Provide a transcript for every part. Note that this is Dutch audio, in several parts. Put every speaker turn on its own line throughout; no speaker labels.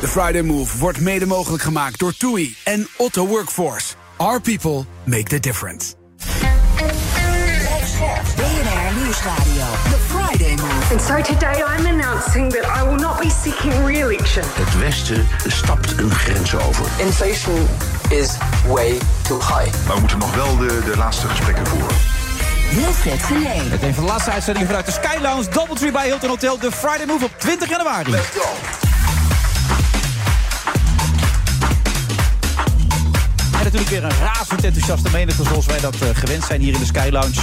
De Friday Move wordt mede mogelijk gemaakt door TUI en Otto Workforce. Our people make the difference.
BNR Nieuwsradio. The Friday Move.
And so today I'm announcing that I will not be seeking re-election.
Het Westen stapt een grens over.
Inflation is way too high.
Maar we moeten nog wel de, de laatste gesprekken voeren.
Wilfred Genee.
Meteen van de laatste uitzending vanuit de Sky Lounge, Doubletree bij Hilton Hotel. De Friday Move op 20 januari. En natuurlijk weer een razend enthousiaste menigte zoals wij dat eh, gewend zijn hier in de Sky Lounge.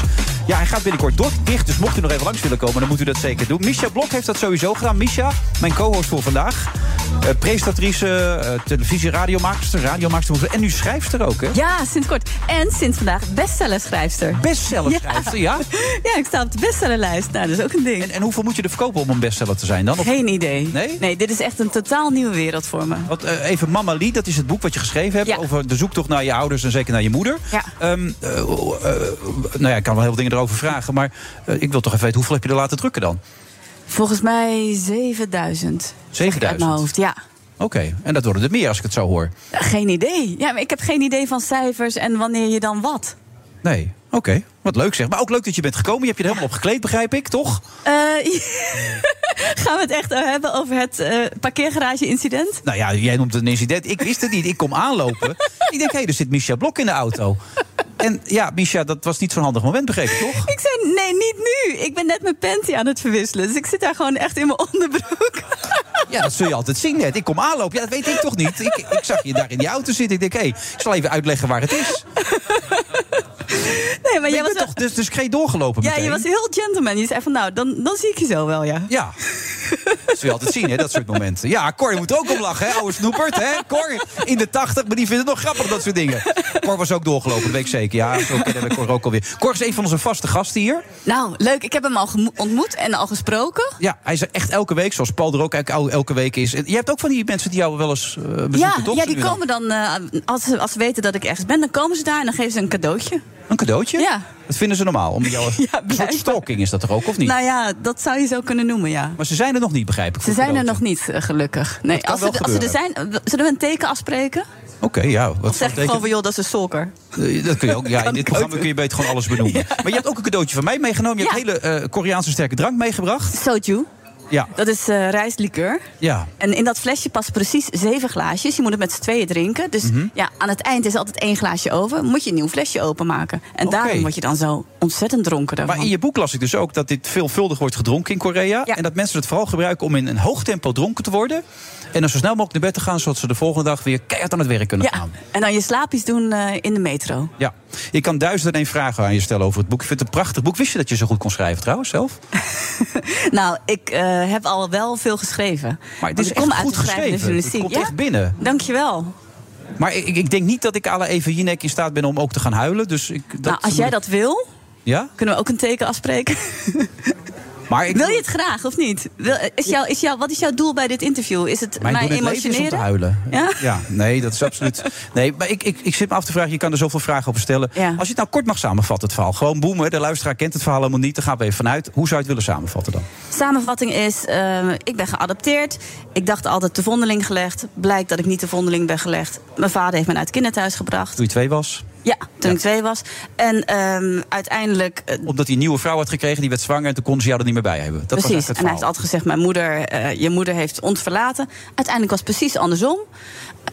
Ja, hij gaat binnenkort door, dicht, dus mocht u nog even langs willen komen, dan moet u dat zeker doen. Misha Blok heeft dat sowieso gedaan. Misha, mijn co-host voor vandaag. Eh presentatrice, eh, televisie, radiomaakster, radiomaakster en nu schrijfster ook, hè?
Ja, sinds kort. En sinds vandaag bestsellerschrijfster.
Bestsellerschrijfster, ja.
Ja, ik sta op de bestsellerlijst. Nou, dat is ook een ding.
En, en hoeveel moet je er verkopen om een bestseller te zijn dan? Of-
Geen idee.
Nee?
dit is echt een totaal nieuwe wereld voor me.
Want, eh, even Mama Lee, dat is het boek wat je geschreven hebt
Ja.
over de zoektocht naar je ouders en zeker naar je moeder.
Ja.
Ehm, eh, eh, nou ja, ik kan wel heel veel dingen erover vragen, maar eh, ik wil toch even weten hoeveel heb je er laten drukken dan?
Volgens mij 7000. zeg ik nou? Uit
7000?
mijn hoofd, ja.
Oké, en dat worden er meer als ik het zo hoor.
Ja, Geen idee. Ja, maar ik heb geen idee van cijfers en wanneer je dan wat.
Nee, oké, wat leuk zeg. Maar ook leuk dat je bent gekomen. Je hebt je er helemaal op gekleed, begrijp ik, toch?
Eh, gaan we het echt eh, hebben over het eh, parkeergarage-incident?
Nou ja, jij noemt het een incident. Ik wist het niet. Ik kom aanlopen. ik denk, hé, er zit Micha Blok in de auto. En ja, Micha, dat was niet zo'n handig moment, begreep ik, toch?
Ik zei, nee, niet nu. Ik ben net mijn panty aan het verwisselen. Dus ik zit daar gewoon echt in mijn onderbroek.
Ja, dat zul je altijd zien net. Ik kom aanlopen. Ja, dat weet ik toch niet. Ik, ik zag je daar in die auto zitten. Ik denk, hé, ik zal even uitleggen waar het is. Maar
Nee, maar
je
jij was
bent
wel-
toch dus, dus geen doorgelopen
Ja,
meteen?
je was heel gentleman. Je zei van, nou, dan, dan zie ik je zo wel, ja.
Ja. Dat zul je altijd zien, hè, dat soort momenten. Ja, Cor moet er ook om lachen, hè, oude snoepert. Hè? Cor in de tachtig, maar die vindt het nog grappig, dat soort dingen. Cor was ook doorgelopen, dat weet ik zeker. Ja, zo kennen we Cor ook alweer. Cor is een van onze vaste gasten hier.
Nou, leuk. Ik heb hem al gemo- ontmoet en al gesproken.
Ja, hij is er echt elke week, zoals Paul er ook el- elke week is. En Je hebt ook van die mensen die jou wel eens eh, bezoeken,
Ja,
toch?
ja,
Zo
die
nu en dan.
komen dan, eh, als, ze, als ze weten dat ik ergens ben, dan komen ze daar en dan geven ze een cadeautje.
Een cadeautje?
Ja.
Dat vinden ze normaal. Om jou... een soort
blijkbaar.
stalking is dat toch ook, of niet?
Nou ja, dat zou je zo kunnen noemen, ja.
Maar ze zijn er nog niet, begrijp ik.
Ze zijn er nog
cadeautje.
niet, eh, gelukkig. Nee,
kan
als ze,
wel
als ze er zijn,
gebeuren.
eh, zullen we een teken afspreken?
Oké, ja. Wat
Of zeg ik
voor
gewoon
teken-
van, joh, dat is een stalker.
Eh, Dat kun je ook. Ja, in dit programma kun je beter gewoon alles benoemen. Maar je hebt ook een cadeautje van mij meegenomen. Je hebt
Ja.
hele eh, Koreaanse sterke drank meegebracht.
Soju,
Ja.
dat is eh rijstlikeur.
Ja.
En in dat flesje passen precies zeven glaasjes. Je moet het met z'n tweeën drinken. Dus
Mhm.
ja, aan het eind is altijd één glaasje over. Moet je een nieuw flesje openmaken. En
Oké.
daarom word je dan zo ontzettend dronken daarvan.
Maar in je boek las ik dus ook dat dit veelvuldig wordt gedronken in Korea.
Ja.
En dat mensen het vooral gebruiken om in een hoog tempo dronken te worden. En dan zo snel mogelijk naar bed te gaan, zodat ze de volgende dag weer keihard aan het werk kunnen
Ja,
gaan.
en dan je slaapjes doen eh, in de metro.
Ja. Ik kan duizend en één vragen aan je stellen over het boek. Ik vind het een prachtig boek. Wist je dat je zo goed kon schrijven trouwens zelf?
Nou, ik eh, heb al wel veel geschreven.
Maar het
Want
is
ik
echt
kom uit
goed
de schrijvende
geschreven. Het
journalistiek.
komt
ja?
echt binnen.
Dankjewel.
Maar ik, ik denk niet dat ik alle even Jinek in staat ben om ook te gaan huilen. Dus ik, dat
nou, als jij dat wil,
Ja?
kunnen we ook een teken afspreken.
Maar Ah, ik,
wil je het graag of niet? Wil, is jou, is jou, wat is jouw doel bij dit interview? Is het
Mijn
mij
doel in het leven is om te
emotioneren?
huilen.
Ja?
nee, dat is absoluut. Nee, maar ik, ik, ik zit me af te vragen, je kan er zoveel vragen over stellen.
Ja.
Als je het nou kort mag samenvatten, het verhaal. Gewoon boemen, de luisteraar kent het verhaal helemaal niet. Daar gaan we even vanuit. Hoe zou je het willen samenvatten dan?
Samenvatting is, eh, ik ben geadopteerd. Ik dacht altijd de vondeling gelegd. Blijkt dat ik niet de vondeling ben gelegd. Mijn vader heeft me naar het kinderthuis gebracht.
Toen je twee was.
Ja, toen ik twee was. En ehm, uiteindelijk... eh,
Omdat hij een nieuwe vrouw had gekregen, die werd zwanger. En toen kon ze jou er niet meer bij hebben. Dat was
precies.
eigenlijk
en
het
hij heeft
verhaal.
altijd gezegd: mijn moeder, eh, je moeder heeft ons verlaten. Uiteindelijk was het precies andersom.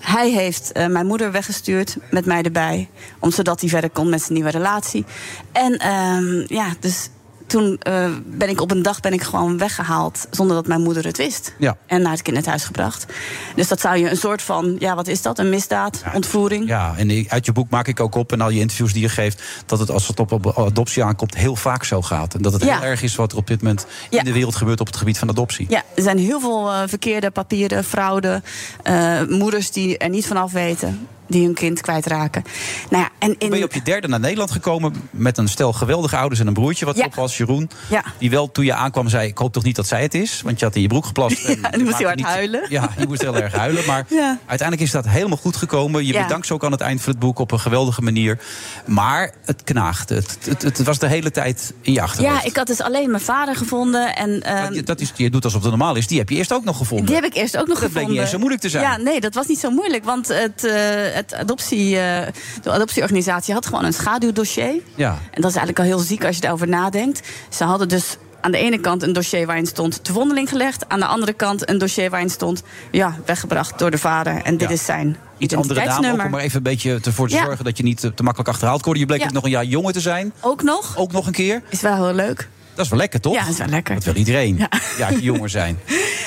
Hij heeft eh, mijn moeder weggestuurd met mij erbij, om zodat hij verder kon met zijn nieuwe relatie. En ehm, ja, dus toen eh, ben ik op een dag ben ik gewoon weggehaald zonder dat mijn moeder het wist.
Ja.
En naar het kinderthuis gebracht. Dus dat zou je een soort van, ja, wat is dat? Een misdaad, ontvoering.
Ja, en ik- uit je boek maak ik ook op en al je interviews die je geeft... dat het als het op adoptie aankomt heel vaak zo gaat. En dat het
Ja.
heel erg is wat er op dit moment
Ja.
in de wereld gebeurt op het gebied van adoptie.
Ja, er zijn heel veel eh, verkeerde papieren, fraude. eh, moeders die er niet vanaf weten, die hun kind kwijtraken. Nou ja, en in,
Ben je op je derde naar Nederland gekomen met een stel geweldige ouders en een broertje wat
Ja.
op was, Jeroen.
Ja.
Die wel toen je aankwam zei, ik hoop toch niet dat zij het is, want je had in je broek geplast. en
Ja, en
je
dan moest
maakte
hij hard
niet-
huilen.
Ja, je moest heel erg huilen, maar
Ja.
uiteindelijk is dat helemaal goed gekomen. Je
Ja.
bedankt ze ook aan het eind van het boek op een geweldige manier. Maar het knaagde, het, het, het was de hele tijd in je achterhoofd.
ja, ik had dus alleen mijn vader gevonden. En, ehm,
Dat- dat is, je doet alsof het normaal is. Die heb je eerst ook nog gevonden.
Die heb ik eerst ook
Dat
nog
bleek
gevonden.
niet eens zo moeilijk te zijn.
Ja, nee, dat was niet zo moeilijk. Want het, eh, het adoptie, eh, de adoptieorganisatie had gewoon een schaduwdossier.
Ja.
En dat is eigenlijk al heel ziek als je daarover nadenkt. Ze hadden dus aan de ene kant een dossier waarin stond te vondeling gelegd. Aan de andere kant een dossier waarin stond ja, weggebracht door de vader. En dit
Ja.
is zijn
Iets andere naam ook,
identiteitsnummer.
om er even een beetje ervoor te
Ja.
zorgen dat je niet eh, te makkelijk achterhaald wordt. Je bleek
Ja.
ook nog een jaar jonger te zijn.
Ook nog.
Ook nog een keer.
Is wel heel leuk.
Dat is wel lekker, toch?
Ja, dat is wel lekker.
Dat wil iedereen. Ja,
Ja.
die jonger zijn.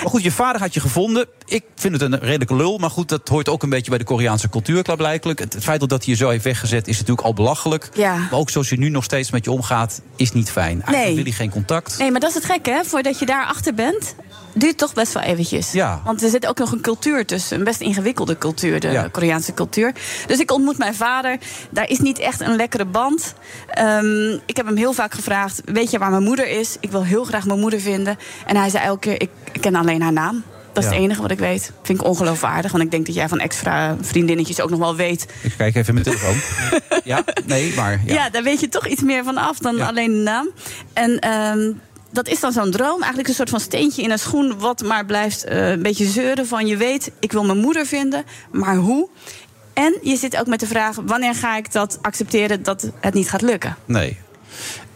Maar goed, je vader had je gevonden. Ik vind het een redelijke lul. Maar goed, dat hoort ook een beetje bij de Koreaanse cultuur, klaarblijkelijk. Het, het feit dat hij je zo heeft weggezet is natuurlijk al belachelijk.
Ja.
Maar ook zoals je nu nog steeds met je omgaat, is niet fijn. Eigenlijk
Nee.
wil hij geen contact.
Nee, maar dat is het gekke, hè? Voordat je daar achter bent, duurt het toch best wel eventjes.
Ja.
Want er zit ook nog een cultuur tussen. Een best ingewikkelde cultuur, de
Ja.
Koreaanse cultuur. Dus ik ontmoet mijn vader. Daar is niet echt een lekkere band. Ehm, ik heb hem heel vaak gevraagd: Weet je waar mijn moeder is? Ik wil heel graag mijn moeder vinden. En hij zei elke keer: Ik, ik ken alleen haar naam. Dat is
Ja.
het enige wat ik weet. Vind ik ongeloofwaardig. Want ik denk dat jij van extra vriendinnetjes ook nog wel weet.
Ik kijk even in mijn telefoon. ja, nee, maar...
Ja. daar weet je toch iets meer van af dan
Ja.
alleen de naam. En ehm, dat is dan zo'n droom. Eigenlijk een soort van steentje in een schoen. Wat maar blijft eh, een beetje zeuren van je weet, ik wil mijn moeder vinden. Maar hoe? En je zit ook met de vraag, wanneer ga ik dat accepteren dat het niet gaat lukken?
Nee.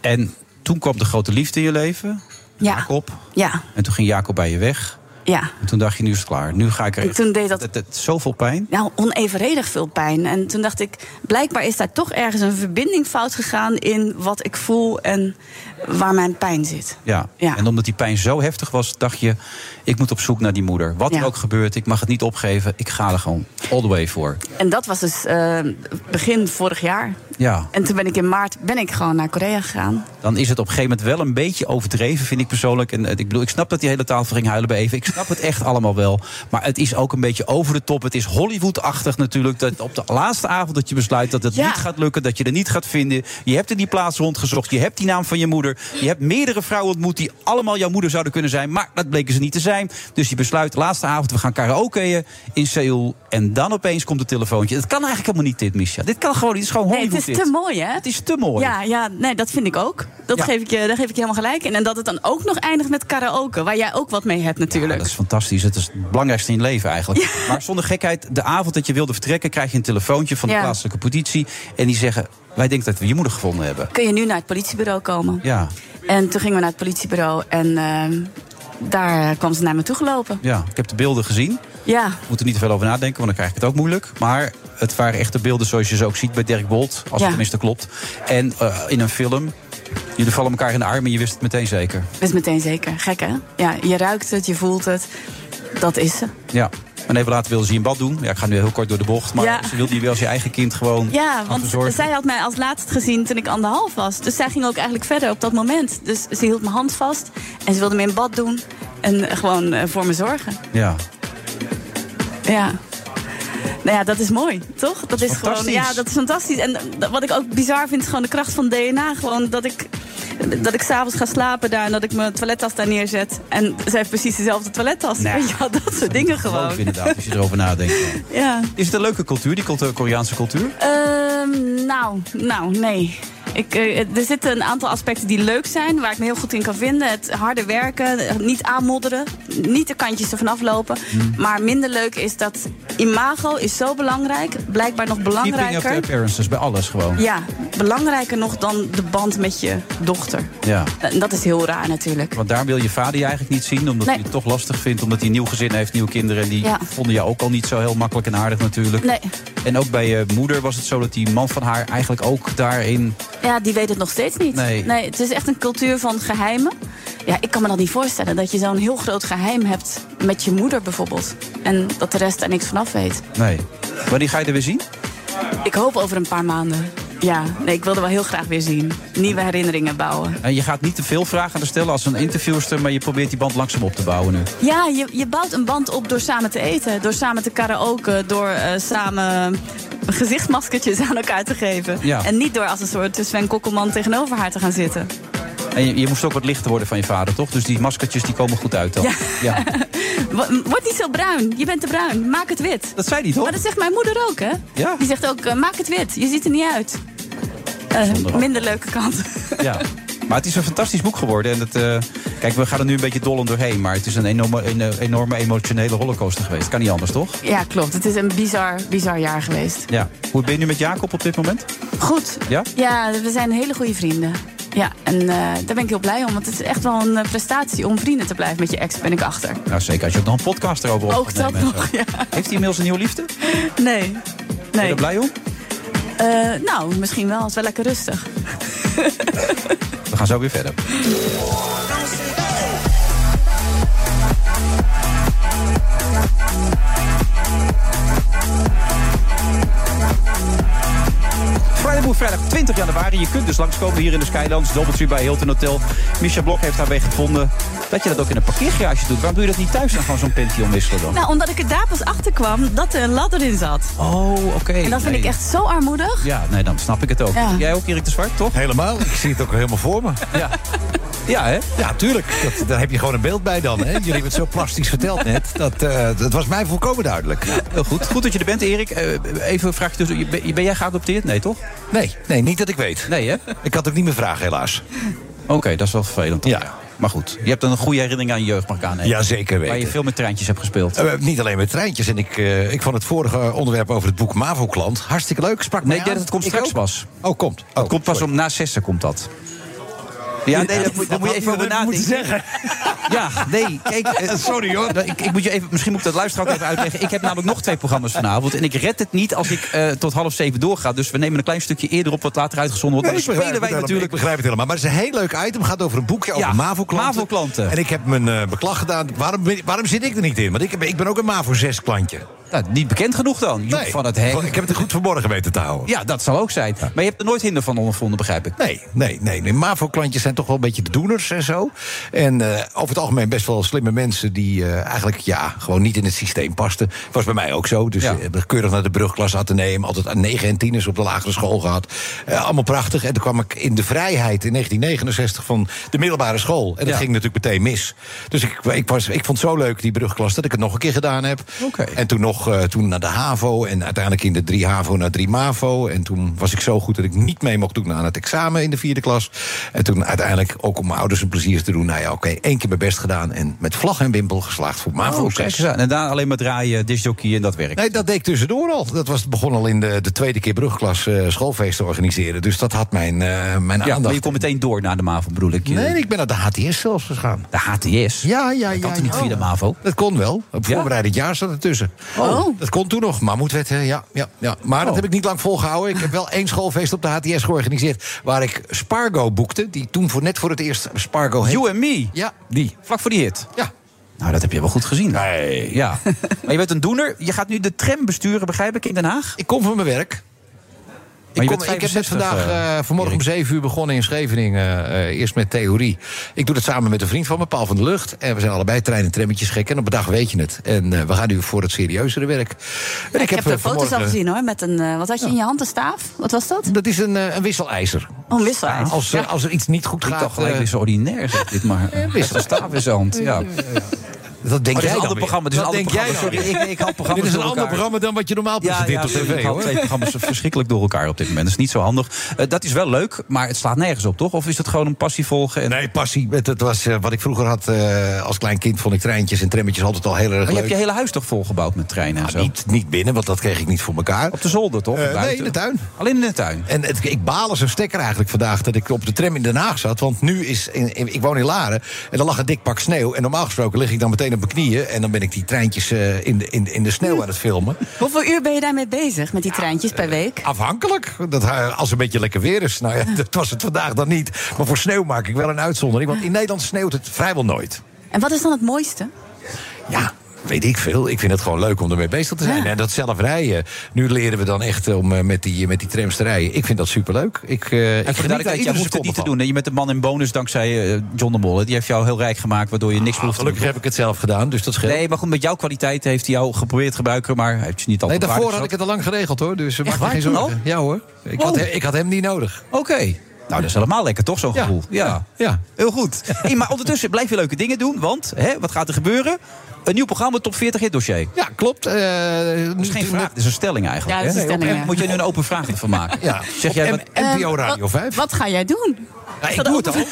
En toen kwam de grote liefde in je leven.
Ja.
Jacob.
Ja,
En toen ging Jacob bij je weg.
ja.
En toen dacht je, nu is het klaar. Nu ga ik er...
En toen deed dat-
Het, het- zoveel pijn.
Nou, onevenredig veel pijn. En toen dacht ik, blijkbaar is daar toch ergens een verbinding fout gegaan in wat ik voel en waar mijn pijn zit.
Ja.
Ja.
En omdat die pijn zo heftig was, dacht je... ik moet op zoek naar die moeder. Wat
Ja.
er ook gebeurt, ik mag het niet opgeven. Ik ga er gewoon all the way voor.
En dat was dus eh, begin vorig jaar.
Ja.
En toen ben ik in maart ben ik gewoon naar Korea gegaan.
Dan is het op een gegeven moment wel een beetje overdreven, vind ik persoonlijk. En eh, ik bedoel, ik snap dat die hele tafel ging huilen bij even. Ik snap het echt allemaal wel. Maar het is ook een beetje over de top. Het is Hollywood-achtig natuurlijk. Dat op de laatste avond dat je besluit dat het
Ja.
niet gaat lukken, dat je er niet gaat vinden. Je hebt in die plaats rondgezocht. Je hebt die naam van je moeder. Je hebt meerdere vrouwen ontmoet die allemaal jouw moeder zouden kunnen zijn. Maar dat bleken ze niet te zijn. Dus je besluit, laatste avond, we gaan karaokeën in Seoul. En dan opeens komt het telefoontje. Het kan eigenlijk helemaal niet dit, Misha. Dit kan gewoon niet. Het is gewoon
Nee, het
Hollywood
is te
dit.
mooi, hè?
Het is te mooi.
Ja, ja, nee, dat vind ik ook. Dat
Ja.
geef ik je, daar geef ik je helemaal gelijk in. En dat het dan ook nog eindigt met karaoke, waar jij ook wat mee hebt
Ja,
natuurlijk.
dat is fantastisch. Het is het belangrijkste in je leven eigenlijk. Maar zonder gekheid, de avond dat je wilde vertrekken... krijg je een telefoontje van de
Ja.
plaatselijke politie. En die zeggen, wij denken dat we je moeder gevonden hebben.
Kun je nu naar het politiebureau komen?
Ja,
En toen gingen we naar het politiebureau en ehm, daar kwam ze naar me toe gelopen.
ja, ik heb de beelden gezien.
Ja,
Ik moet er niet te veel over nadenken, want dan krijg ik het ook moeilijk. Maar het waren echte beelden zoals je ze ook ziet bij Dirk Bolt. Als
Ja.
het tenminste klopt. En eh, in een film. Jullie vallen elkaar in de armen en je wist het meteen zeker.
dat is meteen zeker. Gek, hè? Ja, je ruikt het, je voelt het. Dat is ze.
Ja. En even later wilde ze je een bad doen. Ja, ik ga nu heel kort door de bocht. Maar
Ja.
ze wilde je wel als je eigen kind gewoon
Ja,
gaan
want
verzorgen.
zij had mij als laatst gezien toen ik anderhalf was. Dus zij ging ook eigenlijk verder op dat moment. Dus ze hield mijn hand vast en ze wilde me in bad doen. En eh, gewoon eh, voor me zorgen.
Ja.
Ja. Nou ja, dat is mooi, toch? Dat is gewoon,
fantastisch.
ja, dat is fantastisch. En eh, dat- wat ik ook bizar vind, is gewoon de kracht van DNA. Gewoon dat ik, dat ik s'avonds ga slapen daar en dat ik mijn toilettas daar neerzet. En zij heeft precies dezelfde toilettas.
Nou,
Weet je wel, dat soort dingen
Geloof
gewoon.
ik inderdaad, als je erover nadenkt.
Ja.
Is het een leuke cultuur, die cultu- Koreaanse cultuur?
Ehm, nou, nou, nee. Ik, eh, er zitten een aantal aspecten die leuk zijn, waar ik me heel goed in kan vinden. Het harde werken, eh, niet aanmodderen, niet de kantjes ervan aflopen. Maar minder leuk is dat imago is zo belangrijk, blijkbaar nog
Die brengen op de
belangrijker.
appearances, bij alles gewoon.
Ja, belangrijker nog dan de band met je dochter.
Ja.
En dat is heel raar natuurlijk.
Want daar wil je vader je eigenlijk niet zien, omdat
Nee.
hij het toch lastig vindt. Omdat hij een nieuw gezin heeft, nieuwe kinderen. En die
Ja.
vonden jou ook al niet zo heel makkelijk en aardig natuurlijk.
Nee.
En ook bij je moeder was het zo dat die man van haar eigenlijk ook daarin...
Ja, die weet het nog steeds niet.
Nee.
het is echt een cultuur van geheimen. Ja, ik kan me dat niet voorstellen dat je zo'n heel groot geheim hebt met je moeder bijvoorbeeld. En dat de rest daar niks vanaf weet.
Nee. Wanneer ga je er weer zien?
Ik hoop over een paar maanden. Ja, nee, ik wilde wel heel graag weer zien. Nieuwe herinneringen bouwen.
En Eh, je gaat niet te veel vragen aan stellen als een interviewster... maar je probeert die band langzaam op te bouwen nu.
Ja, je, je bouwt een band op door samen te eten, door samen te karaoke, door eh, samen gezichtmaskertjes aan elkaar te geven.
Ja.
En niet door als een soort Sven Kokkelman tegenover haar te gaan zitten.
En je, je moest ook wat lichter worden van je vader, toch? Dus die maskertjes die komen goed uit dan.
Ja.
ja.
Wo- Word niet zo bruin, je bent te bruin, maak het wit.
Dat zei hij toch?
Maar dat zegt mijn moeder ook, hè?
Ja.
Die zegt ook, eh, maak het wit, je ziet er niet uit. Eh,
Zonde wat.
minder leuke kant.
Ja. Maar het is een fantastisch boek geworden. En het, eh, kijk, we gaan er nu een beetje dollend doorheen. Maar het is een enorme, een, eh, enorme emotionele rollercoaster geweest. Kan niet anders, toch?
Ja, klopt. Het is een bizar, bizar jaar geweest.
Ja. Hoe ben je nu met Jacob op dit moment?
Goed.
Ja?
Ja, we zijn hele goede vrienden. Ja, en eh, daar ben ik heel blij om. Want het is echt wel een eh, prestatie om vrienden te blijven met je ex, ben ik achter.
Nou, zeker als je ook nog een podcast erover op
Ook
gaat
dat
nemen en zo.
nog, ja.
Heeft hij inmiddels een nieuwe liefde? Ben
Nee.
je
Nee.
er blij om?
Eh, nou, misschien wel. Het is wel lekker rustig.
We gaan zo weer verder. Vrijdagmoed, vrijdag 20 januari. Je kunt dus langskomen hier in de Skylands. Doubletree bij Hilton Hotel. Micha Blok heeft haar weg gevonden. Dat je dat ook in een parkeergarage doet. Waarom doe je dat niet thuis dan gewoon zo'n Pentium wisselen dan?
Nou, omdat ik er daar pas achter kwam dat er een ladder in zat.
Oh, oké.
En dat vind
Nee.
ik echt zo armoedig.
Ja, nee, dan snap ik het ook.
Ja.
Jij ook, Erik de Zwart, toch?
Helemaal. Ik zie het ook helemaal voor me.
Ja. Ja, hè?
Ja, tuurlijk. Dat, daar heb je gewoon een beeld bij dan. Hè? Jullie hebben het zo plastisch verteld net. Dat, eh, dat was mij volkomen duidelijk.
Heel goed. Goed dat je er bent, Erik. Eh, Even een vraagje tussen. Je- Ben ben jij geadopteerd? Nee, toch?
Nee, nee, niet dat ik weet.
Nee, hè?
Ik had ook niet meer vragen, helaas.
Oké, dat is wel vervelend. dan.
Ja.
Maar goed, je hebt dan een goede herinnering aan je jeugd, mag ik aannemen.
Ja, zeker
Waar je
weten.
veel met treintjes hebt gespeeld.
Eh, niet alleen met treintjes. En ik, eh, ik vond het vorige onderwerp over het boek Mavo-klant hartstikke leuk. Sprak mij
nee, ik denk
aan.
dat het komt
Ik
straks
ook.
pas.
Oh, komt. Oh,
komt pas
sorry.
om na zessen komt dat. Ja, nee, dat moet, daar moet je even over nadenken.
zeggen.
Ja, nee, kijk. eh,
Sorry, hoor.
nou, Ik, ik moet je even, misschien moet ik dat luisteraar ook even uitleggen. Ik heb namelijk nog twee programma's vanavond. En ik red het niet als ik eh, tot half zeven doorga. Dus we nemen een klein stukje eerder op wat later uitgezonden wordt.
Nee, ik
dan
begrijp
spelen wij
het helemaal.
natuurlijk
Ik begrijp het helemaal. Maar het is een heel leuk item. Het gaat over een boekje over
Ja,
MAVO-klanten.
MAVO-klanten.
En ik heb mijn eh, beklag gedaan. Waarom, ben- waarom zit ik er niet in? Want ik, heb- ik ben ook een MAVO-6-klantje.
Nou, niet bekend genoeg dan. Joep van het Hek.
Ik heb het goed verborgen weten te houden.
Ja, dat zal ook zijn. Maar je hebt er nooit hinder van ondervonden, begrijp ik.
Nee, nee, nee. nee. MAVO-klantjes zijn toch wel een beetje de doeners en zo. En eh, over het algemeen best wel slimme mensen die eh, eigenlijk ja, gewoon niet in het systeem pasten. Was bij mij ook zo. Dus
Ja.
eh, keurig naar de brugklas ateneum. Altijd aan 9 en 10 is op de lagere school gehad. Eh, allemaal prachtig. En toen kwam ik in de vrijheid in 1969 van de middelbare school. En dat
Ja.
ging natuurlijk meteen mis. Dus ik, ik, was, ik vond het zo leuk, die brugklas, dat ik het nog een keer gedaan heb.
Oké.
En toen nog eh, toen naar de HAVO. En uiteindelijk in de 3 HAVO naar 3 MAVO. En toen was ik zo goed dat ik niet mee mocht doen aan het examen in de vierde klas. En toen uiteindelijk ook om mijn ouders een plezier te doen. Nou ja, oké, één keer mijn best gedaan. En met vlag en wimpel geslaagd voor MAVO
Oh,
6.
kijk eens aan. En daar alleen maar draaien, disjockey en dat werkt.
Nee, dat deed ik tussendoor al. Dat was, begon al in de, de tweede keer brugklas eh schoolfeest te organiseren. Dus dat had mijn, eh, mijn
ja, maar
aandacht.
je komt meteen door naar de MAVO, bedoel ik. Je-
Nee, ik ben naar de HTS zelfs gegaan.
De HTS.
Ja, ja,
Dat
ja.
kan toch niet
ja.
via de MAVO?
Dat kon wel. Op
Ja?
voorbereidend jaar zat er tussen.
Oh.
Dat kon toen nog. Maar moet wet, hè? ja, ja, ja. Maar dat
Oh.
heb ik niet lang volgehouden. Ik heb wel één schoolfeest op de HTS georganiseerd... waar ik Spargo boekte. Die toen voor, net voor het eerst Spargo heette.
You and me.
Oh, Ja.
Die. Vlak voor die hit.
Ja.
Nou, dat heb je wel goed gezien. Nee. Ja. maar je bent een doener. Je gaat nu de tram besturen, begrijp ik, in Den Haag?
Ik kom van mijn werk.
je
Ik, kom,
bent
ik heb net
65,
vandaag,
eh,
eh, vanmorgen om 7 uur begonnen in Scheveningen. eh, eh, eerst met theorie. Ik doe dat samen met een vriend van me, Paul van de Lucht. En we zijn allebei trein- en trammetjes gek. En op een dag weet je het. En eh, we gaan nu voor het serieuzere werk. En
Ik, heb
eh,
de foto's al
vanmorgen-
gezien hoor. Met een, eh, wat had je in je hand? Een staaf? Wat was dat?
Dat is een, eh, een wisselijzer.
Oh, een wisselheid.
Als, eh, als er iets niet goed
Ik
gaat...
dacht gelijk
eh,
weer zo ordinair, zeg dit maar.
wist
Met een staaf in zijn hand. Ja.
dat denk
Oh, dit is
jij
een
dan
ander
weer.
programma. Dit is
Dat
een
denk
ander
jij dan
programma.
weer.
Sorry, ik, ik haal programma's
Dit is een
door
ander
elkaar.
programma dan wat je normaal presenteert op
sorry,
tv,
ik haal
hoor.
twee programma's verschrikkelijk door elkaar op dit moment. Dat is niet zo handig. Eh, dat is wel leuk, maar het slaat nergens op, toch? Of is het gewoon een passie volgen? En...
Nee, passie. Het, het was eh, wat ik vroeger had eh, als klein kind. Vond ik treintjes en trammetjes altijd al heel erg
Maar je
leuk.
hebt je hele huis toch volgebouwd met treinen en
Nou,
zo?
niet, niet binnen, want dat kreeg ik niet voor elkaar.
Op de zolder, toch?
Eh,
Buiten?
nee, in de tuin.
Alleen in de tuin.
En het, ik baal als een stekker eigenlijk vandaag dat ik op de tram in Den Haag zat. Want nu is. In, in- ik woon in Laren. En er lag een dik pak sneeuw. En normaal gesproken lig ik dan meteen op mijn knieën. En dan ben ik die treintjes eh, in, de, in, de- in de sneeuw aan het filmen.
Hoeveel uur ben je daarmee bezig, met die treintjes per week?
Afhankelijk. Dat, eh, als het een beetje lekker weer is. Nou ja, dat was het vandaag dan niet. Maar voor sneeuw maak ik wel een uitzondering. Want in Nederland sneeuwt het vrijwel nooit.
En wat is dan het mooiste?
Ja, weet ik veel. Ik vind het gewoon leuk om ermee bezig te zijn. En dat zelf rijden. Nu leren we dan echt om eh, met die, met die trams te rijden. Ik vind dat superleuk. Ik, eh ik geniet
En voor de
daar
duidelijkheid, jij
iedere
hoeft het
seconde
niet te
van.
doen. hè? Je bent een man in bonus dankzij eh, John de Mol. hè? Die heeft jou heel rijk gemaakt, waardoor je niks
Ah,
hoeft te
Gelukkig
doen.
heb ik het zelf gedaan, dus dat scheelt. Nee,
Nee, maar goed, met jouw kwaliteit heeft hij jou geprobeerd te gebruiken, maar hij heeft je niet altijd op
daarvoor had
waarde
ik het al lang geregeld hoor. Dus eh, maak je
waar? Oh.
geen
Toen
zorgen. Ja hoor. Ik, had,
Wow.
he- ik had hem niet nodig.
gezet. Oké. Nou, dat is helemaal lekker, toch, zo'n
Ja.
gevoel? Ja.
Ja.
Heel goed. Hey, maar ondertussen blijf je leuke dingen doen, want hè, wat gaat er gebeuren? Een nieuw programma, Top 40 Hit Dossier. Dat
Ja, klopt. Eh, nu-
is geen
nu-
vraag, dat is een stelling eigenlijk.
Ja, dat is
hè?
een stelling,
En
ja.
Moet je nu een open vraag van maken?
Ja,
Zeg jij,
op
wat-
M- NPO
Ehm,
Radio
wat-
5.
Wat ga jij doen?
Ja, ik
dat
doe het
ook-
al.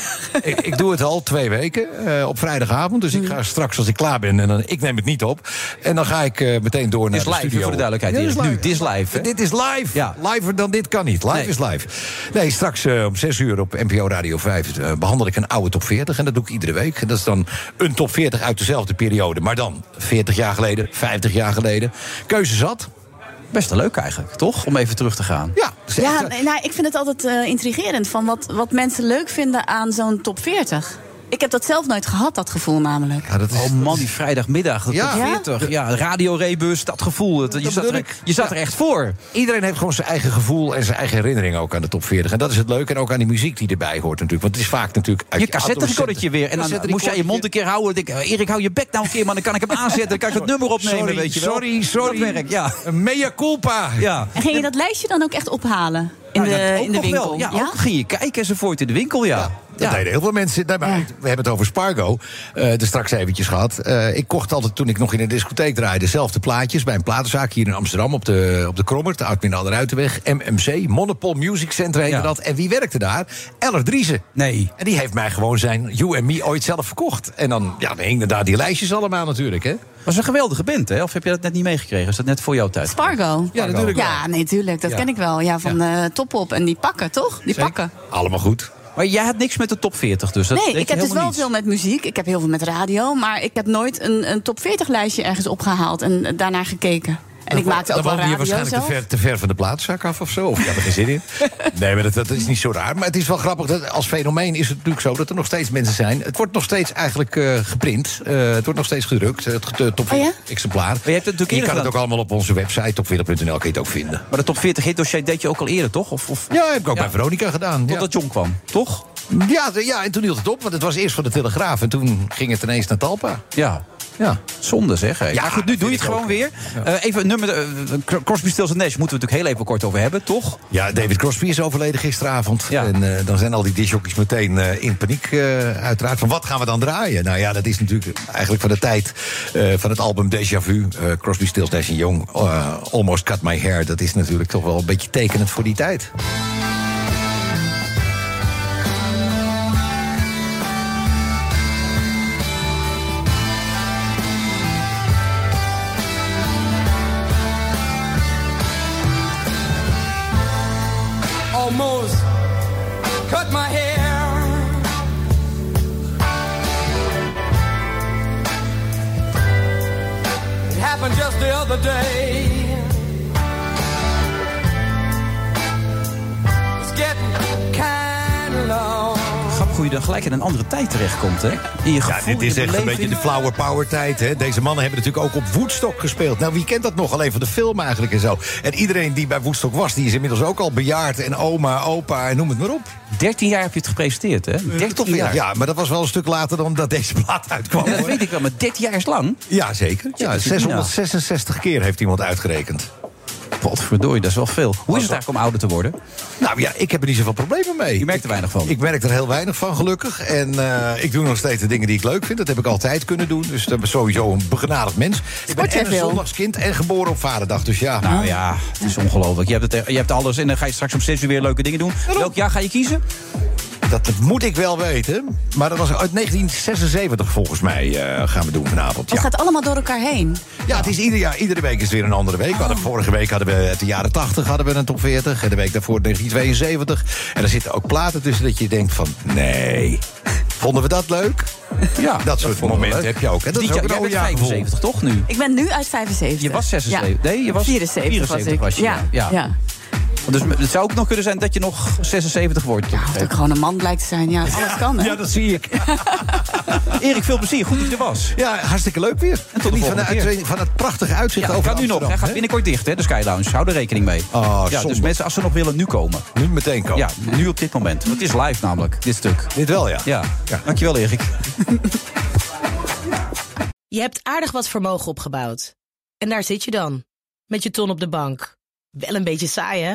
ik, ik doe het al twee weken eh, op vrijdagavond. Dus ik ga straks als ik klaar ben. En dan, ik neem het niet op. En dan ga ik eh, meteen door naar
is
de
live, hè,
studio.
voor de duidelijkheid,
dit
Erik. Nu, dit is live, hè?
Dit is live.
Ja.
Liver dan dit kan niet. Live
Nee.
is live. Nee, straks eh, om 6 uur op NPO Radio 5 eh, behandel ik een oude top 40. En dat doe ik iedere week. En dat is dan een top 40 uit dezelfde periode. Maar dan 40 jaar geleden, 50 jaar geleden. Keuze zat.
best wel leuk eigenlijk, toch? Om even terug te gaan.
Ja, dat is echt,
Ja,
eh,
nee, nou, ik vind het altijd eh, intrigerend van wat, wat mensen leuk vinden aan zo'n top 40. Ik heb dat zelf nooit gehad, dat gevoel namelijk.
ja, dat is,
Oh man, die vrijdagmiddag, dat
Ja.
ja. 40. Ja, radio rebus, dat gevoel. Dat, je,
Dat
zat
bedoel
er,
ik.
je zat er echt voor.
Iedereen heeft gewoon zijn eigen gevoel en zijn eigen herinnering ook aan de top 40. En dat is het leuke. En ook aan die muziek die erbij hoort natuurlijk. Want het is vaak natuurlijk... Uit
Je cassetterecordertje weer. En dan moest jij je mond een
in.
keer houden. Dan Denk, ik, Erik, hou je bek nou een keer, man. Dan kan ik hem aanzetten. Dan kan ik het nummer opnemen,
Sorry,
weet je wel.
sorry, sorry.
Dat werkt, ja.
Mea culpa.
ja.
En ging je dat lijstje dan ook echt ophalen in
Nou,
Nou Ja, dat
de,
ook
in de
nog wel.
winkel?
Ja, ook ging je kijken enzovoort in de winkel, ja.
Ja, dat
Ja.
deden heel veel mensen. Nee, maar We hebben het over Spargo, eh er straks eventjes gehad. Eh, ik kocht altijd, toen ik nog in een discotheek draaide... dezelfde plaatjes bij een platenzaak hier in Amsterdam... op de, op de Krommert, de Oud-Minnaal de Ruitenweg. MMC, Monopol Music Center heette
Ja.
dat. En wie werkte daar? Eller Driessen.
Nee.
En die heeft mij gewoon zijn You and Me ooit zelf verkocht. En dan, ja, dan hingen daar die lijstjes allemaal natuurlijk, hè?
Was een geweldige band, hè? Of heb je dat net niet meegekregen? Is dat net voor jouw tijd?
Spargo.
Ja, natuurlijk wel.
Ja, nee, tuurlijk. Dat
Ja.
ken ik wel. Ja, van eh top op. En die pakken, toch? Die pakken.
Allemaal goed.
Maar jij had niks met de top 40, dus dat
Nee,
deed
ik
je
heb dus wel
helemaal niets.
veel met muziek. Ik heb heel veel met radio. Maar ik heb nooit een, een top 40 lijstje ergens opgehaald en eh, daarnaar gekeken. En ik maakte ook
Dan
wel
woonde je
radio
waarschijnlijk te
zelf.
ver, te ver van de plaatszak af of zo. Of je had er geen zin in. Nee, maar dat, dat is niet zo raar. Maar het is wel grappig. Dat als fenomeen is het natuurlijk zo dat er nog steeds mensen zijn. Het wordt nog steeds eigenlijk eh, geprint. Eh, het wordt nog steeds gedrukt. Het ge- de top
Oh ja?
exemplaar.
je hebt het natuurlijk
En je
eerder
kan het
gedaan.
ook allemaal op onze website, topwereld.nl, kun je het ook vinden.
Maar de top 40 hit dossier deed je ook al eerder, toch? Of, of...
Ja, heb ik ook bij Veronica gedaan. Ja.
Totdat John kwam, toch?
Ja, de- ja, en toen hield het op, want het was eerst van de Telegraaf. En toen ging het ineens naar Talpa.
Ja.
Ja.
Zonde zeg. hè.
Ja,
maar goed, nu
dat
doe je
vind
het
ik
gewoon
ook.
weer. Eh, even een nummer. eh, Cro- Crosby, Stills en Nash moeten we natuurlijk heel even kort over hebben, toch?
Ja, David Crosby is overleden gisteravond.
Ja.
En eh, dan zijn al die disjockeys meteen eh, in paniek, eh, uiteraard. Van wat gaan we dan draaien? Nou ja, dat is natuurlijk eigenlijk van de tijd eh, van het album Deja Vu. eh, Crosby, Stills, Nash Young, eh, Almost Cut My Hair. Dat is natuurlijk toch wel een beetje tekenend voor die tijd.
Almost cut my hair. It happened just the other day. It's getting kinda long.
Grappig hoe je dan gelijk in een andere tijd terechtkomt, hè? In je gevoel,
dit is
je
echt een
beleving.
beetje de flower power tijd. Hè? Deze mannen hebben natuurlijk ook op Woodstock gespeeld. Nou, wie kent dat nog? Alleen van de film eigenlijk en zo. En iedereen die bij Woodstock was, die is inmiddels ook al bejaard. En oma, opa en noem het maar op. Eh,
13 jaar heb je het gepresenteerd, hè? 13 jaar.
Ja, maar dat was wel een stuk later dan dat deze plaat uitkwam.
Ja, dat
hoor.
weet ik wel, maar 13 jaar is lang.
Ja, zeker. Ja,
dat is-
666 keer heeft iemand uitgerekend.
Potverdorie, dat is wel veel. Hoe is het eigenlijk om ouder te worden?
Nou ja, ik heb er niet zoveel problemen mee.
Je merkt er weinig van.
Ik merk er heel weinig van, gelukkig. En eh, ik doe nog steeds de dingen die ik leuk vind. Dat heb ik altijd kunnen doen. Dus dat ben sowieso een begenadigd mens. Ik ben
Sport jij
en een
veel?
zondagskind en geboren op vaderdag. Dus ja,
Nou ja, het is ongelooflijk. Je hebt, het, je hebt alles en dan ga je straks om 6 uur weer leuke dingen doen. Welk jaar ga je kiezen?
dat moet ik wel weten. Maar dat was uit 1976 volgens mij eh, gaan we doen vanavond.
Het
Ja.
gaat allemaal door elkaar heen.
Ja, het is ieder jaar, iedere week is weer een andere week. We hadden, vorige week hadden we het de jaren 80 hadden we een top 40. En de week daarvoor 1972. En er zitten ook platen tussen dat je denkt van... Nee, vonden we dat leuk?
Ja,
Dat soort
vonden we
momenten
leuk.
heb je ook. Hè? Dat
Dit
is ook
jaar-
een
jij bent
oudejaargevoel.
75 toch nu?
Ik ben nu uit 75.
Je was 76.
Ja.
Nee, je was
74, was
74
ik.
was je,
ja.
ja.
Ja.
Dus het zou ook nog kunnen zijn dat je nog 76 wordt.
Ja, dat ik gewoon een man blijkt te zijn. Ja, alles kan. Hè?
Ja, dat zie ik.
Erik, veel plezier. Goed dat je er was.
Ja, hartstikke leuk weer.
de
Geniet van,
volgende
de
keer.
uitzending- van het prachtige uitzicht
Ja,
over
gaat nu nog. Hij
Amsterdam,
gaat
hè?
binnenkort dicht, hè, de Sky Lounge. Hou er rekening mee.
Oh,
ja, dus
zonde.
mensen, als ze nog willen, nu komen.
Nu meteen komen.
Ja, nu op dit moment. Want het is live namelijk, dit stuk.
Dit wel, ja.
Ja, dankjewel Erik.
Je hebt aardig wat vermogen opgebouwd. En daar zit je dan, met je ton op de bank. Wel een beetje saai, hè?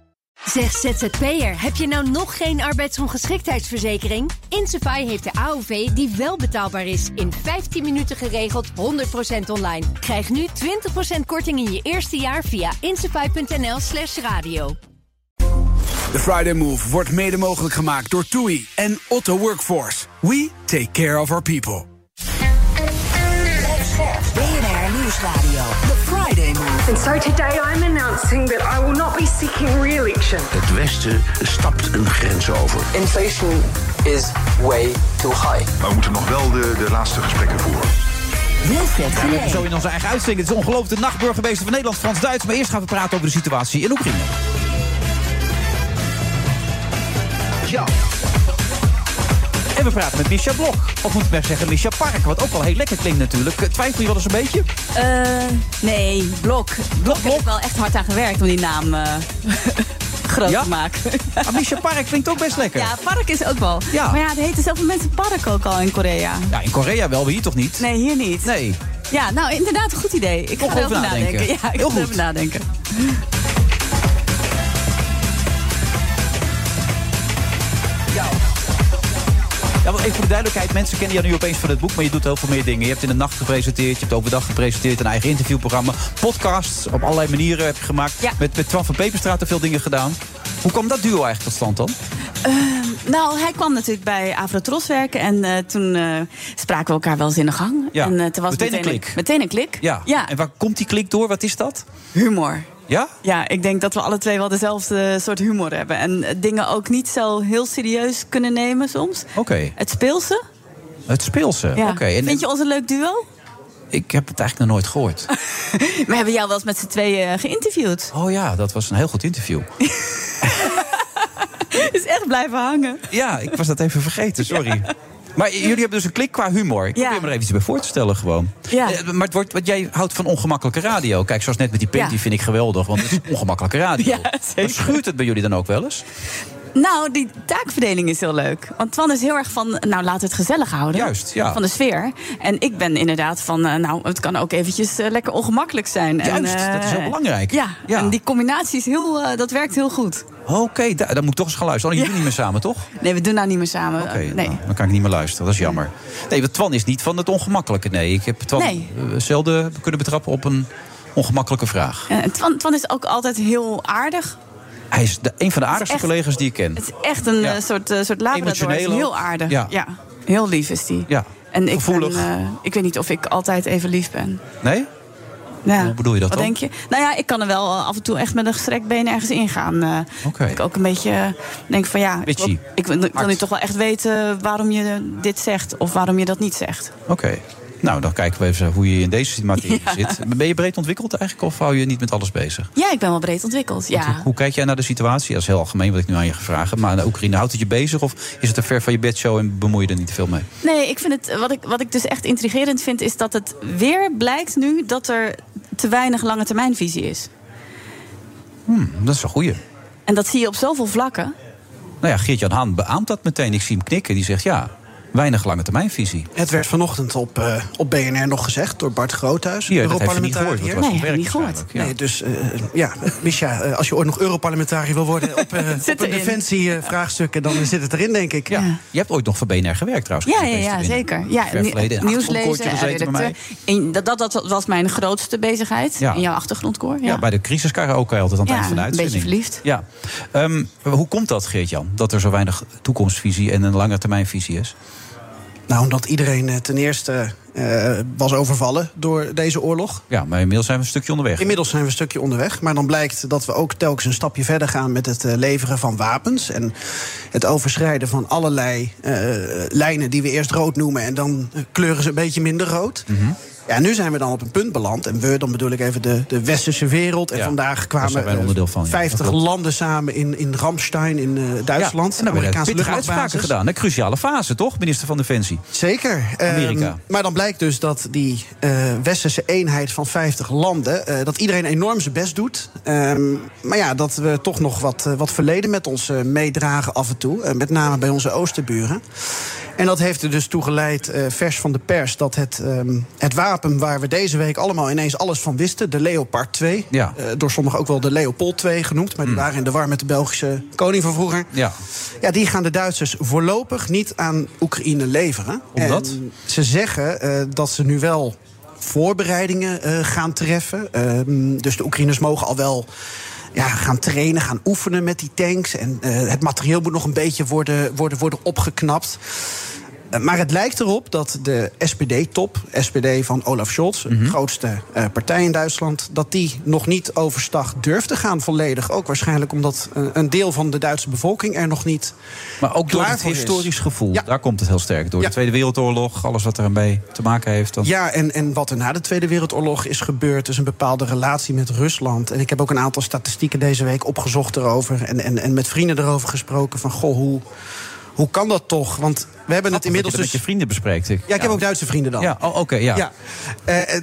Zeg ZZP'er, heb je nou nog geen arbeidsongeschiktheidsverzekering? Insafai heeft de AOV die wel betaalbaar is. In 15 minuten geregeld, 100% online. Krijg nu 20% korting in je eerste jaar via insafai.nl slash radio.
De Friday Move wordt mede mogelijk gemaakt door TUI en Otto Workforce. We take care of our people.
BNR Nieuwsradio. The Friday Move.
And so today I'm announcing that I will not be seeking re election.
Het Westen stapt een grens over.
Inflation is way too high.
Maar we moeten nog wel de, de laatste gesprekken voeren.
Wilfred Genee.
Zo in onze eigen uitzending. Het is ongelooflijk de nachtburgemeester van Nederland, Frans-Duits. Maar eerst gaan we praten over de situatie in Oekraïne. Ja. En we praten met Misha Blok. Of moet ik maar zeggen, Misha Park. Wat ook wel heel lekker klinkt natuurlijk. Twijfel je wel eens een beetje?
Eh, nee, Blok. Blok heb ik wel echt hard aan gewerkt om die naam eh, groot
Ja?
te maken.
Ah, Misha Park klinkt ook best lekker.
ja, park is ook wel.
Ja.
Maar ja, het heten zoveel mensen park ook al in Korea.
Ja, in Korea wel, maar hier toch niet?
Nee, hier niet.
Nee.
Ja, nou inderdaad, een goed idee. Ik
Nog
ga erover
over nadenken.
nadenken. Ja, ik
Heel
ga
goed.
erover nadenken.
Ja, want even voor de duidelijkheid, mensen kennen jou nu opeens van het boek, maar je doet heel veel meer dingen. Je hebt in de nacht gepresenteerd, je hebt overdag gepresenteerd, een eigen interviewprogramma, podcasts op allerlei manieren heb je gemaakt.
Ja.
Met, met Twan van Peperstraat veel dingen gedaan. Hoe kwam dat duo eigenlijk tot stand dan?
Nou, hij kwam natuurlijk bij Avrotros werken en eh, toen eh, spraken we elkaar wel eens in de gang.
Ja,
En, eh, toen was het
meteen een klik.
meteen een klik.
Ja. En waar komt die klik door? Wat is dat?
humor.
Ja?
Ja, ik denk dat we alle twee wel dezelfde soort humor hebben. En eh, dingen ook niet zo heel serieus kunnen nemen soms.
Oké.
Het speelse.
Het speelse.
Ja.
Oké. En
Vind je ons een leuk duo?
Ik heb het eigenlijk nog nooit gehoord.
We hebben jou wel eens met z'n tweeën eh, geïnterviewd.
Oh ja, dat was een heel goed interview.
is echt blijven hangen.
Ja, ik was dat even vergeten, sorry. Maar j- jullie hebben dus een klik qua humor. Ik
Ja.
probeer me er even iets bij voor te stellen gewoon.
Ja.
Eh, maar het wordt, want jij houdt van ongemakkelijke radio. Kijk, zoals net met die pint,
Ja.
die vind ik geweldig. Want het is ongemakkelijke radio.
Ja,
Maar
zeker.
schuurt het bij jullie dan ook wel eens?
Nou, die taakverdeling is heel leuk. Want Twan is heel erg van, nou, laten we het gezellig houden.
Juist, ja.
Van de sfeer. En ik ben inderdaad van, eh, nou, het kan ook eventjes eh, lekker ongemakkelijk zijn.
Juist,
en, eh,
dat is heel belangrijk.
Ja,
Ja.
en die combinatie is heel, eh, dat werkt heel goed.
Oké, da- dan moet ik toch eens gaan luisteren. Oh, jullie doen niet meer samen, toch?
Nee, we doen nou niet meer samen.
Oké,
nee.
nou, dan kan ik niet meer luisteren. Dat is jammer. Nee, want Twan is niet van het ongemakkelijke. Nee, ik heb Twan
Nee.
eh, zelden kunnen betrappen op een ongemakkelijke vraag.
Eh, Twan, Twan is ook altijd heel aardig.
Hij is de- een van de aardigste
echt-
collega's die ik ken.
Het is echt een
Ja.
eh, soort, eh, soort labrador. Hij is
Emotioneel
heel
ook.
aardig.
Ja.
Heel lief is die.
Ja.
En ik,
Gevoelig.
ben, eh, ik weet niet of ik altijd even lief ben.
Nee?
Ja.
Hoe bedoel je dat
Wat
dan?
denk je? Nou ja, ik kan er wel eh, af en toe echt met een gestrekt been ergens ingaan. eh.
Oké.
Dat Ik ook een beetje eh, denk van ja, ik,
Bitchy.
wil, ik wil- ik wil
Hard.
nu toch wel echt weten waarom je dit zegt of waarom je dat niet zegt.
Oké. Nou, dan kijken we even hoe je in deze materie zit. Ben je breed ontwikkeld eigenlijk of hou je niet met alles bezig?
Ja, ik ben wel breed ontwikkeld. Ja.
Hoe kijk jij naar de situatie? Dat is heel algemeen wat ik nu aan je ga vragen. Maar de Oekraïne, houdt het je bezig of is het te ver van je bedshow en bemoei je er niet te veel mee?
Nee, ik vind het, wat, ik, wat ik dus echt intrigerend vind, is dat het weer blijkt nu dat er te weinig lange termijnvisie is.
Hmm, dat is een goeie.
En dat zie je op zoveel vlakken.
Nou ja, Geert-Jan Haan beaamt dat meteen. Ik zie hem knikken. Die zegt ja, weinig lange termijnvisie.
Het werd vanochtend op, eh, op BNR nog gezegd door Bart Groothuis.
Ja, dat heeft hij niet
Europarlementariër.
gehoord, want het was Nee, op heb ik werk niet gehoord. waarschijnlijk, ja.
Nee, dus eh, ja, Misha, eh, als je ooit nog Europarlementariër wil worden op, eh,
Zit
op een
erin.
defensie-vraagstuk, dan zit het erin, denk ik.
Ja. Je hebt ooit nog voor BNR gewerkt trouwens.
Ja, ja, ja zeker. Ja,
Ver verleden in
nieuws
achtergrondkoortje
lezen, en
gezeten bij
redacteur. En dat, dat, dat was mijn grootste bezigheid.
Ja.
In jouw achtergrondkoor. Ja.
Ja, bij de crisiskaraoke altijd aan het
Ja,
eind van de
een
uitzending.
beetje verliefd.
Ja. Ehm, hoe komt dat, Geert-Jan? Dat er zo weinig toekomstvisie en een lange termijnvisie is?
Nou, omdat iedereen eh, ten eerste eh, was overvallen door deze oorlog.
Ja, maar inmiddels zijn we een stukje onderweg.
Inmiddels zijn we een stukje onderweg. Maar dan blijkt dat we ook telkens een stapje verder gaan met het eh, leveren van wapens. En het overschrijden van allerlei eh, lijnen die we eerst rood noemen. En dan eh, kleuren ze een beetje minder rood.
Mhm.
Ja, nu zijn we dan op een punt beland. En we, dan bedoel ik even de, de westerse wereld. En
Ja,
vandaag
daar
kwamen
zijn wij een
eh,
onderdeel van, ja.
50
Dat klopt.
landen samen in, in Ramstein in eh, Duitsland.
Ja, en daar werden
Amerikaanse
pittige uitspraken
luchtmachtbasis.
gedaan. Een cruciale fase, toch, minister van Defensie?
Zeker. Ehm,
Amerika.
maar dan blijkt dus dat die eh, westerse eenheid van 50 landen... eh, dat iedereen enorm zijn best doet. Ehm, maar ja, dat we toch nog wat, eh, wat verleden met ons eh, meedragen af en toe. eh, met name bij onze oosterburen. En dat heeft er dus toe geleid, eh, vers van de pers... dat het, ehm, het wapen waar we deze week allemaal ineens alles van wisten... de Leopard 2,
Ja. Mm.
eh, door sommigen ook wel de Leopold 2 genoemd... maar die waren in de war met de Belgische koning van vroeger...
Ja.
Ja, die gaan de Duitsers voorlopig niet aan Oekraïne leveren.
Omdat?
En ze zeggen eh, dat ze nu wel voorbereidingen eh, gaan treffen. Ehm, dus de Oekraïners mogen al wel ja, gaan trainen, gaan oefenen met die tanks. En eh, het materieel moet nog een beetje worden, worden, worden opgeknapt. Eh, Maar het lijkt erop dat de SPD-top, SPD van Olaf Scholz,
Mhm.
de grootste eh, partij in Duitsland, dat die nog niet overstag durft te gaan volledig. Ook waarschijnlijk omdat eh, een deel van de Duitse bevolking er nog niet.
Maar ook door
Klaar
het
voor is.
historisch gevoel.
Ja.
Daar komt het heel sterk door.
Ja.
De Tweede Wereldoorlog, alles wat ermee te maken heeft. Dan...
Ja, en, en wat er na de Tweede Wereldoorlog is gebeurd, is een bepaalde relatie met Rusland. En ik heb ook een aantal statistieken deze week opgezocht erover. En, en, en met vrienden erover gesproken van goh, hoe, hoe kan dat toch? Want we hebben het
Grappig
inmiddels
dat je dat met
dus.
je vrienden bespreekt. Ik.
Ja, ik heb ook Duitse vrienden dan.
Ja, oh, oké, ja.
Ja. Eh, eh,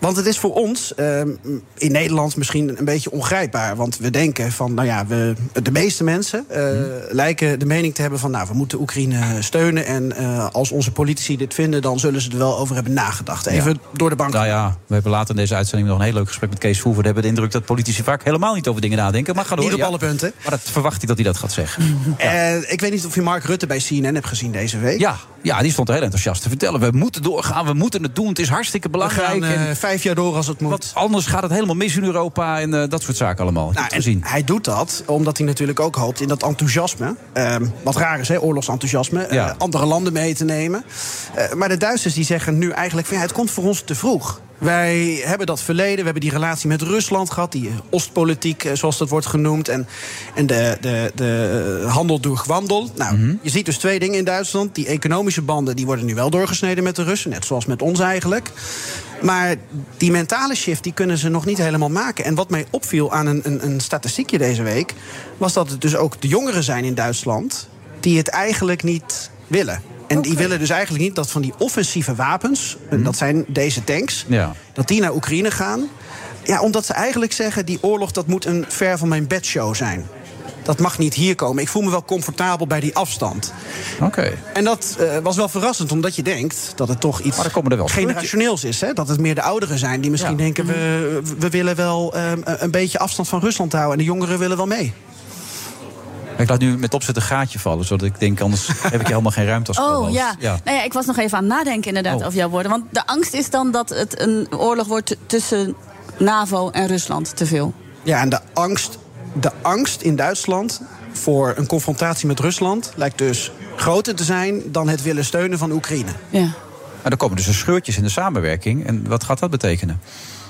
want het is voor ons ehm, in Nederland misschien een beetje ongrijpbaar. Want we denken van, nou ja, we, de meeste mensen eh,
Mhm.
lijken de mening te hebben van, nou, we moeten Oekraïne steunen. En eh, als onze politici dit vinden, dan zullen ze er wel over hebben nagedacht. Even door de bank.
Nou ja, we hebben later in deze uitzending nog een heel leuk gesprek met Kees Voever. We hebben de indruk dat politici vaak helemaal niet over dingen nadenken. Maar ga door,
Niet op
ja.
alle punten.
Maar dat verwacht ik dat hij dat gaat zeggen.
Eh, ik weet niet of je Mark Rutte bij CNN hebt gezien deze week. Nou,
Ja, ja, die stond heel enthousiast te vertellen. We moeten doorgaan, we moeten het doen. Het is hartstikke
We
belangrijk.
gaan eh,
en
vijf jaar door als het moet.
wat anders gaat het helemaal mis in Europa en eh, dat soort zaken allemaal. Ik heb
Nou,
het
en
gezien.
hij doet dat omdat hij natuurlijk ook hoopt in dat enthousiasme. ehm, wat raar is, hè, oorlogsenthousiasme.
Ja.
eh, andere landen mee te nemen. Eh, maar de Duitsers die zeggen nu eigenlijk: van, ja, het komt voor ons te vroeg. Wij hebben dat verleden, we hebben die relatie met Rusland gehad, die eh, Oostpolitiek, eh, zoals dat wordt genoemd, en, en de, de, de eh, handel door wandel. Nou, je ziet dus twee dingen in Duitsland. Die economische banden die worden nu wel doorgesneden met de Russen, net zoals met ons eigenlijk. Maar die mentale shift die kunnen ze nog niet helemaal maken. En wat mij opviel aan een, een, een statistiekje deze week... was dat het dus ook de jongeren zijn in Duitsland... die het eigenlijk niet willen. En die willen dus eigenlijk niet dat van die offensieve wapens... en dat zijn deze tanks,
Mhm. Ja.
dat die naar Oekraïne gaan. Ja, omdat ze eigenlijk zeggen... die oorlog dat moet een ver van mijn bedshow zijn. Dat mag niet hier komen. Ik voel me wel comfortabel bij die afstand.
Oké.
En dat eh, was wel verrassend, omdat je denkt dat het toch iets
Maar er komen er wel
generationeels is. Hè? Dat het meer de ouderen zijn die misschien
Ja. Mhm.
denken... We, we willen wel ehm, een beetje afstand van Rusland houden... en de jongeren willen wel mee.
Ik laat nu met opzet een gaatje vallen, zodat ik denk, anders heb ik helemaal geen ruimte als
Oh
co-host.
ja.
ja.
Nou ja, ik was nog even aan het nadenken inderdaad
Oh.
over jouw woorden. Want de angst is dan dat het een oorlog wordt t- tussen NAVO en Rusland te veel.
Ja, en de angst, de angst in Duitsland voor een confrontatie met Rusland... lijkt dus groter te zijn dan het willen steunen van Oekraïne.
Ja.
Maar er komen dus een scheurtjes in de samenwerking. En wat gaat dat betekenen?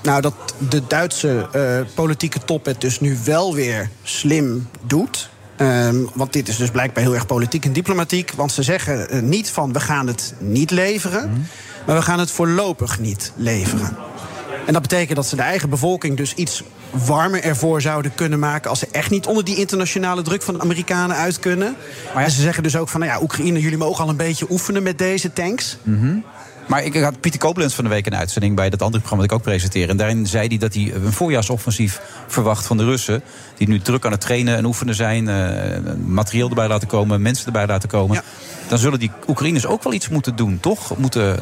Nou, dat de Duitse eh, politieke top het dus nu wel weer slim doet. Ehm, want dit is dus blijkbaar heel erg politiek en diplomatiek. Want ze zeggen eh, niet van we gaan het niet leveren. Maar we gaan het voorlopig niet leveren. En dat betekent dat ze de eigen bevolking dus iets warmer ervoor zouden kunnen maken... als ze echt niet onder die internationale druk van de Amerikanen uit kunnen. Maar ja, ze zeggen dus ook van, nou ja, Oekraïne, jullie mogen al een beetje oefenen met deze tanks.
Mhm. Maar ik had Pieter Koblenz van de week een uitzending bij dat andere programma dat ik ook presenteer. En daarin zei hij dat hij een voorjaarsoffensief verwacht van de Russen. Die nu druk aan het trainen en oefenen zijn. eh, materieel erbij laten komen, mensen erbij laten komen. Dan zullen die Oekraïners ook wel iets moeten doen, toch? Moeten...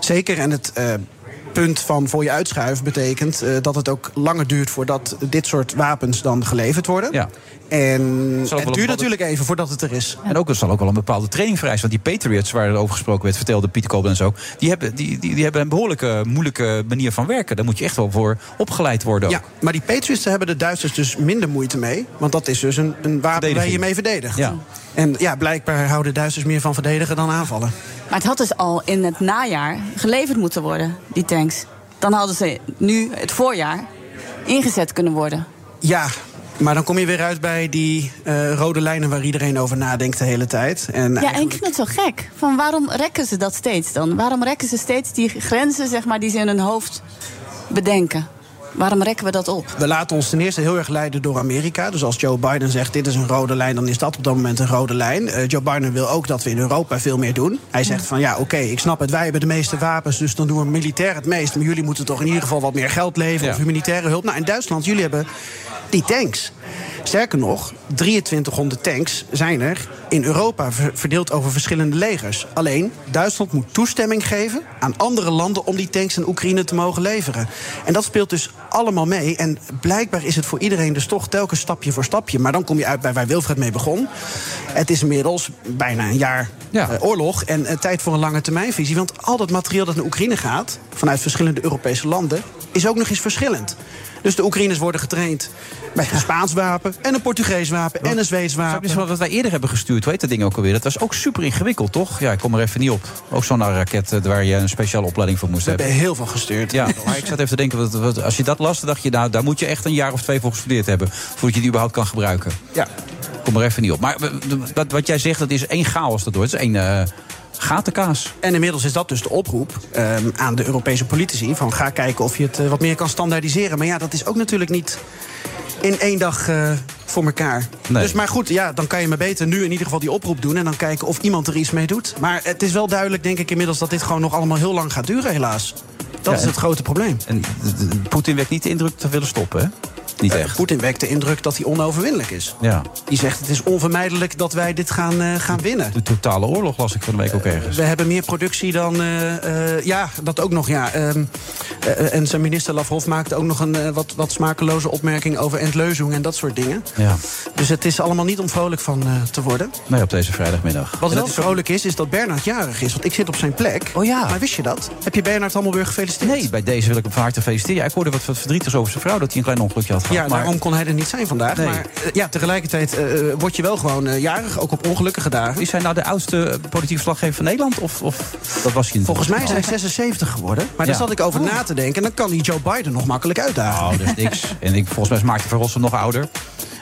Zeker, en het eh, punt van voor je uitschuiven betekent eh, dat het ook langer duurt voordat dit soort wapens dan geleverd worden.
Ja.
En
wel
het
een
duurt
bepaalde-
natuurlijk even voordat het er is.
En ook, er zal ook wel een bepaalde training vereisen. Want die Patriots, waar er over gesproken werd, vertelde Pieter Koblenz ook. Die hebben, die, die, die hebben een behoorlijke moeilijke manier van werken. Daar moet je echt wel voor opgeleid worden. ook.
Ja, maar die Patriots daar hebben de Duitsers dus minder moeite mee. Want dat is dus een, een wapen waar je je mee verdedigt.
Ja.
En ja, blijkbaar houden Duitsers meer van verdedigen dan aanvallen.
Maar het had dus al in het najaar geleverd moeten worden, die tanks. Dan hadden ze nu het voorjaar ingezet kunnen worden.
Ja, maar dan kom je weer uit bij die eh, rode lijnen waar iedereen over nadenkt de hele tijd. En
Ja, en
eigenlijk-
ik vind het zo gek. Van waarom rekken ze dat steeds dan? Waarom rekken ze steeds die grenzen zeg maar, die ze in hun hoofd bedenken? Waarom rekken we dat op?
We laten ons ten eerste heel erg leiden door Amerika. Dus als Joe Biden zegt dit is een rode lijn, dan is dat op dat moment een rode lijn. Eh, Joe Biden wil ook dat we in Europa veel meer doen. Hij zegt van ja, oké, ik snap het, wij hebben de meeste wapens, dus dan doen we militair het meest. Maar jullie moeten toch in ieder geval wat meer geld leveren of humanitaire hulp. Nou, in Duitsland, jullie hebben die tanks. Sterker nog, 2300 tanks zijn er in Europa ver- verdeeld over verschillende legers. Alleen Duitsland moet toestemming geven aan andere landen om die tanks aan Oekraïne te mogen leveren. En dat speelt dus allemaal mee. En blijkbaar is het voor iedereen dus toch telkens stapje voor stapje. Maar dan kom je uit bij waar Wilfred mee begon. Het is inmiddels bijna een jaar eh, oorlog en eh, tijd voor een lange termijnvisie. Want al dat materieel dat naar Oekraïne gaat, vanuit verschillende Europese landen, is ook nog eens verschillend. Dus de Oekraïners worden getraind met een Spaans wapen en een Portugees wapen en een Zweeds
Snap je
wapen.
eens wat wij eerder hebben gestuurd? Hoe heet dat ding ook alweer? Dat was ook super ingewikkeld, toch? Ja, ik kom er even niet op. Ook zo'n raket eh, waar je een speciale opleiding voor moest
We hebben
hebben.
heel veel gestuurd.
Ja, maar ik zat even te denken, wat, wat- als je dat las, dan dacht je... nou, daar moet je echt een jaar of twee voor gestudeerd hebben... voordat je die überhaupt kan gebruiken.
Ja.
Kom er even niet op. Maar w- w- wat, wat jij zegt, dat is één chaos dat wordt. Dat is één eh, gatenkaas.
En inmiddels is dat dus de oproep ehm, aan de Europese politici: van ga kijken of je het eh, wat meer kan standaardiseren. Maar ja, dat is ook natuurlijk niet in één dag eh, voor elkaar.
Nee.
Dus maar goed, ja, dan kan je maar beter nu in ieder geval die oproep doen en dan kijken of iemand er iets mee doet. Maar het is wel duidelijk, denk ik, inmiddels dat dit gewoon nog allemaal heel lang gaat duren, helaas. Dat
Ja,
is
en-
het grote probleem.
En d- d- Poetin wekt niet de indruk te willen stoppen, hè? Niet echt.
Eh, Poetin wekt de indruk dat hij onoverwinnelijk is.
Ja.
Die zegt: het is onvermijdelijk dat wij dit gaan, eh, gaan winnen.
De totale oorlog las ik van de week ook ergens.
We hebben meer productie dan. eh, eh, ja, dat ook nog, ja. Ehm, eh, en zijn minister Lavrov maakte ook nog een eh, wat, wat smakeloze opmerking over entleuzing en dat soort dingen.
Ja.
Dus het is allemaal niet om vrolijk van eh, te worden.
Nee, op deze vrijdagmiddag.
Wat
En
wel
dat is ook-
vrolijk is, is dat Bernard jarig is. Want ik zit op zijn plek. Oh ja. Maar wist je dat? Heb je Bernard Hammelburg gefeliciteerd?
Nee, bij deze wil ik hem van harte feliciteren. Ja, ik hoorde wat, wat verdrietigs over zijn vrouw dat hij een klein ongelukje had gehad.
Ja, nou,
maar
daarom kon hij er niet zijn vandaag.
Nee.
Maar eh, ja, tegelijkertijd eh, eh, word je wel gewoon eh, jarig, ook op ongelukkige dagen.
is hij nou de oudste eh, politieke verslaggever van Nederland? Of, of dat was hij niet?
Volgens mij is hij
Oh.
76 geworden. Maar daar
Ja.
zat ik over
Oh.
na te denken. En dan kan hij Joe Biden nog makkelijk uitdagen.
Oh, dat is niks. En ik, volgens mij is Maarten van Rossum nog ouder.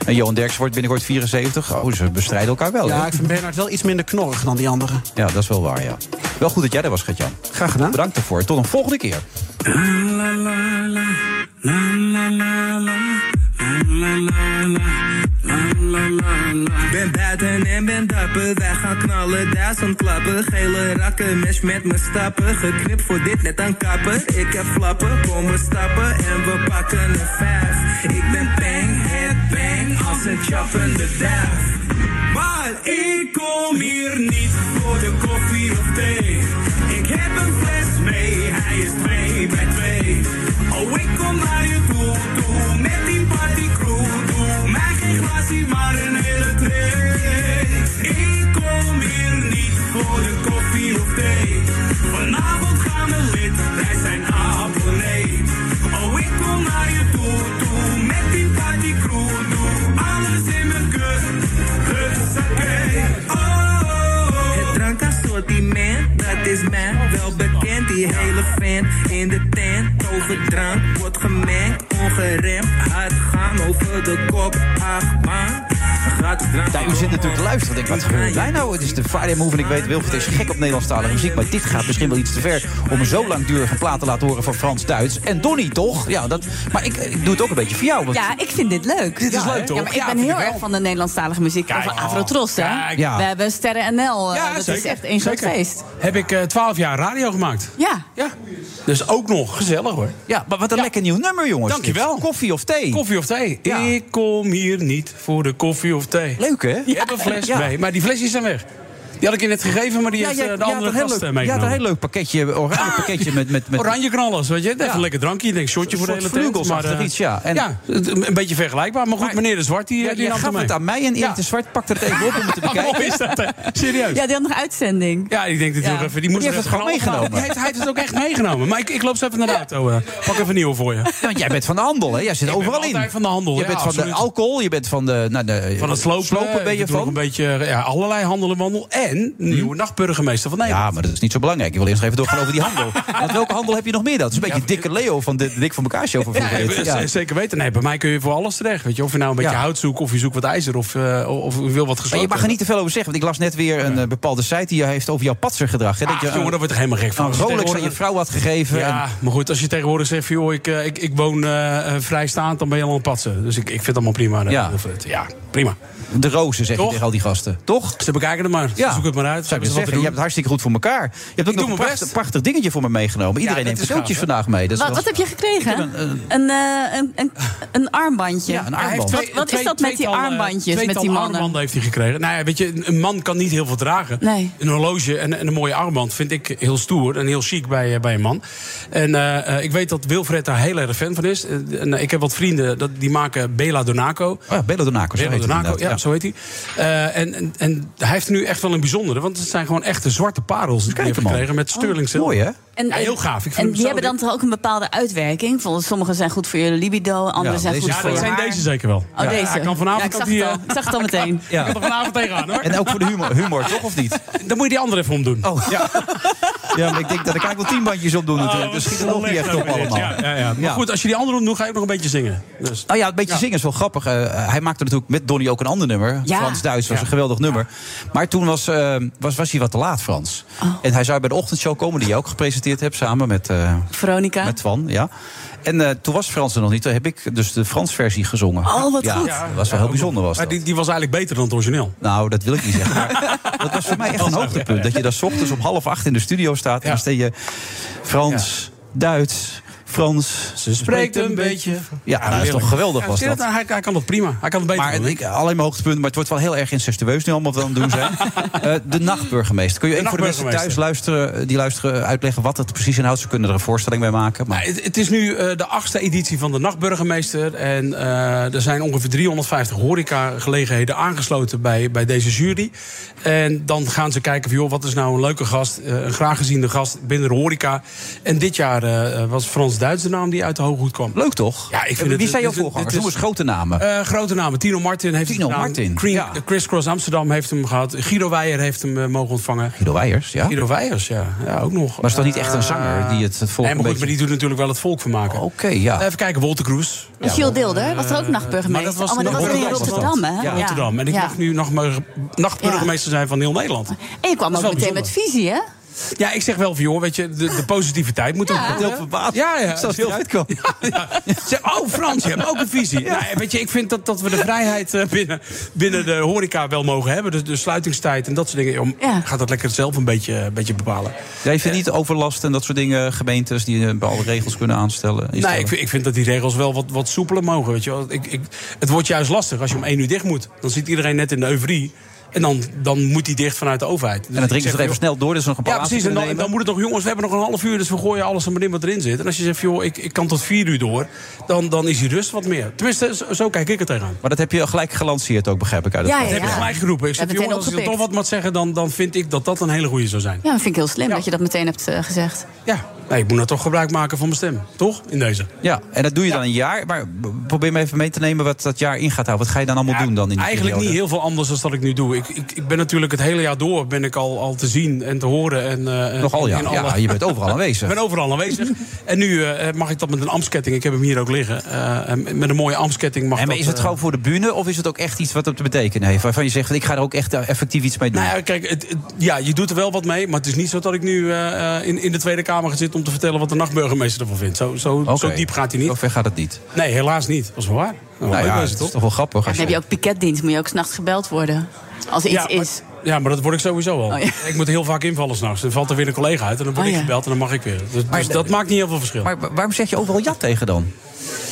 En Johan Derks wordt binnenkort 74. Oh, ze bestrijden elkaar wel.
Ja,
hè?
ik vind Bernard wel iets minder knorrig dan die anderen.
ja dat is wel waar, ja. Wel goed dat jij er was, Gert-Jan.
Graag gedaan.
Bedankt daarvoor. Tot een volgende keer.
Ben buiten en ben dapper, wij gaan knallen, duizend klappen. Gele rakken, mesh met mijn stappen. Geknipt voor dit, net aan kappen. Ik heb flappen, kom we stappen en we pakken een vijf. Ik ben bang, head bang, als een chappende duif. Maar ik kom hier niet voor de koffie of thee. Ik heb een fles mee, hij is twee bij twee. Oh, ik kom naar je toe, toe, met die partycrew. Doe mij geen glasie, maar een hele tray. Ik kom hier niet voor de koffie of thee. Vanavond gaan we lid, wij zijn abonnee. Oh, ik kom naar je toe, toe, met die partycrew. Doe alles in mijn kut. Het drankassortiment, dat is mij wel bekend. Die hele fan in de tent. Overdrank wordt gemengd, ongeremd. Hard gaan over de kop, acht baan.
Ja, u zit natuurlijk te luisteren. Denk, wat gebeurt wij nou? Het is de Friday Move en ik weet, Wilfried is gek op Nederlandstalige muziek. Maar dit gaat misschien wel iets te ver om zo langdurig een plaat te laten horen van Frans-Duits. En Donny, toch? Ja, dat, maar ik, ik doe het ook een beetje voor jou. want-
Ja, ik vind dit leuk.
Dit is
Ja,
leuk,
hè?
toch?
Ja, maar
Ja,
ik ben
vind
heel
ik wel.
erg van de Nederlandstalige muziek.
Kijk. oh,
Van Afrotros, hè?
Kijk. Ja.
We hebben Sterren NL. eh,
Nou,
dat
zeker.
is echt één groot
Zeker.
feest.
Heb ik eh, twaalf jaar radio gemaakt.
Ja.
Dus ook nog gezellig hoor.
Ja, maar wat een lekker nieuw nummer, jongens.
Dankjewel.
Koffie of thee?
Koffie of thee.
Ja.
Ik kom hier niet voor de koffie of thee.
Leuk, hè?
Je hebt een fles
Ja.
mee, maar die flesjes zijn weg. Die had ik je net gegeven, maar die
Ja,
heeft
ja,
eh, de
ja,
andere
dat heel
gast
leuk-
eh,
Ja,
meegenomen. Ah,
dat heel leuk pakketje, oranje pakketje met... met, met
Oranje knallers, weet je. Even
Ja.
een lekker drankje. Ik denk, shotje
Een
voor de
soort
hele tent.
vlugelsachtig
eh,
iets, ja. En-
ja, het- een beetje vergelijkbaar. Maar goed, meneer De Zwart, die,
Ja,
eh, die
jij
nam
gaf
het mee.
het aan mij en Erik de Zwart pakte het even op om het te bekijken.
Mooi is dat, hè? Serieus.
Ja, die had nog uitzending.
Ja, ik denk dat hij
Ja.
nog even... Die moest
Die
er
heeft
even
het gewoon
gewoon-
meegenomen.
Hij heeft, hij heeft het ook echt meegenomen. Maar ik, ik loop zo even naar de auto. eh. Pak even een nieuwe voor je.
Ja, want jij bent van de handel, hè? Jij zit
Ik ben
overal in.
altijd van de handel,
Je
ja,
bent van
absoluut.
de alcohol, je bent van de... Nou, de
Van het slopen,
slopen ben
eh,
je
ik doe nog
van. Hm?
een beetje eh, ja, allerlei handel en wandel. En nieuwe nachtburgemeester van Nederland.
Ja, maar dat is niet zo belangrijk. Ik wil eerst nog even doorgaan over die handel. Want welke handel heb je nog meer dan? Het is een beetje dikke Leo van de, de Dik van elkaar show van
Ja,
vroeger.
eh,
Ja.
z- zeker weten. Nee, bij mij kun je voor alles terecht. Weet je, of je nou een beetje hout zoekt, of je zoekt wat ijzer, of, eh, of je wil wat
Maar
gesloten.
je mag er niet te veel over zeggen, want ik las net weer een eh, bepaalde site die heeft over jouw patsergedrag. Hè? Dat
Ah,
je,
jongen, daar word ik helemaal gek van.
Een
Als je
Rolex aan je
tegenwoordig-
vrouw had gegeven.
Ja,
en-
maar goed, als je tegenwoordig zegt, van, joh, ik, eh, ik, ik woon eh, eh, vrijstaand, dan ben je al aan het patsen. Dus ik, ik vind het allemaal prima. eh,
Ja.
of het- ja, prima.
De rozen zeg je
Toch?
tegen al die gasten. Toch?
Ze bekijken het maar. Ze zoeken het maar uit. Ze
Zou ik
hebben
je
ze wat te
zeggen,
doen.
je hebt het hartstikke goed voor elkaar. Je hebt
doe
ook nog een
mijn
prachtig,
best.
prachtig dingetje voor me meegenomen. Iedereen
dat
neemt
is
cadeautjes
gaaf, hè?
vandaag mee. Dat is
Wat, wat
wel-
heb je gekregen? Een, eh, een, een, een armbandje.
een
Hij heeft
armband.
twee-
Wat, wat is
twee-
dat met die
tweetal, eh,
armbandjes, met
tweetal
die mannen?
armbanden heeft hij gekregen. Nou ja, weet je, een man kan niet heel veel dragen.
Nee.
Een horloge en, en een mooie armband vind ik heel stoer en heel chic bij, eh, bij een man. En eh, eh, ik weet dat Wilfred daar heel erg fan van is. Eh, en, eh, ik heb wat vrienden, dat, die maken Bela Donaco.
Oh ja, Belo Donaco. zo
Bela
heet het
Donaco, ja,
inderdaad.
zo heet hij. Eh, en, en, en hij heeft nu echt wel een bijzondere, want het zijn gewoon echte zwarte parels die hij heeft
hem al.
gekregen met sterling zilver.
Mooi, hè?
En,
Ja, heel gaaf. Ik vind
en
hem
die
zo
hebben dan
dik.
toch ook een bepaalde uitwerking? Volgens sommigen zijn goed voor je libido, anderen
Ja,
zijn
deze
goed
is
voor
Dat
je
zijn
haar.
deze zeker wel.
Oh, deze.
Ja, ik kan vanavond
Ja, ik
kan
zag
die,
het al.
eh,
Ik zag het al meteen.
Ja.
kan er vanavond tegenaan, hoor.
En ook voor de humor, humor, toch of niet?
Dan moet je die andere even omdoen.
Oh. Ja. ja, maar ik denk dat ik eigenlijk wel tien bandjes op doe natuurlijk.
Oh,
dus
wat
schiet er nog niet
slecht
echt op
ook weer dit.
allemaal.
Ja, ja, ja. Maar
Ja.
goed, als je die andere doet, ga je ook nog een beetje zingen. Dus.
Nou ja, een beetje zingen is wel grappig. Eh, hij maakte natuurlijk met Donny ook een ander nummer.
Ja.
Frans-Duits was een geweldig nummer. Maar toen was, eh, was, was hij wat te laat, Frans.
Oh.
En hij zou bij de ochtendshow komen, die je ook gepresenteerd hebt... samen met, eh,
Veronica.
met Twan, ja. En eh, toen was Frans er nog niet. Toen heb ik dus de Frans-versie gezongen.
Oh, wat
ja,
goed.
Dat was wel heel bijzonder, was
Maar
dat.
die, die was eigenlijk beter dan het origineel.
Nou, dat wil ik niet zeggen. Maar dat was voor mij echt een hoogtepunt. Dat je daar 's ochtends om half acht in de studio staat... en dan stel je Frans, Duits, Frans... Ze Ja, nou, dat is toch geweldig,
Ja,
was
zie je
dat.
dat? Hij, hij kan dat prima. Hij kan het beter
Maar
dan
het-
ik.
ik, alleen maar hoogtepunten, maar het wordt wel heel erg incestueus nu allemaal wat we aan het doen zijn. Eh, de nachtburgemeester. Kun je
De
even voor de mensen thuis luisteren, eh, die luisteren uitleggen wat het precies inhoudt? Ze kunnen er een voorstelling bij maken. Maar
Maar het, het is nu eh, de achtste editie van de Nachtburgemeester. En eh, er zijn ongeveer 350 horecagelegenheden aangesloten bij, bij deze jury. En dan gaan ze kijken van, joh, wat is nou een leuke gast, eh, een graag geziende gast binnen de horeca. En dit jaar eh, was Frans Duits de naam die uit de hooghoed kwam.
leuk toch?
Ja, ik vind
Wie
het-
zijn jouw
dit- dit-
voorgangers?
dit
Noem
is-
eens grote namen.
Eh, grote namen. Tino Martin heeft
Tino
het gedaan.
Martin,
Cre-
ja.
Criss Cross Amsterdam heeft hem gehad. Guido Weijer heeft hem eh, mogen ontvangen.
Guido Weijers, ja.
Guido Weijers, ja. ja ook nog. Eh,
Maar is dat niet echt een zanger die het, het
Nee,
volk
maar
een
goed, maar
beetje...
die doet natuurlijk wel het volk van maken.
Oké, ja.
Even kijken, Wolter Kroes.
En Giel Deelder was er ook nachtburgemeester. Oh, maar dat was in Rotterdam, hè? Ja.
Rotterdam. En ik
Ja.
mag nu nog maar nachtburgemeester zijn van heel Nederland.
En je kwam
Dat
ook
is
meteen
wel
met visie, hè?
Ja, ik zeg wel van, joh, weet je, de, de positiviteit moet ook...
Ja.
Heel verbaasd.
Ja, ja.
Zoals die eruit kwam.
Zeg, oh, Frans, je hebt ook een visie. Nou, weet je, ik vind dat, dat we de vrijheid eh, binnen, binnen de horeca wel mogen hebben. Dus de sluitingstijd en dat soort dingen. Om,
Ja.
Gaat dat lekker zelf een beetje, een beetje bepalen.
Jij vindt
eh,
niet overlast en dat soort dingen, gemeentes die eh, alle regels kunnen aanstellen?
Nee, ik vind, ik vind dat die regels wel wat, wat soepeler mogen. Weet je wel. Ik, ik, het wordt juist lastig als je om één uur dicht moet. Dan zit iedereen net in de euforie. En dan, dan moet die dicht vanuit de overheid. Dus
en dan
ik
drinken ze
zeg,
er even
joh,
snel door, dus er nog een paar
Ja, precies. En dan,
laatste kunnen
dan
nemen.
moet het nog, jongens, we hebben nog een half uur, dus we gooien alles er maar in wat erin zit. En als je zegt, joh, ik, ik kan tot vier uur door, dan, dan is die rust wat meer. Tenminste, zo, zo kijk ik er tegenaan.
Maar dat heb je gelijk gelanceerd ook, begrijp ik uit het
Ja,
verhaal.
Dat heb ik gelijk geroepen. Ik
Ja,
zeg,
meteen
jongens, als je er toch
opgepikt.
wat moet zeggen, dan, dan vind ik dat dat een hele goede zou zijn.
Ja, dat vind ik heel slim dat je dat meteen hebt eh, gezegd.
Ja, Nee, ik moet nou toch gebruik maken van mijn stem. Toch? In deze.
Ja, en dat doe je dan een jaar. Maar probeer me even mee te nemen wat dat jaar in gaat houden. Wat ga je dan allemaal doen dan in die
Eigenlijk niet
periode?
heel veel anders dan dat ik nu doe. Ik, ik, ik ben natuurlijk het hele jaar door ben ik al, al te zien en te horen. En, eh,
Nogal, ja.
in
Ja, je bent overal aanwezig.
ik ben overal aanwezig. En nu eh, mag ik dat met een amsketting. Ik heb hem hier ook liggen. eh, en met een mooie amsketting mag
En maar
dat...
is het
eh,
gewoon voor de bühne of is het ook echt iets wat het te betekenen heeft? Waarvan je zegt, ik ga er ook echt eh, effectief iets mee doen.
Nou ja, kijk, het, het- ja, je doet er wel wat mee. Maar het is niet zo dat ik nu eh, eh, in, in de Tweede Kamer ga zitten... om te vertellen wat de nachtburgemeester ervan vindt. Zo, zo, zo diep gaat hij niet. Zo ver
gaat het niet.
Nee, helaas niet. Dat is wel waar.
Nou ja, het is toch wel grappig.
Dan heb je ook piketdienst, moet je ook s'nachts gebeld worden. Als er iets
ja,
is.
Maar, ja, maar dat word ik sowieso al.
Oh, ja.
Ik moet heel vaak invallen s'nachts. Dan valt er weer een collega uit en dan word
Oh,
ik
ja.
gebeld en dan mag ik weer. Dus,
Maar
dus
de-
dat maakt niet heel veel verschil.
Maar wa- waarom zeg je overal ja tegen dan?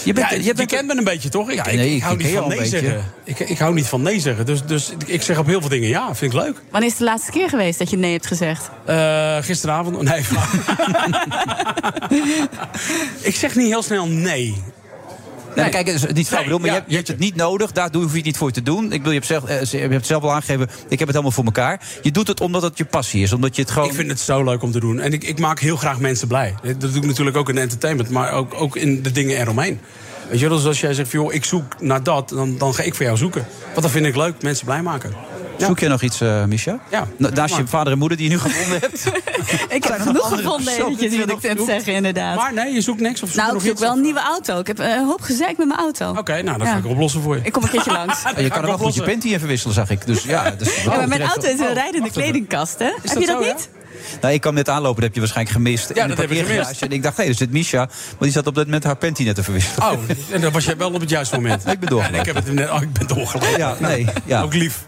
Je, bent,
Ja,
je, bent,
kent me een beetje, toch? Ik,
Ja,
ik-
nee,
ik
ik
hou
ken
niet
je
van
al een
nee
beetje.
zeggen. Ik, ik hou niet van nee zeggen. Dus, dus ik- ik zeg op heel veel dingen ja. Vind ik leuk.
Wanneer is het de laatste keer geweest dat je nee hebt gezegd?
Eh, gisteravond. Nee, ik zeg niet heel snel nee.
Nee, maar Nou, kijk, dus het is niet fout bedoeld, maar je, hebt, je hebt het niet nodig. Daar doe- hoef je het niet voor te doen. Ik bedoel, je hebt, zelf, eh, ze- je hebt het zelf al aangegeven, ik heb het helemaal voor elkaar. Je doet het omdat het je passie is. Omdat je het gewoon...
Ik vind het zo leuk om te doen. En ik, ik maak heel graag mensen blij. Eh, Dat doe ik natuurlijk ook in de entertainment, maar ook, ook in de dingen eromheen. Weet je, wel, dus als jij zegt, van, joh, ik zoek naar dat, dan, dan ga ik voor jou zoeken. Want dat vind ik leuk, mensen blij maken.
Zoek je nog iets, eh Misha?
Ja.
Na- Naast je
Maar-
vader en moeder die je nu gevonden hebt.
Ik heb
nog
genoeg
andere
gevonden
personen die
eventjes,
je
wil ik
nog
net
zoekt?
zeggen, inderdaad.
Maar nee, je zoekt niks of zoek
Nou, ik
nog
zoek
iets
wel een nieuwe auto. Ik heb eh, een hoop gezeik met mijn auto. Oké,
nou, dat ga ik oplossen voor je.
Ik kom een keertje langs.
En je kan er wel goed je
oplossen.
panty in verwisselen, zag ik. Dus ja, dus
Ja, maar mijn auto is een rijdende
wacht even.
kledingkast, hè? Heb
dat
je dat
zo, ja?
niet?
Nou, ik kwam net aanlopen, dat heb je waarschijnlijk gemist. in de
dat heb ik
parkeergarage.
gemist.
En ik dacht, hé, hey, er zit Misha. Maar die zat op dat moment haar panty net te verwisselen.
Oh, en dan was jij wel op het juiste moment.
Ik ben doorgelopen.
En ik, heb het net, oh, ik ben doorgelopen.
Ja, nee, ja.
Ook lief.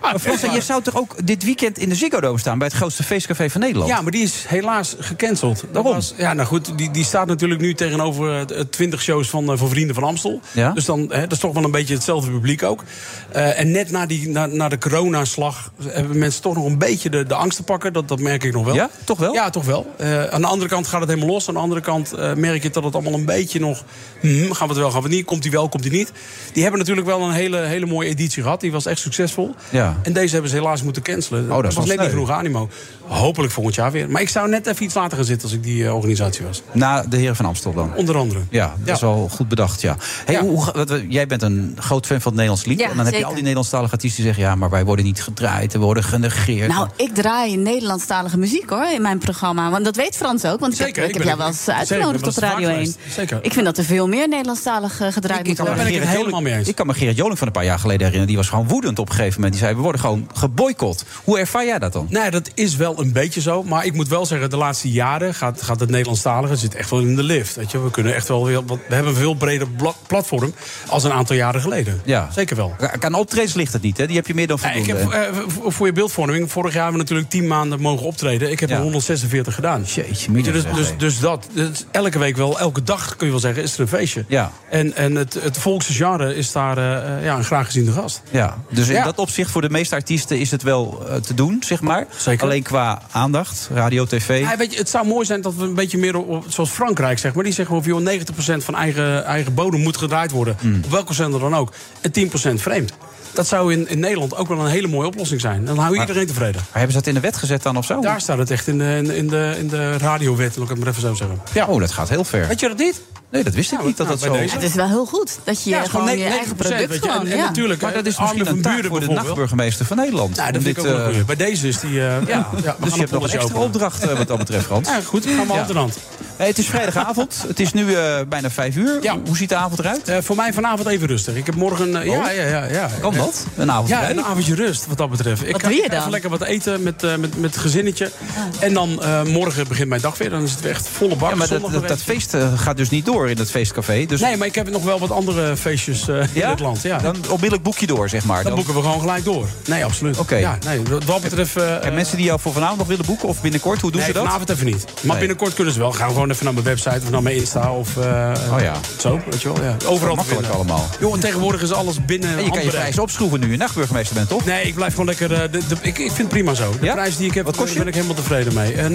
Maar Frans, je zou toch ook dit weekend in de Ziggo Dome staan... bij het grootste feestcafé van Nederland?
Ja, maar die is helaas gecanceld. Daarom. ja, nou goed, die, die staat natuurlijk nu tegenover twintig shows van, eh, van Vrienden van Amstel.
Ja.
Dus dan, hè, dat is toch wel een beetje hetzelfde publiek ook. Eh, en net na, die, na, na de coronaslag eh, hebben mensen toch nog een beetje de, de angst te pakken. Dat, dat merk ik nog wel.
Ja, toch wel?
Ja, toch wel. Eh, aan de andere kant gaat het helemaal los. Aan de andere kant eh, merk je dat het allemaal een beetje nog... hmm, gaan we het wel, gaan we het niet? Komt die wel, komt die niet? Die hebben natuurlijk wel een hele, hele mooie editie gehad. Die was echt succesvol.
Ja.
En deze hebben ze helaas moeten cancelen.
Oh, dat is
was
wel
net niet
sneu.
genoeg animo. Hopelijk volgend jaar weer. Maar ik zou net even iets later gaan zitten als ik die eh, organisatie was.
Na de Heren van Amstel dan?
Onder andere.
Ja, dat
Ja.
is wel goed bedacht, ja. Hey, Hoe, ga- wat- jij bent een groot fan van het Nederlands lied.
Ja,
en dan heb je
zeker.
al die Nederlandstalige artiesten die zeggen... ja, maar wij worden niet gedraaid, we worden genegeerd.
Nou, ik draai Nederlandstalige muziek hoor in mijn programma. Want dat weet Frans ook, want ik heb-
Zeker,
ik
ik
heb
ben-
jou wel eens
zeker, ik ben
uitgenodigd
wel eens
op Radio
vaak
1.
geweest. Zeker.
Ik vind dat er veel meer Nederlandstalig eh, gedraaid moet
kan me
worden.
Gerard Joling- Ik kan me Gerard Joling van een paar jaar geleden herinneren. Die was gewoon woedend op een gegeven moment. Die zei, we worden gewoon geboycott. Hoe ervaar jij dat dan?
Nee, Nou, dat is wel een beetje zo. Maar ik moet wel zeggen, de laatste jaren gaat, gaat het Nederlandstalige zit echt wel in de lift. Weet je? We, kunnen echt wel weer, wat- we hebben een veel breder bla- platform als een aantal jaren geleden.
Ja.
Zeker wel.
Aan optredens ligt het niet, hè? Die heb je meer dan
Ja,
voldoende.
ik heb, eh, voor- voor je beeldvorming, vorig jaar hebben we natuurlijk 10 maanden mogen optreden. Ik heb
Ja.
er 146 gedaan.
Jeetje,
Weet je,
mina
dus,
zeg,
dus,
hé.
dus dat, dus elke week wel, elke dag kun je wel zeggen, is er een feestje.
Ja.
En, en het, het volkse genre is daar eh, eh, ja, een graag geziende gast.
Ja, dus in
Ja.
dat opzicht voor de meeste artiesten is het wel eh, te doen, zeg maar.
Zeker.
Alleen qua aandacht, radio, tv.
Ja, weet je, het zou mooi zijn dat we een beetje meer, op- zoals Frankrijk zeg maar... die zeggen of joh, 90% van eigen, eigen bodem moet gedraaid worden.
Mm.
Op welke zender dan ook. En 10% vreemd. Dat zou in, in Nederland ook wel een hele mooie oplossing zijn. Dan hou je
Maar-
iedereen tevreden.
Maar hebben ze dat in de wet gezet dan of zo?
Daar staat het echt in de, in de- in de, in de radiowet, laat ik het maar even zo zeggen. Ja.
Oh, dat gaat heel ver.
Weet je dat niet?
Nee, dat wist ik niet dat
nou,
dat zo...
bij
Het is wel heel goed dat je
Ja, het is
gewoon
gewoon
je
ne-
eigen
90%,
product
weet je, en-
gewoon...
en
ja.
natuurlijk, eh,
Maar dat is
Armin
misschien
van
een taak
Buuren
voor de
bijvoorbeeld.
nachtburgemeester van Nederland.
Nou, dat
Om
vind ik
dit,
ook wel
eh,
een goeie. Bij deze is die... eh, ja.
dus je hebt nog een extra opdracht eh, wat dat betreft, Frans.
Ja, goed, gaan we
Ja.
hand in hand.
Hey, het is vrijdagavond. Het is nu eh, bijna vijf uur. Hoe ziet de avond eruit?
Eh, voor mij vanavond even rustig. Ik heb morgen... eh, ja,
Oh.
ja, ja, ja.
Kan dat? Een avond
Ja,
erbij?
een avondje rust wat dat betreft. Ik
Wat
ga
doe je
even
dan? Ah.
lekker wat eten met, eh, met, met het gezinnetje. En dan eh, morgen begint mijn dag weer. Dan is het weer echt volle bak.
Ja, maar dat,
Zondag
dat,
weer.
dat feest eh, gaat dus niet door in het feestcafé. Dus
Nee, maar ik heb nog wel wat andere feestjes eh, in het land. Ja.
dan onmiddellijk boek je door, zeg maar.
dan boeken we gewoon gelijk door. Nee, absoluut.
Oké.
Ja, nee, wat dat betreft... eh,
En mensen die jou voor vanavond nog willen boeken of binnenkort, hoe doen
nee,
ze dat?
vanavond even niet. Maar
Nee.
binnenkort kunnen ze wel gaan gewoon gewoon even naar mijn website of naar mijn Insta of eh,
Oh ja.
zo, weet je wel. Ja. eh, Overal te
makkelijk
vinden.
allemaal.
Joh, en tegenwoordig is alles binnen
En je kan je
handbereik.
prijs opschroeven nu je nachtburgemeester bent, toch?
Nee, ik blijf gewoon lekker. eh, de, de- ik, ik vind het prima zo. De prijs die ik heb, daar ben ik helemaal tevreden mee. Eh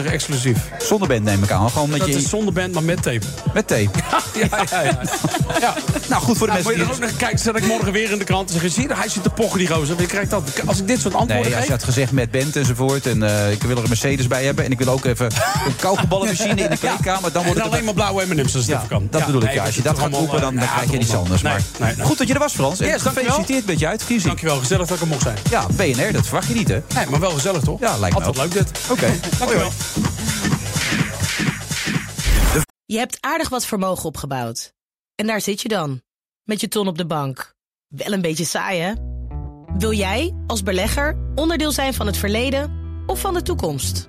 69,95 exclusief.
Zonder band neem ik aan. Gewoon met
dat
je...
is zonder band, maar met tape.
Met tape.
ja, ja, ja. ja.
Nou, goed voor de mensen
Moet je er
die
ook naar kijken, zet ik morgen weer in de krant. Zeg, zie je, hij zit te pochen, die gozer. Je krijgt dat. Als ik dit soort antwoorden
Nee, als
geef...
je had gezegd met band enzovoort. En eh, ik wil er een Mercedes bij hebben. En ik wil ook even een kauwgeballenmachine in de kleedkamer. Dan wordt
En
het
alleen maar blauwe M&M's als het even kan.
Dat
Ja,
bedoel ik,
nee,
ja. Als je
dat
dat
is
gaat
allemaal,
roepen, dan,
eh,
dan
ja,
krijg je
dat
iets
allemaal.
anders.
Nee,
Maar
nee, nee.
goed dat je er was, Frans. En
Yes, dankjewel.
gefeliciteerd met je uitkiezing.
Dankjewel, gezellig dat ik er mocht zijn.
Ja, BNR, dat verwacht je niet, hè?
Nee, maar wel gezellig, toch?
Ja, lijkt me
Altijd
ook.
leuk dit.
Oké.
Dankjewel.
Je hebt aardig wat vermogen opgebouwd. En daar zit je dan, met je ton op de bank. Wel een beetje saai, hè? Wil jij, als belegger, onderdeel zijn van het verleden of van de toekomst?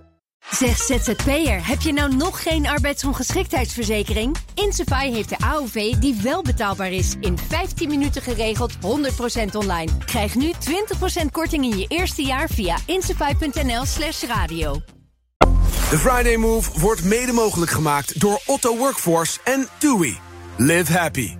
Zeg ZZP'er, heb je nou nog geen arbeidsongeschiktheidsverzekering? Insafai heeft de AOV die wel betaalbaar is. In 15 minuten geregeld, 100% online. Krijg nu 20% korting in je eerste jaar via insafai.nl slash radio.
De Friday Move wordt mede mogelijk gemaakt door Otto Workforce en TUI. Live happy.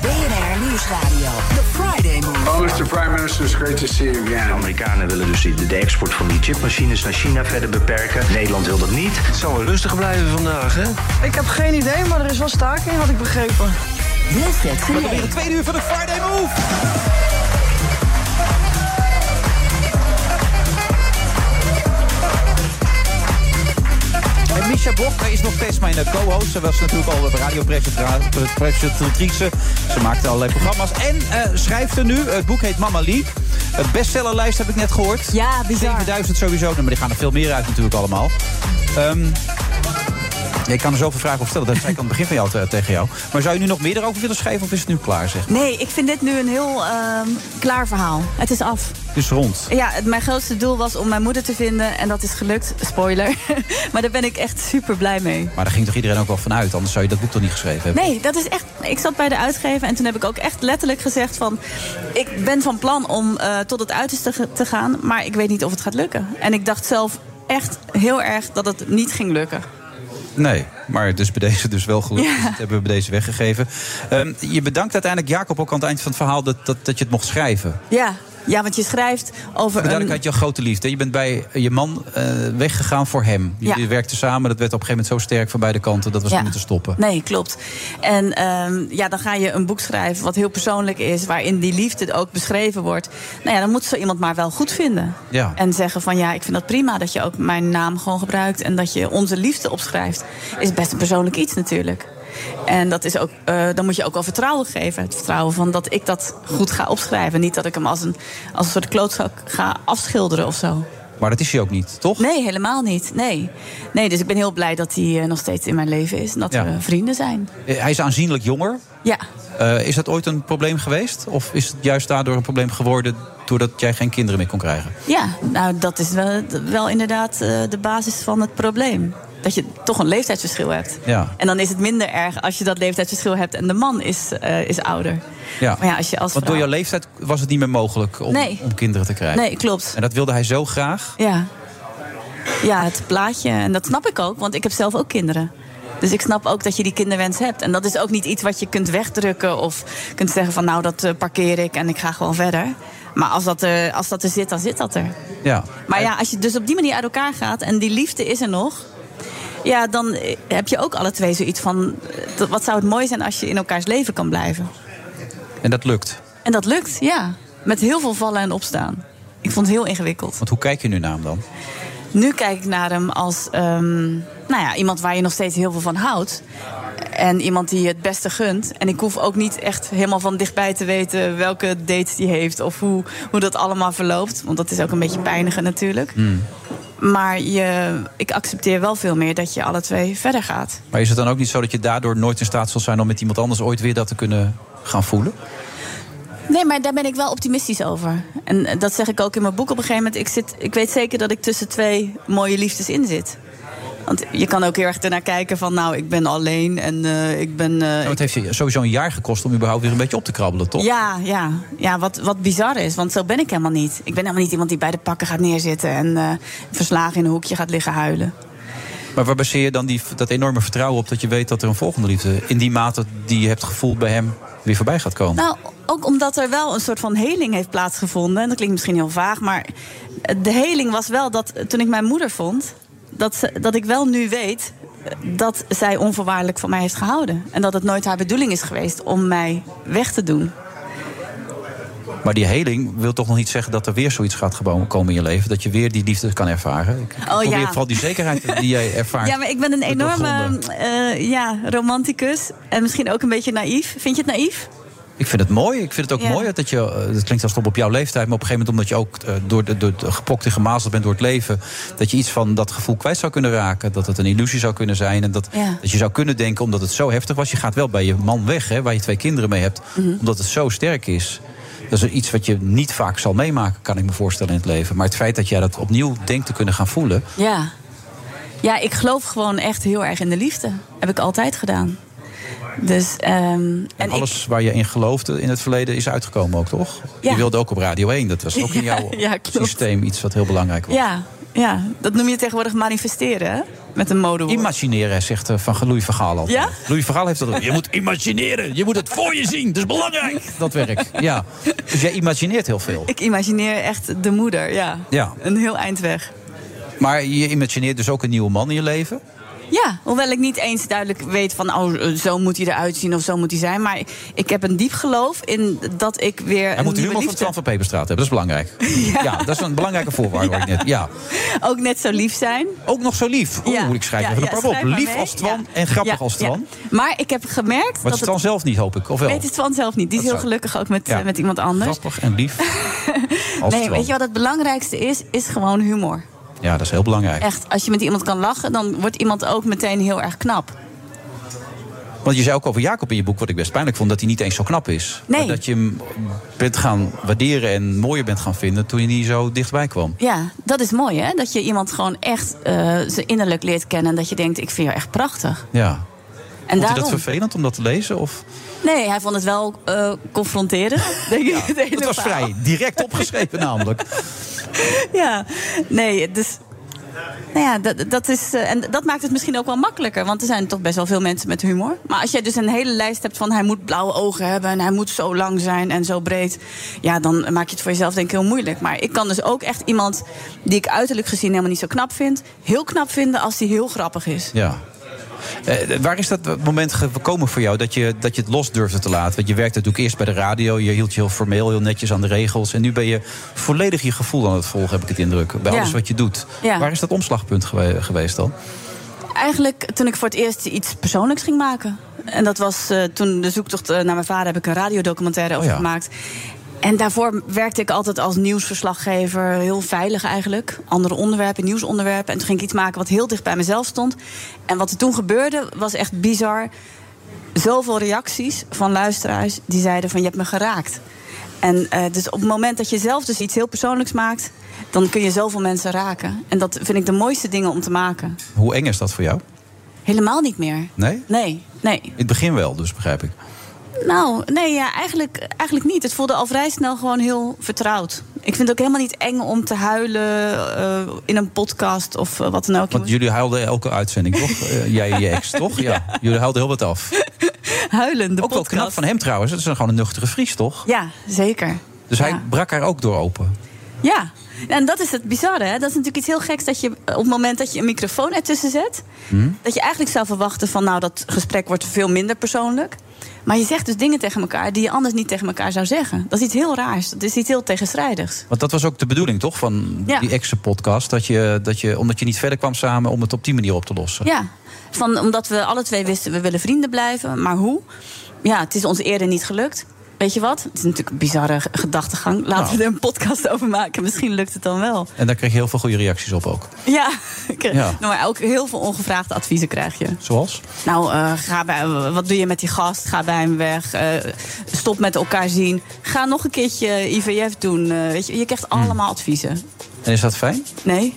BNR Nieuwsradio. The Friday Move.
Oh, Mr. Prime Minister, it's great to see you again. De Amerikanen willen dus de, de export van die chipmachines naar China verder beperken. Nederland wil dat niet. Het zal wel rustig blijven vandaag, hè?
Ik heb geen idee, maar er is wel staking, had ik begrepen.
Wilfred
Met weer een tweede uur van de Friday Move. En Misha Blok is nog steeds mijn eh, co-host. Ze was natuurlijk al radiopresentatrice. Ze maakte allerlei programma's. En eh, schrijft er nu. Het boek heet Mama Lee. Het bestsellerlijst heb ik net gehoord.
Ja, bizar.
7000 sowieso. Nou, Maar die gaan er veel meer uit natuurlijk allemaal. Ehm, ja, ik kan er zoveel vragen over stellen. Dat zei ik aan het begin van jou te- tegen jou. Maar zou je nu nog meer erover willen schrijven of is het nu klaar? Zeg?
Nee, ik vind dit nu een heel ehm, klaar verhaal. Het is af.
Het is rond.
Ja, het, mijn grootste doel was om mijn moeder te vinden en dat is gelukt. Spoiler. maar daar ben ik echt super blij mee.
Maar daar ging toch iedereen ook wel van uit? Anders zou je dat boek toch niet geschreven hebben?
Nee, dat is echt. Ik zat bij de uitgever en toen heb ik ook echt letterlijk gezegd van, ik ben van plan om eh, tot het uiterste ge- te gaan, maar ik weet niet of het gaat lukken. En ik dacht zelf echt heel erg dat het niet ging lukken.
Nee, maar dus bij deze dus wel gelukt.
Ja.
Dus dat hebben we bij deze weggegeven. Ehm, je bedankt uiteindelijk Jacob ook aan het eind van het verhaal dat, dat, dat je het mocht schrijven.
Ja, ja, want je schrijft over
Maar
een
duidelijk had je een grote liefde. Je bent bij je man eh, weggegaan voor hem. Jullie
Ja.
werkten samen. Dat werd op een gegeven moment zo sterk van beide kanten dat we
Ja.
niet moeten stoppen.
Nee, klopt. En ehm, ja, dan ga je een boek schrijven wat heel persoonlijk is, waarin die liefde ook beschreven wordt. Nou ja, dan moet zo iemand maar wel goed vinden.
Ja.
En zeggen van ja, ik vind dat prima dat je ook mijn naam gewoon gebruikt en dat je onze liefde opschrijft. Is best een persoonlijk iets natuurlijk. En dat is ook, eh, dan moet je ook wel vertrouwen geven. Het vertrouwen van dat ik dat goed ga opschrijven. Niet dat ik hem als een, als een soort klootzak ga afschilderen of zo.
Maar dat is hij ook niet, toch?
Nee, helemaal niet. Nee. nee, dus ik ben heel blij dat hij eh, nog steeds in mijn leven is. En dat
Ja.
we vrienden zijn.
Eh, Hij is aanzienlijk jonger.
Ja,
Eh, is dat ooit een probleem geweest? Of is het juist daardoor een probleem geworden doordat jij geen kinderen meer kon krijgen?
ja nou dat is wel, wel inderdaad eh, de basis van het probleem. Dat je toch een leeftijdsverschil hebt.
Ja.
En dan is het minder erg als je dat leeftijdsverschil hebt en de man is, eh, is ouder.
Ja.
Maar ja, als je als
Want door
vrouw-
jouw leeftijd was het niet meer mogelijk om,
Nee.
om kinderen te krijgen.
Nee, klopt.
En dat wilde hij zo graag.
Ja. ja, het plaatje. En dat snap ik ook, want ik heb zelf ook kinderen. Dus ik snap ook dat je die kinderwens hebt. En dat is ook niet iets wat je kunt wegdrukken of kunt zeggen van nou dat eh, parkeer ik en ik ga gewoon verder. Maar als dat, er, als dat er zit, dan zit dat er.
Ja.
Maar ja, als je dus op die manier uit elkaar gaat en die liefde is er nog. Ja, dan eh, heb je ook alle twee zoiets van. eh, dat- Wat zou het mooi zijn als je in elkaars leven kan blijven?
En dat lukt.
En dat lukt, ja. Met heel veel vallen en opstaan. Ik vond het heel ingewikkeld.
Want hoe kijk je nu naar hem dan?
Nu kijk ik naar hem als ehm, nou ja, iemand waar je nog steeds heel veel van houdt. En iemand die je het beste gunt. En ik hoef ook niet echt helemaal van dichtbij te weten welke dates die heeft of hoe, hoe dat allemaal verloopt. Want dat is ook een beetje pijnigen natuurlijk.
Hmm.
Maar je, ik accepteer wel veel meer dat je alle twee verder gaat.
Maar is het dan ook niet zo dat je daardoor nooit in staat zal zijn om met iemand anders ooit weer dat te kunnen gaan voelen?
Nee, maar daar ben ik wel optimistisch over. En eh, dat zeg ik ook in mijn boek op een gegeven moment. Ik, zit, ik weet zeker dat ik tussen twee mooie liefdes in zit. Want je kan ook heel erg ernaar kijken van... nou, ik ben alleen en eh, ik ben... eh,
Nou, het heeft je sowieso een jaar gekost om überhaupt weer een beetje op te krabbelen, toch?
Ja, ja, ja wat, wat bizar is, want zo ben ik helemaal niet. Ik ben helemaal niet iemand die bij de pakken gaat neerzitten... en eh, verslagen in een hoekje gaat liggen huilen.
Maar waar baseer je dan die, dat enorme vertrouwen op dat je weet dat er een volgende liefde... in die mate die je hebt gevoeld bij hem weer voorbij gaat komen?
Nou, ook omdat er wel een soort van heling heeft plaatsgevonden. En dat klinkt misschien heel vaag, maar de heling was wel dat eh, toen ik mijn moeder vond, dat, ze, dat ik wel nu weet eh, dat zij onvoorwaardelijk van mij heeft gehouden. En dat het nooit haar bedoeling is geweest om mij weg te doen.
Maar die heling wil toch nog niet zeggen dat er weer zoiets gaat gebo- komen in je leven. Dat je weer die liefde kan ervaren. Ik ik
Oh,
probeer
ja.
vooral die zekerheid die jij ervaart.
Ja, maar ik ben een
te
enorme
doorgronden.
eh, ja, romanticus. En misschien ook een beetje naïef. Vind je het naïef?
Ik vind het mooi. Ik vind het ook
Ja.
mooi dat je. eh, Het klinkt als het op jouw leeftijd. Maar op een gegeven moment, omdat je ook eh, door, de- door, de- gepokt en gemazeld bent door het leven. dat je iets van dat gevoel kwijt zou kunnen raken. Dat het een illusie zou kunnen zijn. En dat,
Ja.
dat je zou kunnen denken, omdat het zo heftig was. Je gaat wel bij je man weg, hè, waar je twee kinderen mee hebt.
Mhm.
omdat het zo sterk is. Dat is iets wat je niet vaak zal meemaken, kan ik me voorstellen in het leven. Maar het feit dat jij dat opnieuw denkt te kunnen gaan voelen.
Ja. Ja, ik geloof gewoon echt heel erg in de liefde. Heb ik altijd gedaan. Dus, ehm,
En alles waar je in geloofde in het verleden is uitgekomen ook, toch?
Ja.
Je wilde ook op Radio 1. Dat was ook in
Ja,
jouw
ja, klopt.
systeem iets wat heel belangrijk was.
Ja, ja, dat noem je tegenwoordig manifesteren, hè? Met een modewoord.
Imagineren, zegt eh, Van Louis van Gaal altijd.
Ja?
Louis van Gaal heeft dat ook. Je moet imagineren. Je moet het voor je zien. Dat is belangrijk. Dat werk, ja. Dus jij imagineert heel veel.
Ik imagineer echt de moeder, ja.
Ja.
Een heel eind weg.
Maar je imagineert dus ook een nieuwe man in je leven.
Ja, hoewel ik niet eens duidelijk weet van... oh, eh, zo moet hij eruit zien of zo moet hij zijn. Maar ik heb een diep geloof in dat ik weer
Hij
een
moet de
nieuwe
humor van
liefde...
Tran van Peperstraat hebben. Dat is belangrijk. Ja, dat is een belangrijke voorwaarde. hoor ik net. Ja.
Ook net zo lief zijn.
Ook nog zo lief. Oeh, ik schrijf even een paar op.
schrijf maar
Lief
mee.
als Twan
Ja.
en grappig
Ja,
als Twan.
ja. Maar ik heb gemerkt
Maar het
dat
is Twan zelf niet, hoop ik. Of wel?
Weet het Twan zelf niet. Die is
Dat
heel
zou-
gelukkig ook met,
Ja.
eh, met iemand anders.
Grappig en lief als
nee,
Twan.
weet je wat het belangrijkste is? Is gewoon humor.
Ja, dat is heel belangrijk.
Echt, als je met iemand kan lachen, dan wordt iemand ook meteen heel erg knap.
Want je zei ook over Jacob in je boek, wat ik best pijnlijk vond, dat hij niet eens zo knap is.
Nee.
Maar dat je hem bent gaan waarderen en mooier bent gaan vinden toen hij niet zo dichtbij kwam.
Ja, dat is mooi, hè? Dat je iemand gewoon echt eh, zijn innerlijk leert kennen. En dat je denkt, ik vind jou echt prachtig.
Ja.
En
vond hij dat
daarom?
vervelend om dat te lezen? Of?
Nee, hij vond het wel eh confronterend, denk ik. het hele
Dat was
verhaal.
vrij direct opgeschreven namelijk.
Ja, nee, dus... Nou ja, dat, dat is, eh, en dat maakt het misschien ook wel makkelijker. Want er zijn toch best wel veel mensen met humor. Maar als jij dus een hele lijst hebt van... hij moet blauwe ogen hebben en hij moet zo lang zijn en zo breed... ja, dan maak je het voor jezelf denk ik heel moeilijk. Maar ik kan dus ook echt iemand die ik uiterlijk gezien helemaal niet zo knap vind... heel knap vinden als die heel grappig is.
Ja. Eh, waar is dat moment gekomen voor jou dat je, dat je het los durfde te laten? Want je werkte natuurlijk eerst bij de radio, je hield je heel formeel, heel netjes aan de regels. En nu ben je volledig je gevoel aan het volgen, heb ik het indruk. Bij
Ja.
alles wat je doet.
Ja.
Waar is dat omslagpunt gewe- geweest dan?
Eigenlijk toen ik voor het eerst iets persoonlijks ging maken. En dat was eh, toen de zoektocht eh, naar mijn vader heb ik een radiodocumentaire over
ja.
gemaakt. En daarvoor werkte ik altijd als nieuwsverslaggever, heel veilig eigenlijk. Andere onderwerpen, nieuwsonderwerpen. En toen ging ik iets maken wat heel dicht bij mezelf stond. En wat er toen gebeurde was echt bizar. Zoveel reacties van luisteraars die zeiden van je hebt me geraakt. En eh, dus op het moment dat je zelf dus iets heel persoonlijks maakt, dan kun je zoveel mensen raken. En dat vind ik de mooiste dingen om te maken.
Hoe eng is dat voor jou?
Helemaal niet meer.
Nee?
Nee, nee.
In het begin wel, dus begrijp ik.
Nou, nee, ja, eigenlijk, eigenlijk niet. Het voelde al vrij snel gewoon heel vertrouwd. Ik vind het ook helemaal niet eng om te huilen eh, in een podcast of eh, wat dan ook.
Want jullie huilden elke uitzending, toch? Eh, jij en je ex, toch? Ja. Jullie huilden heel wat af.
Huilen, de
Ook wel
podcast.
knap van hem trouwens. Dat is gewoon een nuchtere Fries, toch?
Ja, zeker.
Dus hij brak haar ook door open.
Ja, en dat is het bizarre. Hè? Dat is natuurlijk iets heel geks dat je op het moment dat je een microfoon ertussen zet... dat je eigenlijk zou verwachten van nou, dat gesprek wordt veel minder persoonlijk. Maar je zegt dus dingen tegen elkaar die je anders niet tegen elkaar zou zeggen. Dat is iets heel raars. Dat is iets heel tegenstrijdigs.
Want dat was ook de bedoeling, toch? Van
Ja.
die ex-podcast. Dat je, dat je, omdat je niet verder kwam samen om het op die manier op te lossen.
Ja, van, omdat we alle twee wisten we willen vrienden blijven, maar hoe? Ja, het is ons eerder niet gelukt. Weet je wat? Het is natuurlijk een bizarre g- gedachtegang. Laten
Nou.
we er een podcast over maken. Misschien lukt het dan wel.
En daar kreeg je heel veel goede reacties op ook.
Ja, ik-
Ja.
Nou, maar ook heel veel ongevraagde adviezen krijg je.
Zoals?
Nou, eh, ga bij, wat doe je met die gast? Ga bij hem weg. eh, stop met elkaar zien. Ga nog een keertje IVF doen. eh, weet je, je krijgt
Hmm.
allemaal adviezen.
En is dat fijn?
Nee?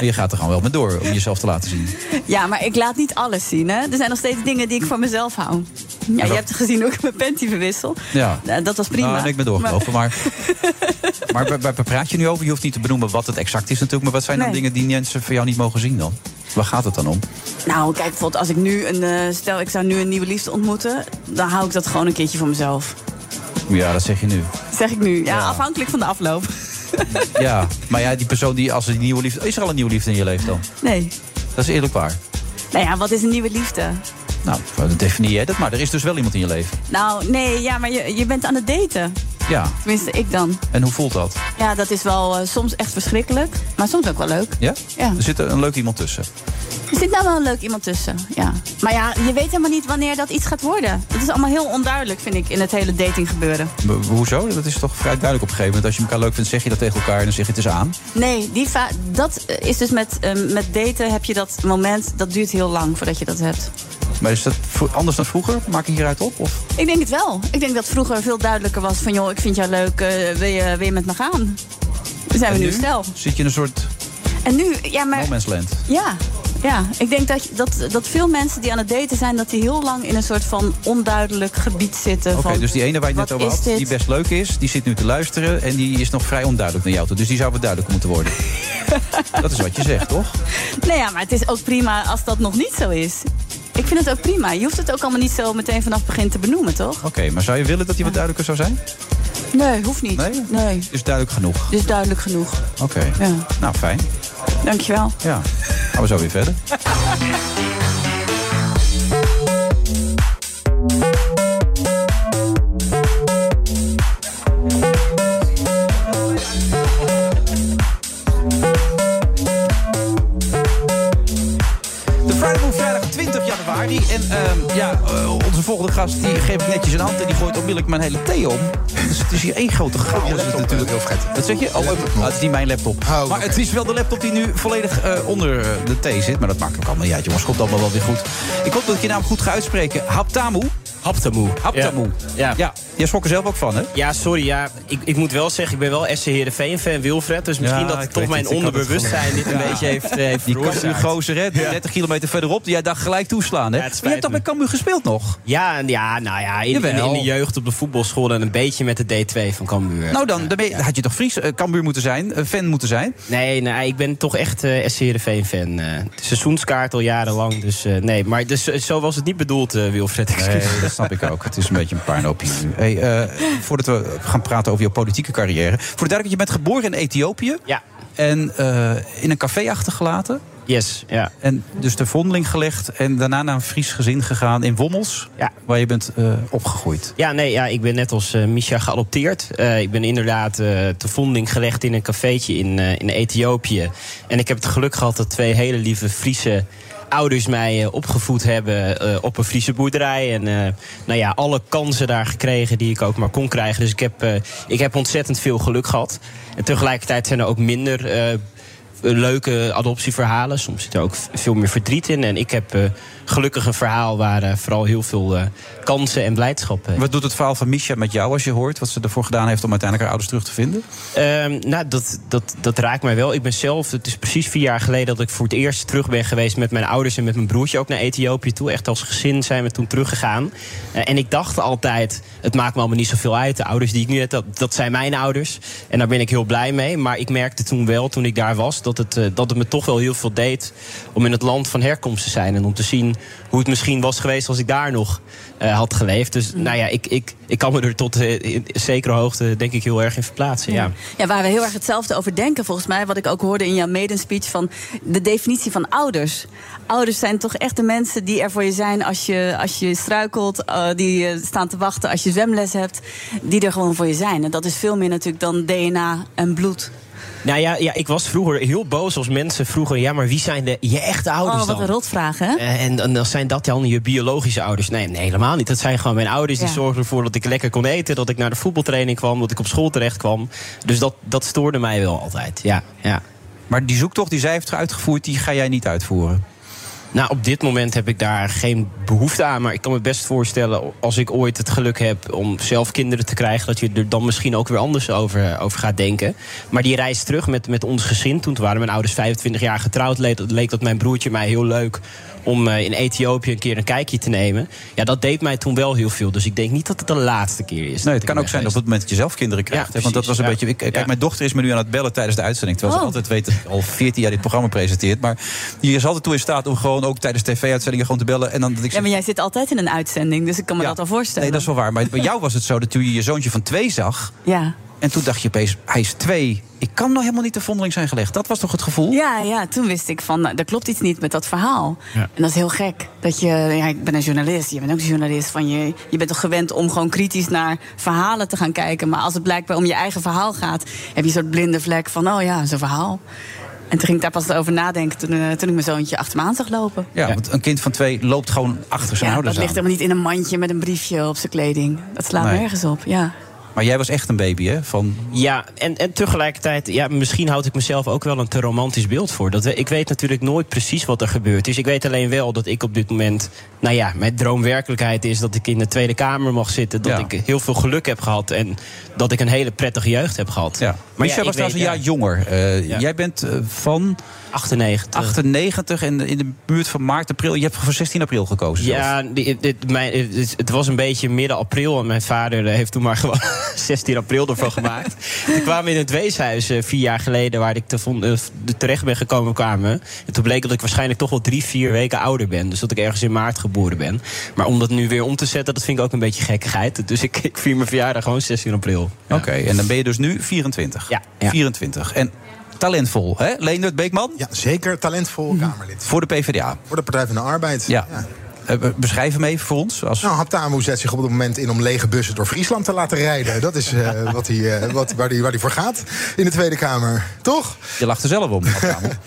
Je gaat er gewoon wel mee door om jezelf te laten zien.
Ja, maar ik laat niet alles zien. Hè? Er zijn nog steeds dingen die ik voor mezelf hou. Ja, je hebt het gezien hoe ik mijn panty verwissel.
Ja.
Nou, dat was prima.
Nou, ik ben doorgelopen. Maar, maar waar, waar praat je nu over? Je hoeft niet te benoemen wat het exact is natuurlijk. Maar wat zijn dan
Nee.
dingen die mensen van jou niet mogen zien dan? Waar gaat het dan om?
Nou, kijk, bijvoorbeeld als ik nu een... eh, stel, ik zou nu een nieuwe liefde ontmoeten... dan hou ik dat gewoon een keertje voor mezelf.
Ja, dat zeg je nu.
Zeg ik nu. Ja, afhankelijk van de afloop.
Ja, maar ja, die persoon die als er die nieuwe liefde... Is er al een nieuwe liefde in je leven dan?
Nee.
Dat is eerlijk waar.
Nou ja, wat is een nieuwe liefde?
Nou, dan definieer jij dat maar. Er is dus wel iemand in je leven.
Nou, nee, ja, maar je, je bent aan het daten.
Ja.
Tenminste, ik dan.
En hoe voelt dat?
Ja, dat is wel eh, soms echt verschrikkelijk. Maar soms ook wel leuk.
Ja?
Ja.
Er zit een leuk iemand tussen.
Er zit nou wel een leuk iemand tussen, ja. Maar ja, je weet helemaal niet wanneer dat iets gaat worden. Het is allemaal heel onduidelijk, vind ik, in het hele dating gebeuren.
Ho- Hoezo? Dat is toch vrij duidelijk op een gegeven moment. Als je elkaar leuk vindt, zeg je dat tegen elkaar en dan zeg je het is aan.
Nee, die va- dat eh, is dus met, eh, met daten heb je dat moment, dat duurt heel lang voordat je dat hebt.
Maar is dat vro- anders dan vroeger? Maak je hieruit op? Of?
Ik denk het wel. Ik denk dat vroeger veel duidelijker was van, joh, ik vind jou leuk, eh, wil, je, wil je met me gaan? Dan zijn we
En
nu stel.
Zit je in een soort
En nu, ja, maar...
no man's land?
Ja, ja. ik denk dat, je- dat, dat veel mensen die aan het daten zijn... dat die heel lang in een soort van onduidelijk gebied zitten.
Oké,
van,
dus die ene waar je het net
wat
over
is
had,
dit?
die best leuk is, die zit nu te luisteren en die is nog vrij onduidelijk naar jou toe. Dus die zou wat duidelijker moeten worden. dat is wat je zegt, toch?
Nou ja, maar het is ook prima als dat nog niet zo is. Ik vind het ook prima. Je hoeft het ook allemaal niet zo meteen vanaf het begin te benoemen, toch?
Oké, maar zou je willen dat die wat duidelijker zou zijn?
Nee, hoeft niet.
Nee?
Nee.
Is duidelijk genoeg.
Dus duidelijk genoeg.
Oké. Nou, fijn.
Dankjewel.
Ja. Gaan we zo weer verder. De Friday Move vrijdag 20 januari. En ehm, ja, eh, onze volgende gast die geeft netjes een hand en die gooit onmiddellijk mijn hele thee om. Dus het is hier één grote chaos. Dat is natuurlijk heel vet. Wat zeg je? Oh, eh, ah, het is niet mijn laptop. maar het is wel de laptop die nu volledig eh, onder eh, de thee zit. Maar dat maakt ook allemaal niet uit, jongens. Komt allemaal wel weer goed. Ik hoop dat ik je naam goed ga uitspreken. Haptamu.
Haptamu.
Haptamu.
Ja.
ja. Jij schrok er zelf ook van, hè?
Ja, sorry. Ja, ik, ik moet wel zeggen, ik ben wel SC Heerenveen fan Wilfred. Dus misschien
Ja, ik
dat
weet
toch mijn
het, ik had het
onderbewustzijn dit
gevoel.
een
Ja.
beetje heeft, eh, heeft
Die
veroorzaakt.
Cambuur gozer, hè?
Ja.
30 kilometer verderop. die Jij dacht gelijk toeslaan, hè? Maar je hebt toch bij Cambuur gespeeld nog?
Ja, en ja, nou ja, in, in,
Jawel.
in de jeugd op de voetbalschool en een beetje met de D2 van Cambuur.
Nou dan, dan ben je- had je toch Fries eh, Cambuur moeten zijn, eh, fan moeten zijn?
Nee, nee, ik ben toch echt eh SC Heerenveen fan. eh. seizoenskaart al jarenlang, dus eh, nee. Maar dus, eh, zo was het niet bedoeld, eh, Wilfred. excuus.
Nee, dat snap ik ook. Het is een beetje een puinhoopje nu. Hey, eh, voordat we gaan praten over jouw politieke carrière. Voor de duidelijkheid, je bent geboren in Ethiopië.
Ja.
En eh, in een café achtergelaten.
Yes, ja.
En dus de vondeling gelegd en daarna naar een Fries gezin gegaan in Wommels. Waar je bent eh, opgegroeid.
Ja, nee, ja, ik ben net als eh Misha geadopteerd. Eh, ik ben inderdaad eh te vonding gelegd in een cafeetje in, eh, in Ethiopië. En ik heb het geluk gehad dat twee hele lieve Friese ouders mij eh, opgevoed hebben eh, op een Friese boerderij. En eh, nou ja, alle kansen daar gekregen die ik ook maar kon krijgen. Dus ik heb, eh, ik heb ontzettend veel geluk gehad. En tegelijkertijd zijn er ook minder... eh, leuke adoptieverhalen. Soms zit er ook v- veel meer verdriet in. En ik heb eh, gelukkig een verhaal waar eh, vooral heel veel eh, kansen en blijdschap eh,
Wat doet het verhaal van Misha met jou als je hoort wat ze ervoor gedaan heeft om uiteindelijk haar ouders terug te vinden?
Ehm, nou, dat, dat, dat raakt mij wel. Ik ben zelf, het is precies vier jaar geleden dat ik voor het eerst terug ben geweest met mijn ouders en met mijn broertje ook naar Ethiopië toe. Echt als gezin zijn we toen teruggegaan. Eh, en ik dacht altijd, het maakt me allemaal niet zoveel uit. De ouders die ik nu heb, dat, dat zijn mijn ouders. En daar ben ik heel blij mee. Maar ik merkte toen wel, toen ik daar was, dat het, eh, dat het me toch wel heel veel deed om in het land van herkomst te zijn. En om te zien hoe het misschien was geweest als ik daar nog eh, had geleefd. Dus
Mhm.
nou ja, ik, ik, ik kan me er tot eh, in zekere hoogte denk ik heel erg in verplaatsen. ja.
Ja, waar we heel erg hetzelfde over denken, volgens mij. Wat ik ook hoorde in jouw maiden speech van de definitie van ouders. Ouders zijn toch echt de mensen die er voor je zijn als je, als je struikelt. eh, die eh, staan te wachten als je zwemles hebt. Die er gewoon voor je zijn. En dat is veel meer natuurlijk dan DNA en bloed.
Nou ja, ja, ik was vroeger heel boos als mensen vroegen... ja, maar wie zijn de, je echte ouders
Oh, wat
dan?
een rotvraag, hè?
Eh, En, en dan zijn dat dan je biologische ouders? Nee, nee, helemaal niet. Dat zijn gewoon mijn ouders. Die
Ja.
zorgden ervoor dat ik lekker kon eten. Dat ik naar de voetbaltraining kwam. Dat ik op school terecht kwam. Dus dat, dat stoorde mij wel altijd. Ja, ja.
Maar die zoektocht die zij heeft uitgevoerd, die ga jij niet uitvoeren?
Nou, op dit moment heb ik daar geen behoefte aan. Maar ik kan me best voorstellen, als ik ooit het geluk heb om zelf kinderen te krijgen, dat je er dan misschien ook weer anders over, over gaat denken. Maar die reis terug met, met ons gezin, toen waren mijn ouders 25 jaar getrouwd, leek, leek dat mijn broertje mij heel leuk om eh, in Ethiopië een keer een kijkje te nemen. Ja, dat deed mij toen wel heel veel. Dus ik denk niet dat het de laatste keer is.
Nee, het kan ook zijn dat op het moment dat je zelf kinderen krijgt. hè, want dat was een beetje. Ik, kijk, mijn dochter is me nu aan het bellen tijdens de uitzending. Terwijl ze
Oh.
altijd weet dat ik al 14 jaar dit programma presenteert. Maar je is altijd toe in staat om gewoon ook tijdens tv-uitzendingen gewoon te bellen. En dan dat ik
Ja,
zeg,
maar jij zit altijd in een uitzending, dus ik kan me dat al voorstellen.
nee, dat is wel waar. Maar bij jou was het zo dat toen je je zoontje van twee zag.
Ja.
En toen dacht je opeens, hij is twee. Ik kan nog helemaal niet de vondeling zijn gelegd. Dat was toch het gevoel?
Ja, ja, toen wist ik van, nou, er klopt iets niet met dat verhaal.
Oh. Ja.
En dat is heel gek. Dat je, ja, ik ben een journalist, je bent ook journalist. Van je, je bent toch gewend om gewoon kritisch naar verhalen te gaan kijken. Maar als het blijkbaar om je eigen verhaal gaat, heb je een soort blinde vlek van, oh ja, zo'n verhaal. En toen ging ik daar pas over nadenken toen, eh, toen ik mijn zoontje achter me aan zag lopen.
Ja, want een kind van twee loopt gewoon achter zijn
Ja, dat
ouders
ligt
aan.
helemaal niet in een mandje met een briefje op zijn kleding. Dat slaat
Nee.
nergens op, ja.
Maar jij was echt een baby, hè? Van
Ja, en, en tegelijkertijd, ja, misschien houd ik mezelf ook wel een te romantisch beeld voor. Dat, we- ik weet natuurlijk nooit precies wat er gebeurd is. Ik weet alleen wel dat ik op dit moment, nou ja, mijn droomwerkelijkheid is dat ik in de Tweede Kamer mag zitten. Dat ik heel veel geluk heb gehad en dat ik een hele prettige jeugd heb gehad. Ja.
Maar Michel was nou trouwens een jaar jonger. Eh,
Ja.
Jij bent eh, van...
98.
98 en in de buurt van maart, april. Je hebt voor 16 april gekozen zelfs.
Ja, die- dit, mijn, het- het was een beetje midden april. En mijn vader eh, heeft toen maar gewoon 16 april ervan gemaakt. We kwamen in het weeshuis eh, vier jaar geleden, waar ik te vond- eh, de terecht ben gekomen, kwamen. we. En toen bleek dat ik waarschijnlijk toch wel drie, vier weken ouder ben. Dus dat ik ergens in maart geboren ben. Maar om dat nu weer om te zetten, dat vind ik ook een beetje gekkigheid. Dus ik, ik vier mijn verjaardag gewoon 16 april.
Oké, en dan ben je dus nu 24. Ja. 24. En talentvol, hè? Leendert Beekman? Ja, zeker. Talentvol Kamerlid. Voor de PvdA.
Voor de Partij van de Arbeid.
Ja. Eh, be- beschrijf hem even voor ons. Als...
Nou, Haptamu zet zich op het moment in om lege bussen door Friesland te laten rijden. Dat is eh, wat hij, eh, wat, waar hij waar hij voor gaat in de Tweede Kamer. Toch?
Je lacht er zelf om.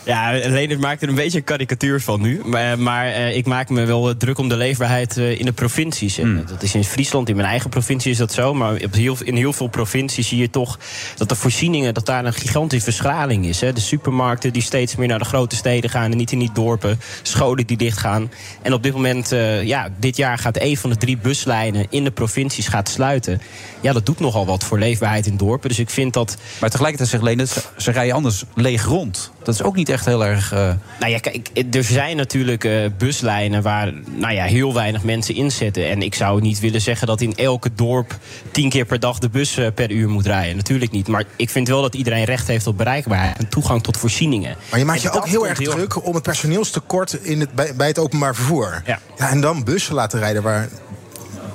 Ja, Leendert maakt er een beetje een karikatuur van nu. Maar, maar eh, ik maak me wel eh, druk om de leefbaarheid eh, in de provincies. En eh, Dat is in Friesland, in mijn eigen provincie is dat zo. Maar op heel, in heel veel provincies zie je toch dat de voorzieningen... dat daar een gigantische verschraling is. Hè. De supermarkten die steeds meer naar de grote steden gaan... en niet in die dorpen. Scholen die dichtgaan. En op dit moment, eh, ja, dit jaar gaat een van de drie buslijnen... in de provincies gaat sluiten. Ja, dat doet nogal wat voor leefbaarheid in dorpen. Dus ik vind dat...
Maar tegelijkertijd zegt Leendert, ze, ze rijden anders leeg rond. Dat is ook niet echt heel erg... eh,
Nou ja, kijk, er zijn natuurlijk eh, buslijnen waar nou ja, heel weinig mensen inzetten. En ik zou niet willen zeggen dat in elke dorp tien keer per dag de bus eh, per uur moet rijden. Natuurlijk niet. Maar ik vind wel dat iedereen recht heeft op bereikbaarheid en toegang tot voorzieningen.
Maar je maakt
En
je ook
dat
heel
komt
erg druk om het personeelstekort in het, bij, bij het openbaar vervoer.
Ja.
en dan bussen laten rijden waar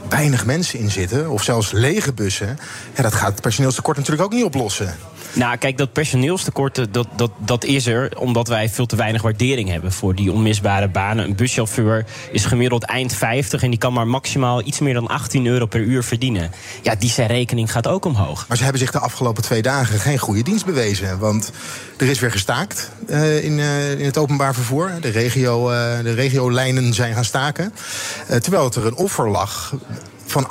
weinig mensen in zitten. Of zelfs lege bussen. Ja, dat gaat het personeelstekort natuurlijk ook niet oplossen.
Nou, kijk, dat personeelstekort, eh, dat, dat, dat is er omdat wij veel te weinig waardering hebben voor die onmisbare banen. Een buschauffeur is gemiddeld eind 50 en die kan maar maximaal iets meer dan 18 euro per uur verdienen. Ja, die zijn rekening gaat ook omhoog.
Maar ze hebben zich de afgelopen twee dagen geen goede dienst bewezen. Want er is weer gestaakt eh, in, eh, in het openbaar vervoer. De, regio, eh, de regiolijnen zijn gaan staken. Eh, terwijl het er een offer lag van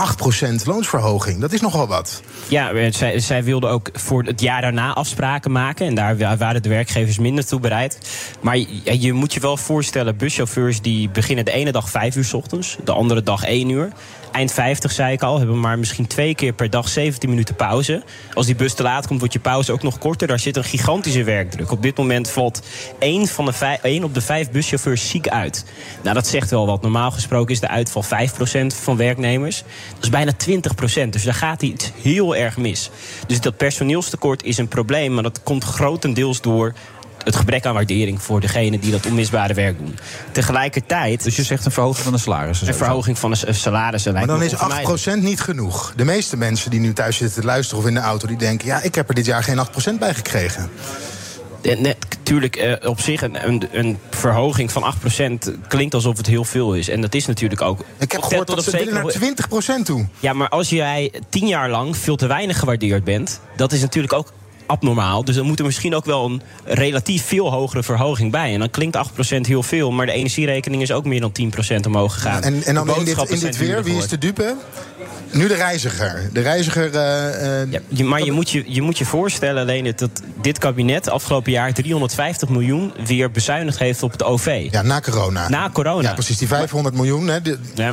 8% loonsverhoging. Dat is nogal wat.
Ja, eh, zij, zij wilden ook voor het jaar daarna afspraken maken. En daar wa- waren de werkgevers minder toe bereid. Maar je, je moet je wel voorstellen, buschauffeurs die beginnen de ene dag vijf uur s ochtends, de andere dag één uur. Eind 50, zei ik al, hebben maar misschien twee keer per dag 17 minuten pauze. Als die bus te laat komt, wordt je pauze ook nog korter. Daar zit een gigantische werkdruk. Op dit moment valt één, van de vijf, één op de vijf buschauffeurs ziek uit. Nou, dat zegt wel wat. Normaal gesproken is de uitval 5% van werknemers. Dat is bijna 20%. Dus daar gaat iets heel erg mis. Dus dat personeelstekort is een probleem, maar dat komt grotendeels door. Het gebrek aan waardering voor degenen die dat onmisbare werk doen. Tegelijkertijd. Dus
je zegt een verhoging van de salarissen.
Een verhoging van de s- salarissen.
Maar
lijkt
dan
me
is
onvermijdelijk.
8% niet genoeg. De meeste mensen die nu thuis zitten te luisteren of in de auto... die denken, ja, ik heb er dit jaar geen 8% bij gekregen.
Eh, Natuurlijk, eh, op zich een, een, een verhoging van 8% klinkt alsof het heel veel is. En dat is natuurlijk ook.
Ik heb gehoord dat ze willen naar 20% toe.
Ja, maar als jij tien jaar lang veel te weinig gewaardeerd bent, dat is natuurlijk ook abnormaal. Dus dan moet er misschien ook wel een relatief veel hogere verhoging bij. En dan klinkt 8% heel veel, maar de energierekening is ook meer dan 10% omhoog gegaan.
En, en
De
dan in dit,
boodschappen
in
zijn
dit weer,
duurder
wie is de dupe? Nu de reiziger. De reiziger. eh, eh,
Je- maar je moet je, je moet je voorstellen, Lene, dat dit kabinet afgelopen jaar 350 miljoen weer bezuinigd heeft op het OV.
Ja, na corona.
Na corona.
Ja, precies. Die 500 miljoen hè, die- eh,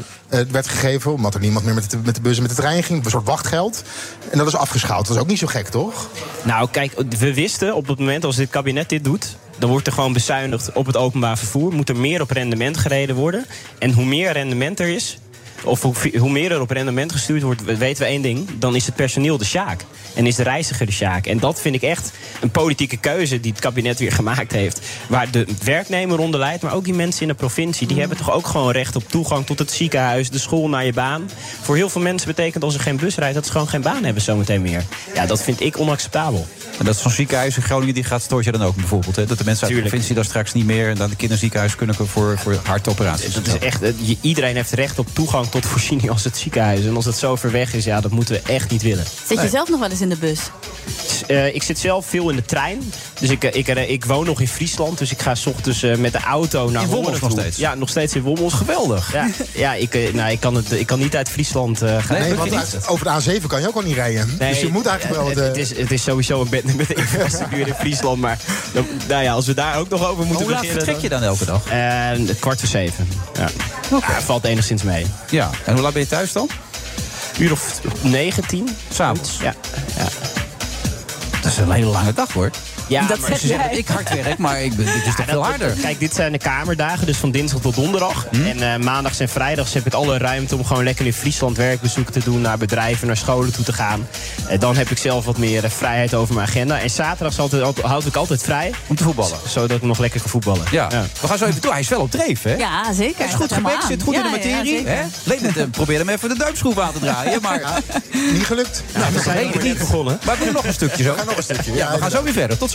werd gegeven omdat er niemand meer met de, met de bus en met de trein ging. Een soort wachtgeld. En dat is afgeschaald. Dat is ook niet zo gek, toch?
Nou, kijk, we wisten op het moment als dit kabinet dit doet. Dan wordt er gewoon bezuinigd op het openbaar vervoer. Moet er meer op rendement gereden worden. En hoe meer rendement er is. Of hoe, hoe meer er op rendement gestuurd wordt, we- weten we één ding. Dan is het personeel de sjaak. En is de reiziger de sjaak. En dat vind ik echt een politieke keuze die het kabinet weer gemaakt heeft. Waar de werknemer onder leidt, maar ook die mensen in de provincie.
Mhm.
Die hebben toch ook gewoon recht op toegang tot het ziekenhuis, de school, naar je baan. Voor heel veel mensen betekent als er geen bus rijdt, dat ze gewoon geen baan hebben zometeen meer. Ja, dat vind ik onacceptabel.
En dat is zo'n ziekenhuis in Groningen, die gaat stoort je dan ook bijvoorbeeld. Hè? Dat de mensen uit de provincie daar straks niet meer... en dan de kinderziekenhuis kunnen voor, voor hartoperaties.
Dat is echt, eh, je- iedereen heeft recht op toegang tot voorziening als het ziekenhuis. En als het zo ver weg is, ja, dat moeten we echt niet willen.
Zit je zelf nog wel eens in de bus?
Eh, ik zit zelf veel in de trein. Dus ik, eh, ik, eh, ik woon nog in Friesland. Dus ik ga 's ochtends eh, met de auto naar
In Wommels
Hoorn
nog
toe.
steeds?
Ja, nog steeds in Wommels. Geweldig. Ja, ja ik, eh, nou, ik, kan het, ik kan niet uit Friesland eh, gaan.
Nee, want uit- over de A7 kan je ook al niet rijden.
Nee,
dus je moet eigenlijk wel.
het,
de-
het is, het is sowieso een bed met de infrastructuur in Friesland. Maar dan- nou ja, als we daar ook nog over moeten
Hoe laat
beginnen... Eh,
vertrek je dan elke dag?
kwart voor zeven. Ja. Ja, valt enigszins mee.
Ja, en hoe laat ben je thuis dan?
Uur of 19.
S'avonds?
Ja. ja.
Dat is een hele lange dag, hoor.
Ja,
Dat
maar
zeg
ze zeggen
jij.
dat ik hard werk, maar ik ben, dit is
Ja,
toch
dat-
veel harder.
dat-
Kijk, dit zijn de kamerdagen, dus van dinsdag tot donderdag.
Hm?
En eh, maandags en vrijdags heb ik alle ruimte om gewoon lekker in Friesland werkbezoek te doen, naar bedrijven, naar scholen toe te gaan. Eh, dan heb ik zelf wat meer eh, vrijheid over mijn agenda. En zaterdags altijd, al- houd ik altijd vrij.
Om te voetballen.
Zodat ik nog lekker kan voetballen.
Ja. We gaan zo even toe. Hij is wel op dreef, hè?
Ja, zeker.
Hij is goed gebekt, zit goed in de materie. hè? Leek net, eh, probeer hem even de duimschroef aan te draaien, maar...
niet gelukt.
Nou, dat
zijn
zijn
nog maar
niet
net
begonnen. Maar we doen nog een stukje zo.
We gaan nog een stukje, ja,
Ja, we gaan zo weer verder. Tot zo.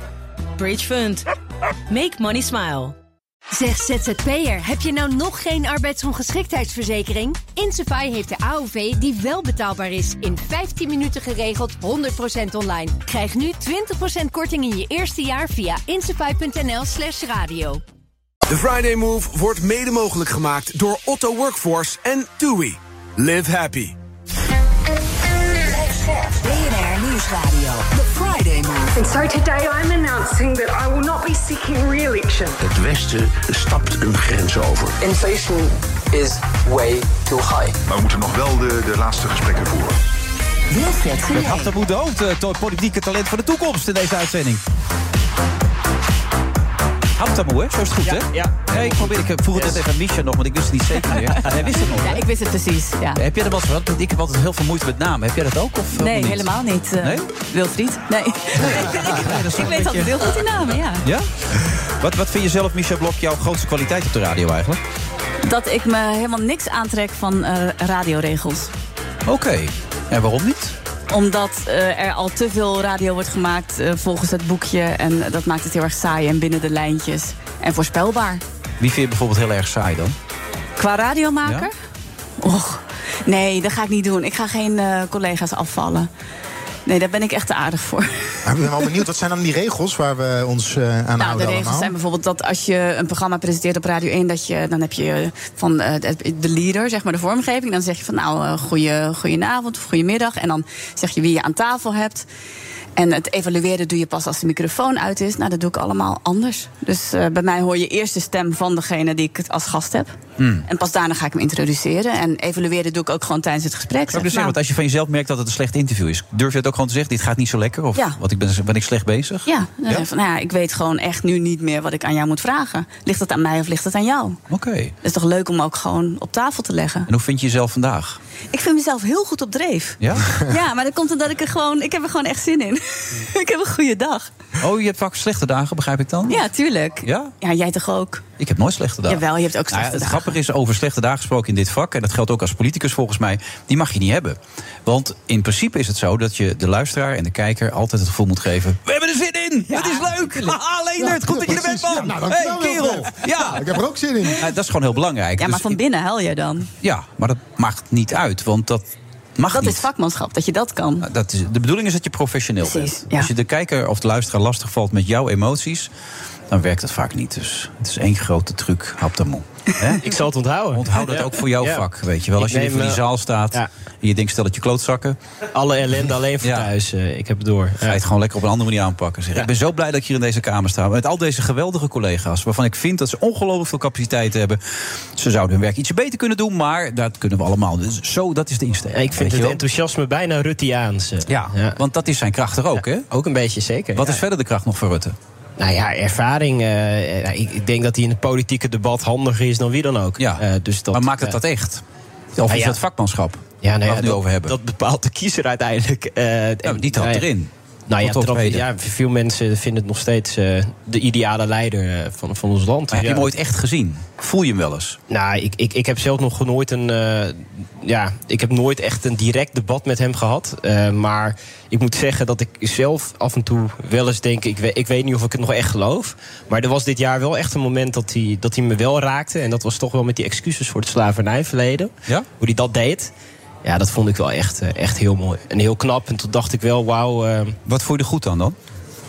Bridgefund. Make money smile.
Zeg ZZP'er, heb je nou nog geen arbeidsongeschiktheidsverzekering? Insafai heeft de AOV die wel betaalbaar is. In 15 minuten geregeld, 100% online. Krijg nu 20% korting in je eerste jaar via insafai.nl slash radio.
De Friday Move wordt mede mogelijk gemaakt door Otto Workforce en TUI. Live happy.
BNR Nieuwsradio. The Friday Move.
And so today I'm announcing that I will not be seeking re election.
Het Westen stapt een grens over.
Inflation is way too high.
Maar we moeten nog wel de, de laatste gesprekken voeren.
Met Achterboet de Hoofd, eh, to- politieke talent van de toekomst in deze uitzending. Hamtamoe, hè? Zo is het goed, hè? Ja. ik probeer, ik vroeg het net even aan Misha nog, want ik wist het niet zeker meer. Ah, Hij wist het nog.
Ja,
hè?
ik wist het precies. Ja.
Heb jij dat wel eens gehad? Want Ik heb altijd heel veel moeite met namen. Heb jij dat ook? Of, eh,
Nee,
niet?
helemaal niet. eh,
Nee?
Wilfried? Nee.
dat is
ik
wel een
weet altijd
beetje-
heel goed die namen, ja.
Ja? Wat, wat vind je zelf, Misha Blok, jouw grootste kwaliteit op de radio eigenlijk?
Dat ik me helemaal niks aantrek van eh, radioregels.
Oké. En waarom niet?
Omdat eh, er al te veel radio wordt gemaakt eh, volgens het boekje. En dat maakt het heel erg saai en binnen de lijntjes. En voorspelbaar.
Wie vind je bijvoorbeeld heel erg saai dan?
Qua radiomaker? Och, nee, dat ga ik niet doen. Ik ga geen eh, collega's afvallen. Nee, daar ben ik echt te aardig voor.
Maar ik ben wel benieuwd, wat zijn dan die regels waar we ons eh, aan
Nou, de
houden
regels
allemaal?
zijn bijvoorbeeld dat als je een programma presenteert op Radio 1... Dat je, dan heb je van eh, de- de leader, zeg maar de vormgeving... dan zeg je van nou, eh, goeie, goedenavond of goedemiddag. En dan zeg je wie je aan tafel hebt. En het evalueren doe je pas als de microfoon uit is. Nou, dat doe ik allemaal anders. Dus eh, bij mij hoor je eerst de stem van degene die ik het als gast heb. En pas daarna ga ik hem introduceren. En evalueren doe ik ook gewoon tijdens het gesprek.
Ik zou
Zeg,
dus zeggen,
nou,
want als je van jezelf merkt dat het een slecht interview is, durf je het ook gewoon te zeggen: dit gaat niet zo lekker? Of
Ja.
wat ik ben, ben ik slecht bezig?
Ja, dan zeg je van, nou ja, ik weet gewoon echt nu niet meer wat ik aan jou moet vragen. Ligt dat aan mij of ligt dat aan jou?
Oké.
Het is toch leuk om ook gewoon op tafel te leggen.
En hoe vind je jezelf vandaag?
Ik vind mezelf heel goed op dreef.
Ja?
Ja, maar dat komt omdat ik er gewoon... Ik heb er gewoon echt zin in. ik heb een goede dag.
Oh, je hebt vaak slechte dagen, begrijp ik dan?
Ja, tuurlijk.
Ja?
Ja, jij toch ook?
Ik heb nooit slechte dagen.
Jawel, je hebt ook
Nou ja,
slechte
het
dagen.
grappige is over slechte dagen gesproken in dit vak, en dat geldt ook als politicus volgens mij, die mag je niet hebben. Want in principe is het zo dat je de luisteraar en de kijker altijd het gevoel moet geven.
We hebben er zin in! het is leuk! Haha, Leendert, goed dat je er bent, man!
nou,
hey, kerel!
Ja,
ik heb er ook zin in.
dat is gewoon heel belangrijk.
Ja, maar
Dus
van
ik-
binnen huil jij dan.
ja, maar dat maakt niet uit, want dat mag
dat
niet.
is vakmanschap, dat je dat kan.
Dat is, de bedoeling is dat je professioneel
Precies,
bent.
ja.
Als je de kijker of de luisteraar lastig valt met jouw emoties, dan werkt dat vaak niet. Dus het is één grote truc, hap dan moe. Hè?
Ik zal het onthouden.
Onthoud dat ook voor jouw
Ja.
vak, weet je wel.
Ik
Als je
neem,
in die
eh,
zaal staat
ja.
en je denkt, stel dat je klootzakken.
Alle ellende alleen voor thuis. eh, ik heb het door.
Ga je het gewoon lekker op een andere manier aanpakken. Zeg. Ik ben zo blij dat ik hier in deze kamer sta. Met al deze geweldige collega's. Waarvan ik vind dat ze ongelooflijk veel capaciteit hebben. Ze zouden hun werk iets beter kunnen doen. Maar dat kunnen we allemaal. Dus zo, dat is de insteek.
Ik
weet
vind
je
het
wel.
enthousiasme bijna Ruttiaans. eh.
Ja, want dat is zijn kracht er ook, hè?
Ook een beetje, zeker.
Wat is verder de kracht nog voor Rutte?
Nou ja, ervaring. eh, eh, ik, ik denk dat hij in het politieke debat handiger is dan wie dan ook. Eh, dus dat,
Maar maakt het
eh,
dat echt? Of
nou
is
ja.
dat vakmanschap?
Ja,
Waar
nou
we
ja,
het nu
dat-
over hebben.
Dat bepaalt de kiezer uiteindelijk. eh, en-
die trapt
nou ja,
erin.
Nou ja,
Tot op
trapt-
heden.
ja, veel mensen vinden het nog steeds eh, de ideale leider eh, van, van ons land.
Maar heb je
Ja.
hem ooit echt gezien? Voel je hem wel eens?
Nou, ik, ik, ik heb zelf nog nooit een. eh, ja, ik heb nooit echt een direct debat met hem gehad. Eh, maar ik moet zeggen dat ik zelf af en toe wel eens denk. Ik, we- ik weet niet of ik het nog echt geloof. Maar er was dit jaar wel echt een moment dat hij, dat hij me wel raakte. En dat was toch wel met die excuses voor het slavernijverleden.
Ja?
Hoe hij dat deed. Ja, dat vond ik wel echt, eh, echt heel mooi. En heel knap. En toen dacht ik wel, wauw. eh,
Wat vond je er goed aan dan?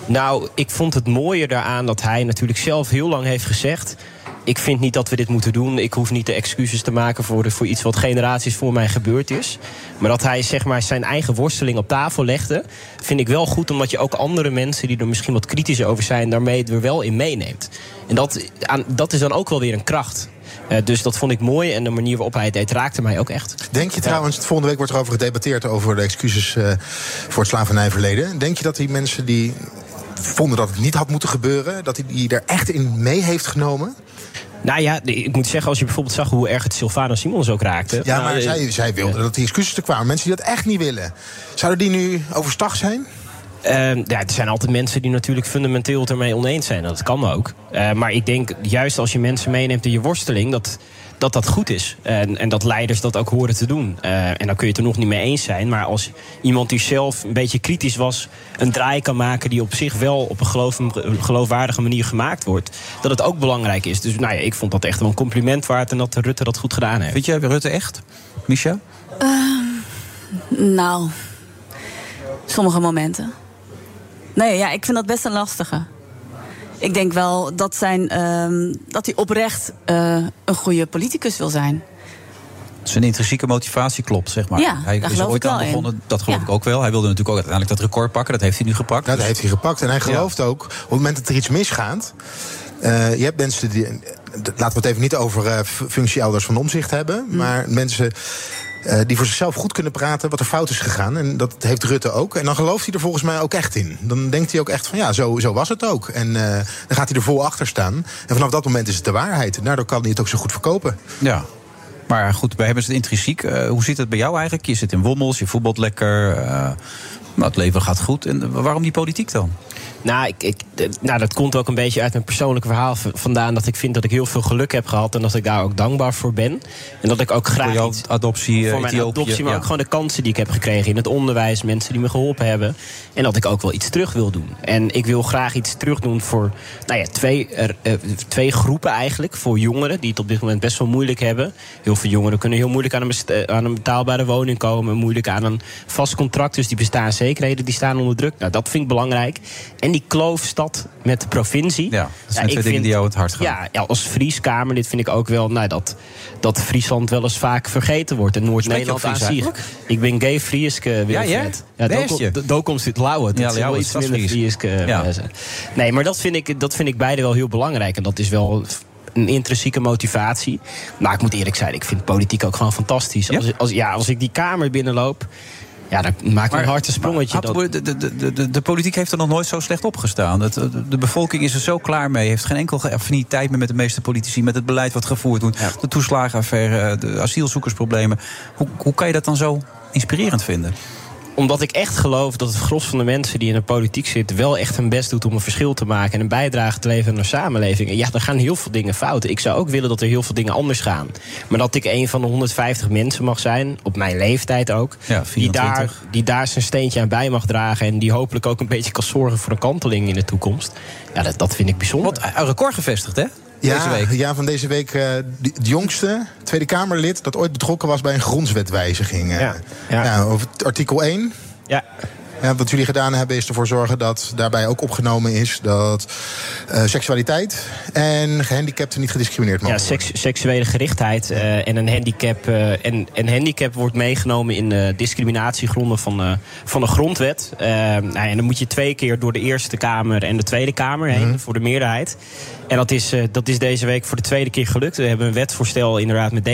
Nou, ik vond het mooie daaraan dat hij natuurlijk zelf heel lang heeft gezegd... ik vind niet dat we dit moeten doen. Ik hoef niet de excuses te maken voor, voor iets wat generaties voor mij gebeurd is. Maar dat hij zeg maar, zijn eigen worsteling op tafel legde... vind ik wel goed, omdat je ook andere mensen... die er misschien wat kritisch over zijn, daarmee er wel in meeneemt. En dat, aan, dat is dan ook wel weer een kracht. Eh, dus dat vond ik mooi en de manier waarop hij het deed raakte mij ook echt.
Denk je trouwens, volgende week wordt er over gedebatteerd over de excuses eh, voor het slavernijverleden. Denk je dat die mensen die vonden dat het niet had moeten gebeuren, dat hij die er echt in mee heeft genomen?
Nou ja, ik moet zeggen, als je bijvoorbeeld zag hoe erg het Sylvana Simons ook raakte.
Ja,
Nou,
maar
eh,
zij, zij wilde dat die excuses er kwamen. Mensen die dat echt niet willen. Zouden die nu overstag zijn?
Ehm, ja, er zijn altijd mensen die natuurlijk fundamenteel het ermee oneens zijn. Dat kan ook. Eh, maar ik denk juist als je mensen meeneemt in je worsteling, dat dat, dat goed is. En, en dat leiders dat ook horen te doen. Eh, en dan kun je het er nog niet mee eens zijn. Maar als iemand die zelf een beetje kritisch was, een draai kan maken die op zich wel op een geloof, geloofwaardige manier gemaakt wordt, dat het ook belangrijk is. Dus nou ja, ik vond dat echt wel een compliment waard en dat Rutte dat goed gedaan heeft.
Vind jij Rutte echt? Micha?
Ehm, nou, sommige momenten. Nee, ja, ik vind dat best een lastige. Ik denk wel dat, zijn, ehm, dat hij oprecht eh, een goede politicus wil zijn.
Zijn intrinsieke motivatie klopt, zeg maar.
Ja,
hij
daar
is
geloof
ooit
ik
aan
wel in.
begonnen, dat geloof ik ook wel. Hij wilde natuurlijk ook uiteindelijk dat record pakken. Dat heeft hij nu gepakt.
Nou, dat heeft hij gepakt. En hij gelooft ook, op het moment dat er iets misgaat... eh, je hebt mensen die... eh, Laten we het even niet over eh, f- functieouders van omzicht hebben... maar mensen eh, die voor zichzelf goed kunnen praten wat er fout is gegaan. En dat heeft Rutte ook. En dan gelooft hij er volgens mij ook echt in. Dan denkt hij ook echt van, ja, zo, zo was het ook. En eh, dan gaat hij er vol achter staan. En vanaf dat moment is het de waarheid. En daardoor kan hij het ook zo goed verkopen.
Ja. Maar goed, bij hem is het intrinsiek. Eh, hoe zit het bij jou eigenlijk? Je zit in Wommels, je voetbalt lekker. eh, nou, het leven gaat goed. En eh, waarom die politiek dan?
Nou, ik, ik, d- nou, dat komt ook een beetje uit mijn persoonlijke verhaal v- vandaan. Dat ik vind dat ik heel veel geluk heb gehad. En dat ik daar ook dankbaar voor ben. En dat ik ook graag. Voor
adoptie, eh,
Voor mijn
Ethiopië,
adoptie, maar
ja.
ook gewoon de kansen die ik heb gekregen in het onderwijs. Mensen die me geholpen hebben. En dat ik ook wel iets terug wil doen. En ik wil graag iets terug doen voor nou ja, twee, er- eh, twee groepen eigenlijk. Voor jongeren die het op dit moment best wel moeilijk hebben. Heel veel jongeren kunnen heel moeilijk aan een, best- eh, aan een betaalbare woning komen. Moeilijk aan een vast contract. Dus die bestaanszekerheden die staan onder druk. Nou, dat vind ik belangrijk. En die kloofstad met de provincie. Ja,
dat zijn twee dingen die jou het hart gaan.
Ja, ja, als Fries Kamerlid vind ik ook wel nou, dat, dat Friesland wel eens vaak vergeten wordt. En Noord-Nederland
Spreek
aan
je ook Fries
zich. Ik ben gay Frieske,
Ja, ja?
Wilfred.
Daar is je.
Dokom zit lauwe.
Ja,
Dat is wel
Lauwe
iets
is dat
minder
Fries.
Frieske. eh,
Ja.
mensen. Nee, maar dat vind, ik, dat vind ik beide wel heel belangrijk. En dat is wel een intrinsieke motivatie. Maar ik moet eerlijk zijn, ik vind politiek ook gewoon fantastisch. Als, als, ja, als ik die kamer binnenloop... Ja, dat maakt
Maar
een hard een sprongetje.
Had-
Dat...
de, de, de, de, de politiek heeft er nog nooit zo slecht op gestaan. Het- de, de bevolking is er zo klaar mee. Heeft geen enkel ge- affiniteit meer met de meeste politici. Met het beleid wat gevoerd wordt. De toeslagenaffaire, de asielzoekersproblemen. Hoe, hoe kan je dat dan zo inspirerend vinden? Dus
Omdat ik echt geloof dat het gros van de mensen die in de politiek zit... wel echt hun best doet om een verschil te maken... en een bijdrage te leveren aan de samenleving. En ja, er gaan heel veel dingen fout. Ik zou ook willen dat er heel veel dingen anders gaan. Maar dat ik een van de 150 mensen mag zijn, op mijn leeftijd ook... die, daar,
24.
die daar zijn steentje aan bij mag dragen... en die hopelijk ook een beetje kan zorgen voor een kanteling in de toekomst. Ja, dat, dat vind ik bijzonder. Wat
een eh, record gevestigd, hè?
Ja, ja, van deze week eh, de- het jongste Tweede Kamerlid dat ooit betrokken was bij een grondwetwijziging. eh. Nou, over het artikel 1.
Ja.
wat jullie gedaan hebben is ervoor zorgen dat daarbij ook opgenomen is dat eh, seksualiteit en gehandicapten niet gediscrimineerd mogen
Ja, seks- seksuele gerichtheid eh, en een handicap. eh, en, en handicap wordt meegenomen in de discriminatiegronden van, eh, van de grondwet. Eh, nou ja, en dan moet je twee keer door de Eerste Kamer en de Tweede Kamer heen
Mhm.
voor de meerderheid. En dat is, eh, dat is deze week voor de tweede keer gelukt. Eh, We hebben een wetsvoorstel inderdaad met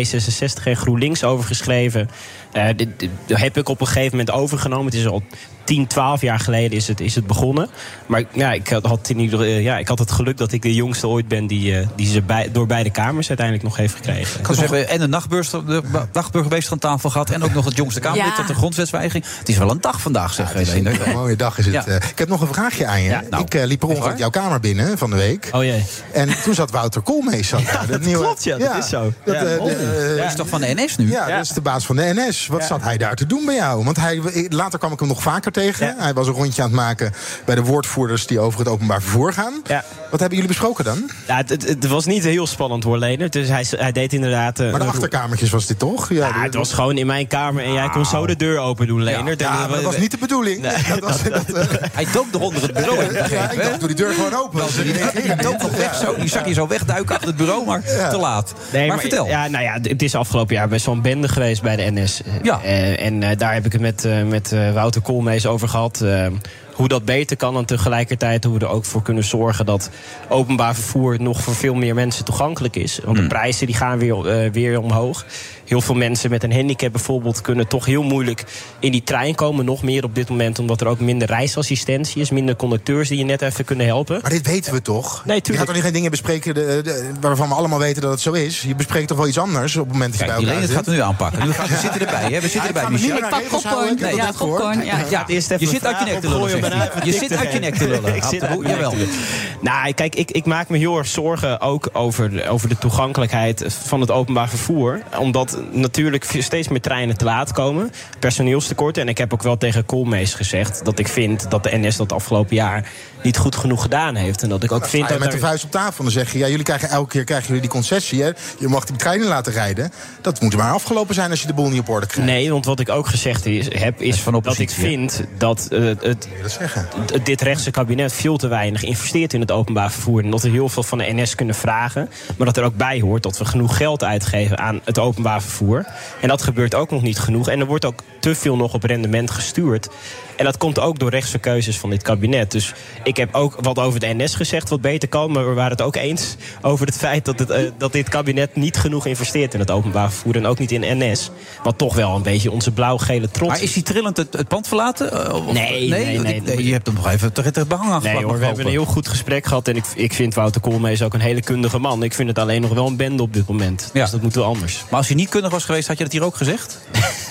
D66 en GroenLinks overgeschreven. Eh dit, dit- dat heb ik op een gegeven moment overgenomen. Het is al 10, 12 jaar geleden is het, is het begonnen. Maar ja, ik, had- had in ieder, eh, ja, ik had het geluk dat ik de jongste ooit ben die, eh, die ze bij, door beide kamers uiteindelijk nog heeft gekregen.
Dus we hebben en de, nachtbeurs, de ba- nachtburgemeester aan tafel gehad... en ook nog het jongste Kamerlid
Ja.
dat de grondwetswijziging... Het is wel een dag vandaag, zeg
Het is
Helene.
een mooie dag is het.
Ja. nou,
eh. ik heb nog een vraagje aan je. ik eh, liep per ongeluk jouw kamer binnen van de week.
Oh jee.
En toen zat Wouter Koolmees. Zat daar, de nieuwe-
klopt, ja, dat is zo. Ja,
eh,
mooi.
eh,
Ja. Is toch van de NS nu?
Ja,
Ja.
dat is de baas van de NS. Wat zat hij daar te doen bij jou? Want hij, eh, later kwam ik hem nog vaker tegen. Hij was een rondje aan het maken bij de woordvoerders... die over het openbaar vervoer gaan. Wat hebben jullie besproken dan?
Ja, het, het, het was niet heel spannend hoor, Lener. Dus hij, hij deed inderdaad... eh,
Maar de achterkamertjes was dit toch? Ja,
het was gewoon in mijn kamer en jij kon zo de deur open doen, Lener. eh,
Ja, maar dat was niet de bedoeling. Dat eh, was,
Hij dook eronder het bureau.
Ja,
begreep,
ik
hè?
dacht, doe die deur gewoon open.
Nou, doe die deur- die dook nog weg zo. Die zag je zo wegduiken achter het bureau, maar te laat.
Nee,
maar, vertel.
Ja, nou ja, het is afgelopen jaar best wel een bende geweest bij de NS. Ja. en eh, daar heb ik het met, eh, met eh, Wouter Koolmees over gehad. eh, hoe dat beter kan en tegelijkertijd hoe we er ook voor kunnen zorgen... dat openbaar vervoer nog voor veel meer mensen toegankelijk is. Want de
Mm.
prijzen die gaan weer, eh, weer omhoog. Heel veel mensen met een handicap bijvoorbeeld... kunnen toch heel moeilijk in die trein komen. Nog meer op dit moment, omdat er ook minder reisassistentie is. Minder conducteurs die je net even kunnen helpen.
Maar dit weten we
Nee,
toch? Je gaat
tuurlijk.
toch niet geen dingen bespreken de- de- waarvan we allemaal weten dat het zo is? Je bespreekt toch wel iets anders op het moment dat je bij
Helene,
elkaar
dat gaat we nu aanpakken. Nu gaan- we zitten erbij, hè? We zitten erbij, Michel.
Nou, Ik pak popcorn.
Nee,
Ja,
dat
popcorn,
gehoord.
ja.
Ja, je zit uit je nek te lullen, zegt hij. Je zit uit je nek te lullen.
ik zit uit
Abdul,
mijn nek
Jawel.
te lullen. Nou, kijk, ik, ik maak me heel erg zorgen ook over, over de toegankelijkheid van het openbaar vervoer. Omdat natuurlijk steeds meer treinen te laat komen. Personeelstekorten. En ik heb ook wel tegen Koolmees gezegd dat ik vind dat de NS dat afgelopen jaar niet goed genoeg gedaan heeft. En dat ik ook
Dan sta
vind
je
dat
Ah, met de
er-
vuist op tafel en dan zeg je... ja, jullie krijgen elke keer krijgen jullie die concessie, hè? Je mag die treinen laten rijden. Dat moet maar afgelopen zijn als je de boel niet op orde krijgt.
Nee, want wat ik ook gezegd is, heb, is dat ik vind dat eh, het, het- dit rechtse kabinet veel te weinig investeert in het openbaar vervoer. En dat we heel veel van de NS kunnen vragen. Maar dat er ook bij hoort dat we genoeg geld uitgeven aan het openbaar vervoer. En dat gebeurt ook nog niet genoeg. En er wordt ook te veel nog op rendement gestuurd. En dat komt ook door rechtse keuzes van dit kabinet. Dus ik heb ook wat over de NS gezegd wat beter kan. Maar we waren het ook eens over het feit dat, het, eh, dat dit kabinet niet genoeg investeert in het openbaar vervoer. En ook niet in NS. Wat toch wel een beetje onze blauw-gele trots
Maar is hij trillend het, het pand verlaten? Eh, of-
Nee, nee, nee,
ik- Je hebt hem nog even tegen het behang aangepakt.
Nee hoor, we hebben een heel goed gesprek gehad. En ik, ik vind Wouter Koolmees ook een hele kundige man. Ik vind het alleen nog wel een bende op dit moment. Dus dat moet wel anders.
Maar als je niet kundig was geweest, had je dat hier ook gezegd?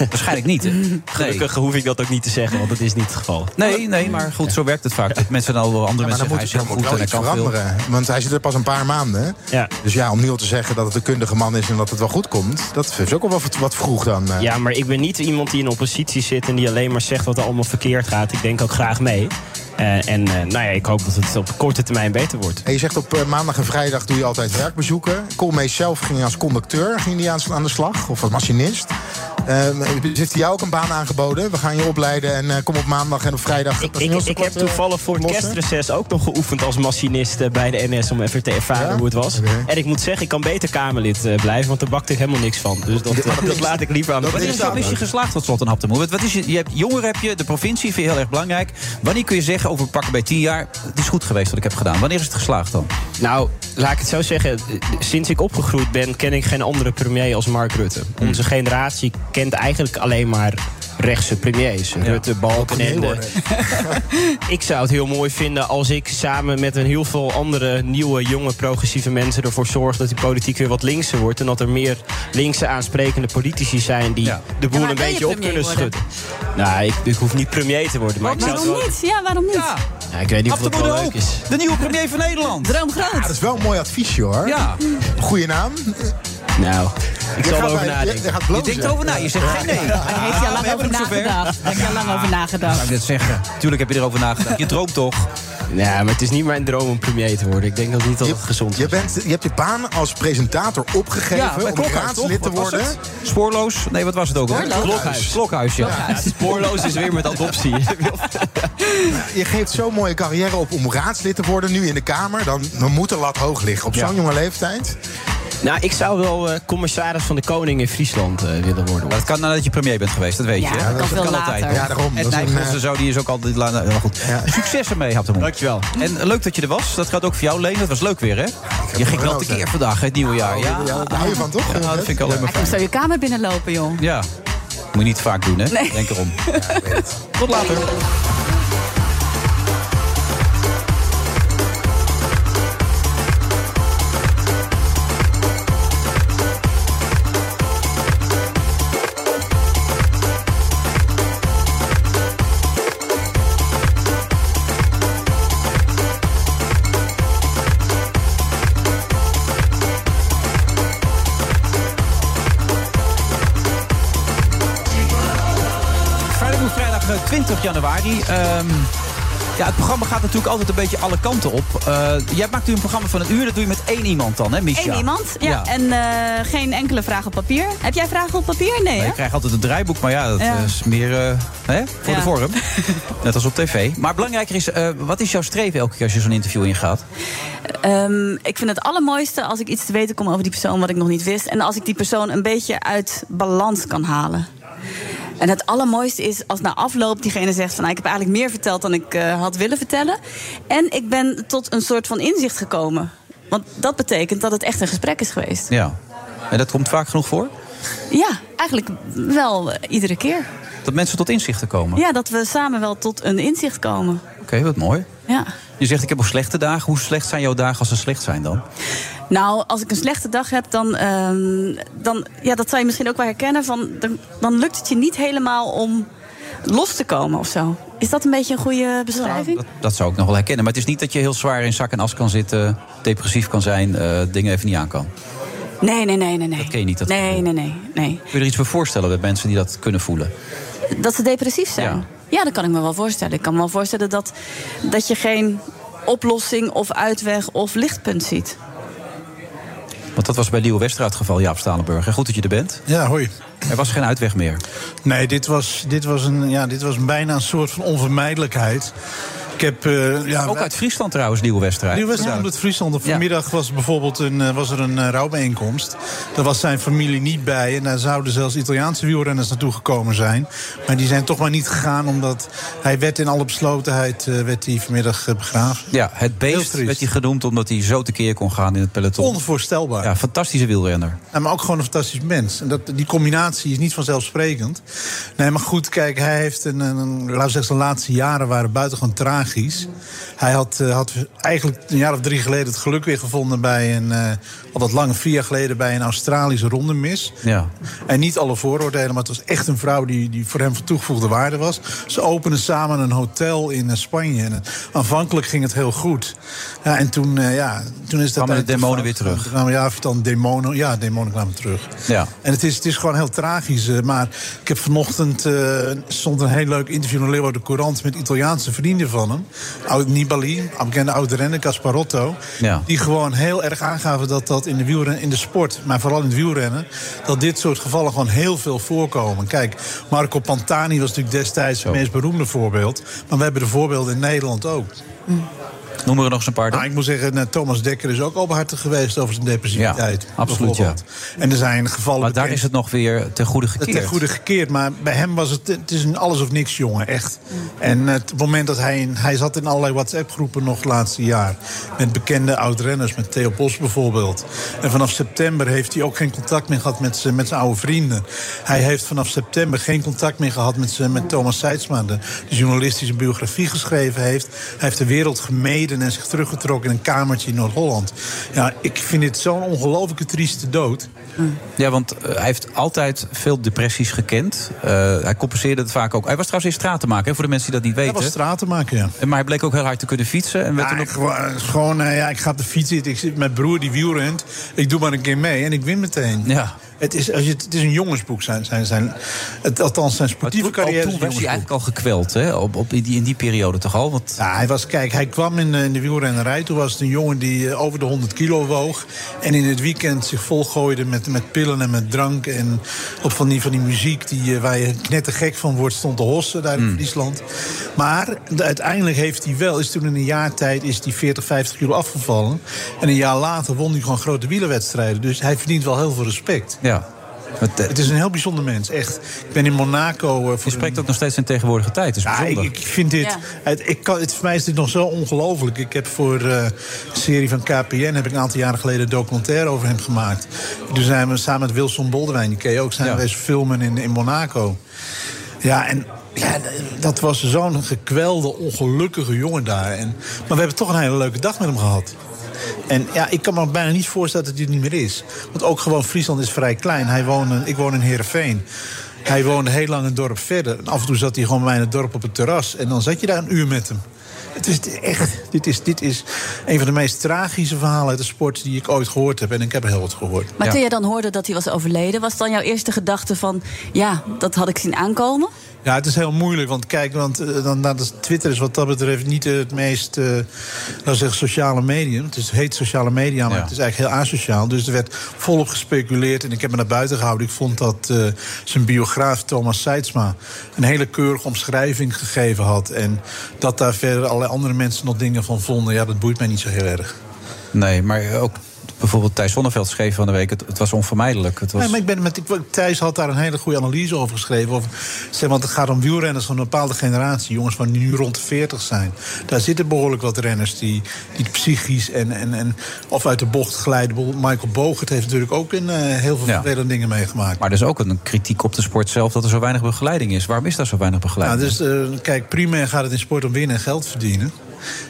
Waarschijnlijk niet. hè? Nee.
Gelukkig hoef ik dat ook niet te zeggen, want dat is niet het geval.
Nee, nee, maar goed, zo werkt het vaak. Dat mensen dan wel andere
Ja,
mensen
maar dan moet
zeggen,
het
hij is heel
ook
goed en
wel
hij
iets
kan veel.
veranderen. Want hij zit er pas een paar maanden. hè? Dus ja, om nu al te zeggen dat het een kundige man is en dat het wel goed komt... dat is ook al wel wat- wat vroeg dan. eh.
Ja, maar ik ben niet iemand die in oppositie zit en die alleen maar zegt wat er allemaal verkeerd gaat. Ik denk ook graag mee. Eh, en eh, nou ja, ik hoop dat het op korte termijn beter wordt.
En je zegt op eh, maandag en vrijdag doe je altijd werkbezoeken. Koolmees zelf ging als conducteur ging die aan, aan de slag, of als machinist. Ehm, heeft hij jou ook een baan aangeboden? We gaan je opleiden en eh, kom op maandag en op vrijdag.
Ik, ik, ik heb toevallig voor het kerstreces ook nog geoefend als machinist eh, bij de NS om even te ervaren hoe het was. En ik moet zeggen, ik kan beter Kamerlid eh, blijven, want daar bakte ik helemaal niks van. Dus dat, eh, dat laat ik liever aan de
Wat is,
kant.
nou, is je geslaagd tot slot een hap te moe? Wat- Wat is je, je hebt, jongeren heb je, de provincie vind je heel erg belangrijk. Wanneer kun je zeggen, over pakken bij 10 jaar... het is goed geweest wat ik heb gedaan. Wanneer is het geslaagd dan?
Nou, laat ik het zo zeggen. Sinds ik opgegroeid ben, ken ik geen andere premier als Mark Rutte. Onze generatie kent eigenlijk alleen maar rechtse premiers. Rutte, Balkenende.
worden.
ik zou het heel mooi vinden als ik samen met een heel veel andere nieuwe, jonge, progressieve mensen ervoor zorg dat die politiek weer wat linkser wordt. En dat er meer linkse aansprekende politici zijn die de boel
maar
een
wil je
beetje op
premier
kunnen
worden?
schudden. Nou, ik, ik hoef niet premier te worden, maar ik zou het
waarom
wel-
niet? Ja, waarom niet?
Ja, ik weet niet of
Ab
dat
de
wel
Boer
leuk
ook.
is.
De nieuwe premier van Nederland.
Droom groot.
Ja, dat is wel een mooi adviesje hoor.
Ja.
Goeie naam.
Nou,
ik zal erover nadenken. Je,
Je denkt erover na, je zegt geen nee.
Daar heeft hij al lang over nagedacht. Daar heeft hij al lang over
Zou
nagedacht.
ik dit zeggen? Tuurlijk heb je erover nagedacht. Je droomt toch?
Ja, maar het is niet mijn droom om premier te worden. Ik denk dat niet dat het gezond is.
je, bent, je hebt je baan als presentator opgegeven
Ja, bij
om
Klokhuis,
raadslid
toch?
te
Wat was
worden.
het? Spoorloos? Nee, wat was het ook? alweer?
Spoorloos?
Klokhuis. Klokhuis, ja.
Klokhuis.
Ja, Spoorloos is weer met adoptie.
Je geeft zo'n mooie carrière op om raadslid te worden nu in de Kamer. Dan, dan moet de lat hoog liggen op zo'n jonge leeftijd.
Nou, ik zou wel eh, commissaris van de Koning in Friesland eh, willen worden.
Maar dat kan nadat je premier bent geweest, dat weet
Ja,
je. hè?
dat kan veel later. Ja, daarom.
En
Dat is een,
Nijpels en
eh,
zo, die is ook altijd... la- nou, Maar goed. Succes ermee, Haptemoen. Dankjewel. En eh, leuk dat je er was. Dat gaat ook voor jou, Leen. Dat was leuk weer, hè? Je ging wel tekeer vandaag, hè, het nieuwe jaar. Ja,
Ja, daar hou je van, toch?
Ja, dat vind ik alleen maar
Hij komt
fijn.
zo je kamer binnenlopen, joh.
Ja. Moet je niet vaak doen, hè?
Nee.
Denk erom. Tot later. Friday Move vrijdag eh, 20 januari. Ehm, ja, het programma gaat natuurlijk altijd een beetje alle kanten op. Eh, jij maakt nu een programma van een uur. Dat doe je met één iemand dan, hè, Micha?
Eén iemand. Ja. En eh, geen enkele vraag op papier. Heb jij vragen op papier? Nee,
Nee,
hè?
ik krijg altijd een draaiboek, maar ja, dat
Ja.
eh, is meer eh, hè, voor
Ja.
de vorm. Net als op tv. Maar belangrijker is, eh, wat is jouw streven elke keer als je zo'n interview ingaat?
Ehm, ik vind het allermooiste als ik iets te weten kom over die persoon wat ik nog niet wist. En als ik die persoon een beetje uit balans kan halen. En het allermooiste is als na afloop diegene zegt van nou, ik heb eigenlijk meer verteld dan ik eh, had willen vertellen. En ik ben tot een soort van inzicht gekomen. Want dat betekent dat het echt een gesprek is geweest.
Ja. En dat komt vaak genoeg voor?
Ja, eigenlijk wel eh, iedere keer.
Dat mensen tot inzichten komen.
Ja, dat we samen wel tot een inzicht komen.
Oké, wat mooi.
Ja.
Je zegt, ik heb ook slechte dagen. Hoe slecht zijn jouw dagen als ze slecht zijn dan?
Nou, als ik een slechte dag heb, dan, ehm, dan ja, dat zou je misschien ook wel herkennen. Van, dan, dan lukt het je niet helemaal om los te komen of zo. Is dat een beetje een goede beschrijving?
Dat, dat zou ik nog wel herkennen. Maar het is niet dat je heel zwaar in zak en as kan zitten, depressief kan zijn, eh, dingen even niet aan kan.
Nee, nee, nee, nee, nee.
Dat ken je niet. Dat
Nee, nee, nee, nee.
Kun je er iets voor voorstellen bij mensen die dat kunnen voelen?
Dat ze depressief zijn. Ja. dat kan ik me wel voorstellen. Ik kan me wel voorstellen dat, dat je geen oplossing of uitweg of lichtpunt ziet.
Want dat was bij Leo Westra het geval, Jaap Stalenburg. En goed dat je er bent.
Ja, hoi.
Er was geen uitweg meer.
Nee, dit was, dit was, een, ja, dit was bijna een soort van onvermijdelijkheid. Ik heb, eh, ja,
Ook uit Friesland trouwland trouwens, Nieuwe Westra.
Nu was het omdat Friesland. Vanmiddag was bijvoorbeeld een, eh, was er een eh, rouwbijeenkomst. Daar was zijn familie niet bij. En daar zouden zelfs Italiaanse wielrenners naartoe gekomen zijn. Maar die zijn toch maar niet gegaan. Omdat hij werd in alle beslotenheid eh, werd hij vanmiddag eh, begraven.
Ja, het beest werd hij genoemd omdat hij zo tekeer kon gaan in het peloton.
Onvoorstelbaar.
Ja, fantastische wielrenner.
Ja, maar ook gewoon een fantastisch mens. En dat, die combinatie is niet vanzelfsprekend. Nee, maar goed, kijk, hij heeft een, een- een laten we zeggen, zijn laatste jaren waren buitengewoon tragisch. Hij had, eh, had eigenlijk een jaar of drie geleden het geluk weer gevonden bij een, eh, al wat lang, vier jaar geleden bij een Australische rondemis.
Ja.
En niet alle vooroordelen, maar het was echt een vrouw die, die voor hem van toegevoegde waarde was. Ze openden samen een hotel in eh, Spanje. En eh, aanvankelijk ging het heel goed. Ja, en toen, eh, ja, toen
Kwamen
is dat.
de
eigenlijk
demonen
fout
weer terug.
gegaan. Nou ja, of het dan demonen. Ja, demonen kwamen terug.
Ja.
En het is, het is gewoon heel tragisch. eh, Maar ik heb vanochtend eh, stond een heel leuk interview in Leeuwarden Courant met Italiaanse vrienden van hem. Oud Nibali, een bekende oud renner, Casparotto.
Ja.
Die gewoon heel erg aangaven dat dat in de, wielren, in de sport, maar vooral in het wielrennen, dat dit soort gevallen gewoon heel veel voorkomen. Kijk, Marco Pantani was natuurlijk destijds het meest beroemde voorbeeld. Maar we hebben de voorbeelden in Nederland ook.
Noem er nog eens een paar.
Nou, ik moet zeggen, nou, Thomas Dekker is ook openhartig geweest over zijn depressiviteit.
absoluut,
bijvoorbeeld. En er zijn gevallen.
Maar daar
bekend-
is het nog weer ten goede
Het
gekeerd.
ten goede gekeerd, maar bij hem was het, het is een alles of niks jongen, echt. En het moment dat hij, in- hij zat in allerlei WhatsApp-groepen nog het laatste jaar. Met bekende oud-renners, met Theo Bos bijvoorbeeld. En vanaf september heeft hij ook geen contact meer gehad met zijn, met zijn oude vrienden. Hij heeft vanaf september geen contact meer gehad met, zijn, met Thomas Seidsma, de, de journalist die zijn biografie geschreven heeft. Hij heeft de wereld gemeden en zich teruggetrokken in een kamertje in Noord-Holland. Ja, ik vind dit zo'n ongelooflijke trieste dood.
Ja, want eh, hij heeft altijd veel depressies gekend. Eh, hij compenseerde het vaak ook. Hij was trouwens eerst stratenmaker, hè, voor de mensen die dat niet weten.
was stratenmaker, ja.
Maar hij bleek ook heel hard te kunnen fietsen. En werd
Ja,
toen ook...
ik wa- gewoon, eh, ja, ik ga op de fiets zitten. Ik zit, mijn broer die wielrent. Ik doe maar een keer mee en ik win meteen.
Ja.
Het is, als je, het is een jongensboek. Zijn, zijn, zijn, het, althans, zijn sportieve
Al
carrière is
toen
een
was hij
jongensboek.
eigenlijk al gekweld, hè? Op, op, in, die, in die periode toch al? Want
Ja, hij was, kijk, hij kwam in, eh, in de wielrennerij. Toen was het een jongen die eh, over de 100 kilo woog. En in het weekend zich volgooide met, met pillen en met drank. En op van die, van die muziek die, eh, waar je knettergek van wordt, stond te hossen daar in Friesland. Maar de- uiteindelijk heeft hij wel, is toen in een jaar tijd is die 40, 50 kilo afgevallen. En een jaar later won hij gewoon grote wielerwedstrijden. Dus hij verdient wel heel veel respect.
Ja. Het, eh,
is een heel bijzonder mens, echt. Ik ben in Monaco... eh, voor
Je spreekt ook nog steeds in tegenwoordige tijd. Het is
ja, ik,
bijzonder.
ik vind dit.
Ja.
Het, ik kan, het, voor mij is dit nog zo ongelooflijk. Ik heb voor eh, een serie van KPN heb ik een aantal jaren geleden een documentaire over hem gemaakt. Toen zijn we samen met Wilson Boldewijn, die ken je ook, zijn we eens filmen in, in Monaco. Ja, en ja, d- dat was zo'n gekwelde, ongelukkige jongen daar. En, maar we hebben toch een hele leuke dag met hem gehad. En ja, ik kan me bijna niet voorstellen dat hij er niet meer is. Want ook gewoon Friesland is vrij klein. Hij woonde, ik woon in Heerenveen. Hij woonde heel lang een dorp verder. En af en toe zat hij gewoon bij mij in het dorp op het terras. En dan zat je daar een uur met hem. Het is echt, dit is, dit is een van de meest tragische verhalen uit de sport die ik ooit gehoord heb. En ik heb er heel wat gehoord.
Maar toen je dan hoorde dat hij was overleden, was dan jouw eerste gedachte van... ja, dat had ik zien aankomen?
Ja, het is heel moeilijk. Want kijk, want, eh, dan, dan is Twitter is wat dat betreft niet eh, het meest eh, laten we zeggen, sociale medium. Het is, heet sociale media, maar
Ja.
het is eigenlijk heel asociaal. Dus er werd volop gespeculeerd en ik heb me naar buiten gehouden. Ik vond dat eh, zijn biograaf Thomas Seidsma een hele keurige omschrijving gegeven had. En dat daar verder allerlei andere mensen nog dingen van vonden. Ja, dat boeit mij niet zo heel erg.
Nee, maar ook bijvoorbeeld Thijs Zonneveld schreef van de week... het, het was onvermijdelijk. Het was...
Nee, maar ik ben met, ik, Thijs had daar een hele goede analyse over geschreven. Over, zeg, want het gaat om wielrenners van een bepaalde generatie. Jongens van die nu rond de 40 zijn. Daar zitten behoorlijk wat renners die, die psychisch en, en, en of uit de bocht glijden. Bijvoorbeeld Michael Bogert heeft natuurlijk ook in, eh, heel veel
Ja.
vervelende dingen meegemaakt.
Maar er is ook een kritiek op de sport zelf dat er zo weinig begeleiding is. Waarom is daar zo weinig
Nou,
begeleiding?
dus, eh, kijk, primair gaat het in sport om winnen en geld verdienen.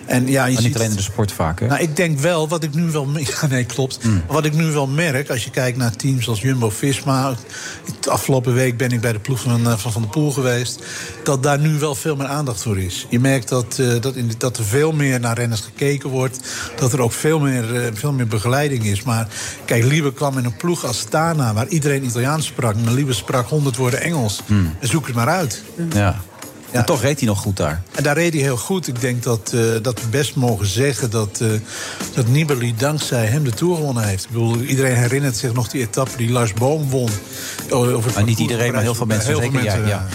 En, ja, je
maar
ziet
niet alleen in de sport vaak, hè? Hmm.
Nou, ik denk wel, wat ik nu wel... me- Ja, nee, klopt. Wat ik nu wel merk, als je kijkt naar teams als Jumbo-Visma... de afgelopen week ben ik bij de ploeg van eh, Van, van der Poel geweest... dat daar nu wel veel meer aandacht voor is. Je merkt dat, eh, dat, in, dat er veel meer naar renners gekeken wordt. Dat er ook veel meer, eh, veel meer begeleiding is. Maar kijk, Liebe kwam in een ploeg als Tana... waar iedereen Italiaans sprak. Maar Liebe sprak 100 woorden Engels.
Hmm.
En zoek het maar uit.
Ja. En toch reed hij nog goed daar.
En daar reed hij heel goed. Ik denk dat, eh, dat we best mogen zeggen dat, eh, dat Nibali dankzij hem de Tour gewonnen heeft. Ik bedoel, iedereen herinnert zich nog die etappe die Lars Boom won.
Maar niet iedereen, maar heel veel mensen. zeker jij, ja.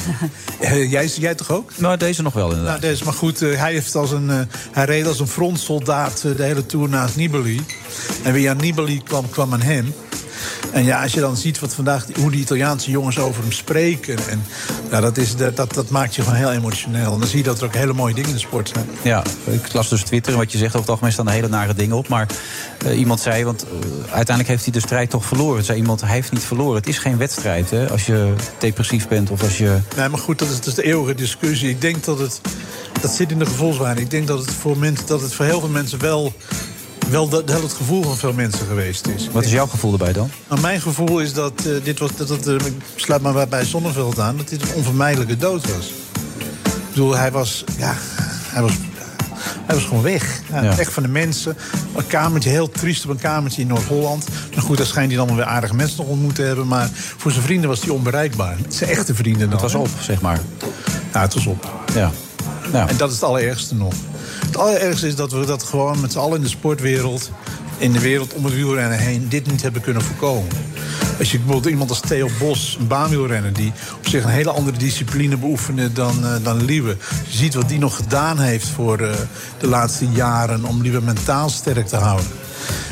Eh, jij, jij toch ook?
Nou, deze nog wel inderdaad.
Nou, deze, maar goed, eh, hij, heeft als een, eh, hij reed als een frontsoldaat eh, de hele Tour naast Nibali. En wie aan Nibali kwam, kwam aan hem. En ja, als je dan ziet wat vandaag, die- hoe die Italiaanse jongens over hem spreken... En, ja, dat, is, dat, dat, dat maakt je gewoon heel emotioneel. En dan zie je dat er ook hele mooie dingen in de sport zijn.
Ja, ik las dus Twitter en wat je zegt. Over het algemeen staan er hele nare dingen op. Maar eh, iemand zei, want eh, uiteindelijk heeft hij de strijd toch verloren. Zei iemand, hij heeft niet verloren. Het is geen wedstrijd, hè? Als je depressief bent of als je...
Nee, maar goed, dat is, dat is de eeuwige discussie. Ik denk dat het. Dat zit in de gevoelswaarde. Ik denk dat het voor, mensen, dat het voor heel veel mensen wel. wel dat, dat het gevoel van veel mensen geweest is.
Wat is jouw gevoel erbij dan?
Maar mijn gevoel is dat. eh, dit was, dat, dat, eh, ik sluit maar bij- bij Zonneveld aan. dat dit een onvermijdelijke dood was. Ik bedoel, hij was. Ja, hij was. Hij was gewoon weg. Ja,
Ja.
Weg van de mensen. Een kamertje, heel triest op een kamertje in Noord-Holland. Nou goed, daar schijnt hij dan wel weer aardige mensen nog ontmoet te hebben. Maar voor zijn vrienden was hij onbereikbaar. Zijn echte vrienden dan.
Het was
hè?
op, zeg maar.
Ja, het was op.
Ja. Nou.
En dat is het allerergste nog. Het allerergste is dat we dat gewoon met z'n allen in de sportwereld... in de wereld om het wielrennen heen, dit niet hebben kunnen voorkomen. Als je bijvoorbeeld iemand als Theo Bos, een baan wil rennen... die op zich een hele andere discipline beoefende dan, eh dan Liewe. Je ziet wat die nog gedaan heeft voor eh, de laatste jaren... om Liewe mentaal sterk te houden.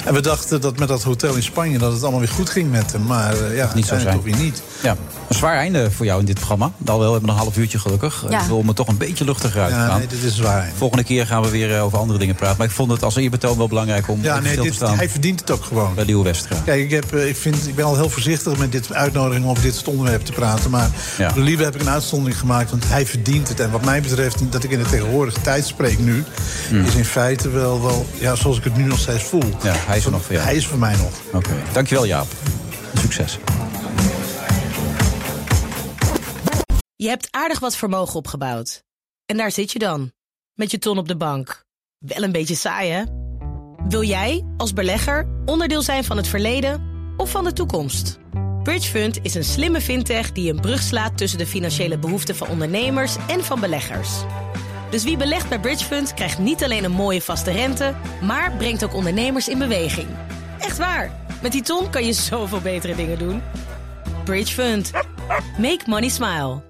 En we dachten dat met dat hotel in Spanje dat het allemaal weer goed ging met hem. Maar eh, ja,
niet zo
uiteindelijk
zijn.
toch weer niet.
Ja, een zwaar einde voor jou in dit programma. Alhoewel, we hebben nog een half uurtje gelukkig.
Ja.
Ik wil me toch een beetje luchtiger uit te
Ja,
gaan.
nee, dit is zwaar.
Volgende keer gaan we weer eh, over andere dingen praten. Maar ik vond het als eerbetoon wel belangrijk om
Ja,
even
nee,
stil
dit,
te staan.
hij verdient het ook gewoon.
Bij Leeuw Westra.
Kijk, ik, heb, eh, ik, vind, ik ben al heel voorzichtig met dit uitnodiging om over dit soort onderwerpen te praten. Maar
Ja.
voor Liebe heb ik een uitzondering gemaakt, want hij verdient het. En wat mij betreft, dat ik in de tegenwoordige tijd spreek nu,
Hmm.
is in feite wel, wel ja, zoals ik het nu nog steeds voel.
Ja, hij is er nog voor jou.
Hij is voor mij nog.
Oké, dankjewel Jaap. Succes.
Je hebt aardig wat vermogen opgebouwd. En daar zit je dan, met je ton op de bank. Wel een beetje saai, hè? Wil jij, als belegger, onderdeel zijn van het verleden of van de toekomst? Bridgefund is een slimme fintech die een brug slaat tussen de financiële behoeften van ondernemers en van beleggers. Dus wie belegt bij Bridgefund krijgt niet alleen een mooie vaste rente, maar brengt ook ondernemers in beweging. Echt waar, met die ton kan je zoveel betere dingen doen. Bridgefund. Make money smile.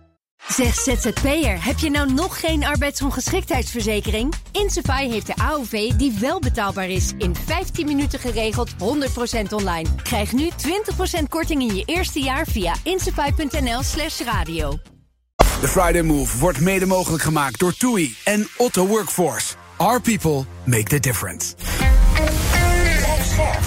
Zeg ZZP'er, heb je nou nog geen arbeidsongeschiktheidsverzekering? Insafai heeft de AOV die wel betaalbaar is. In 15 minuten geregeld, 100% online. Krijg nu 20% korting in je eerste jaar via insafai.nl slash radio.
De Friday Move wordt mede mogelijk gemaakt door TUI en Otto Workforce. Our people make the difference.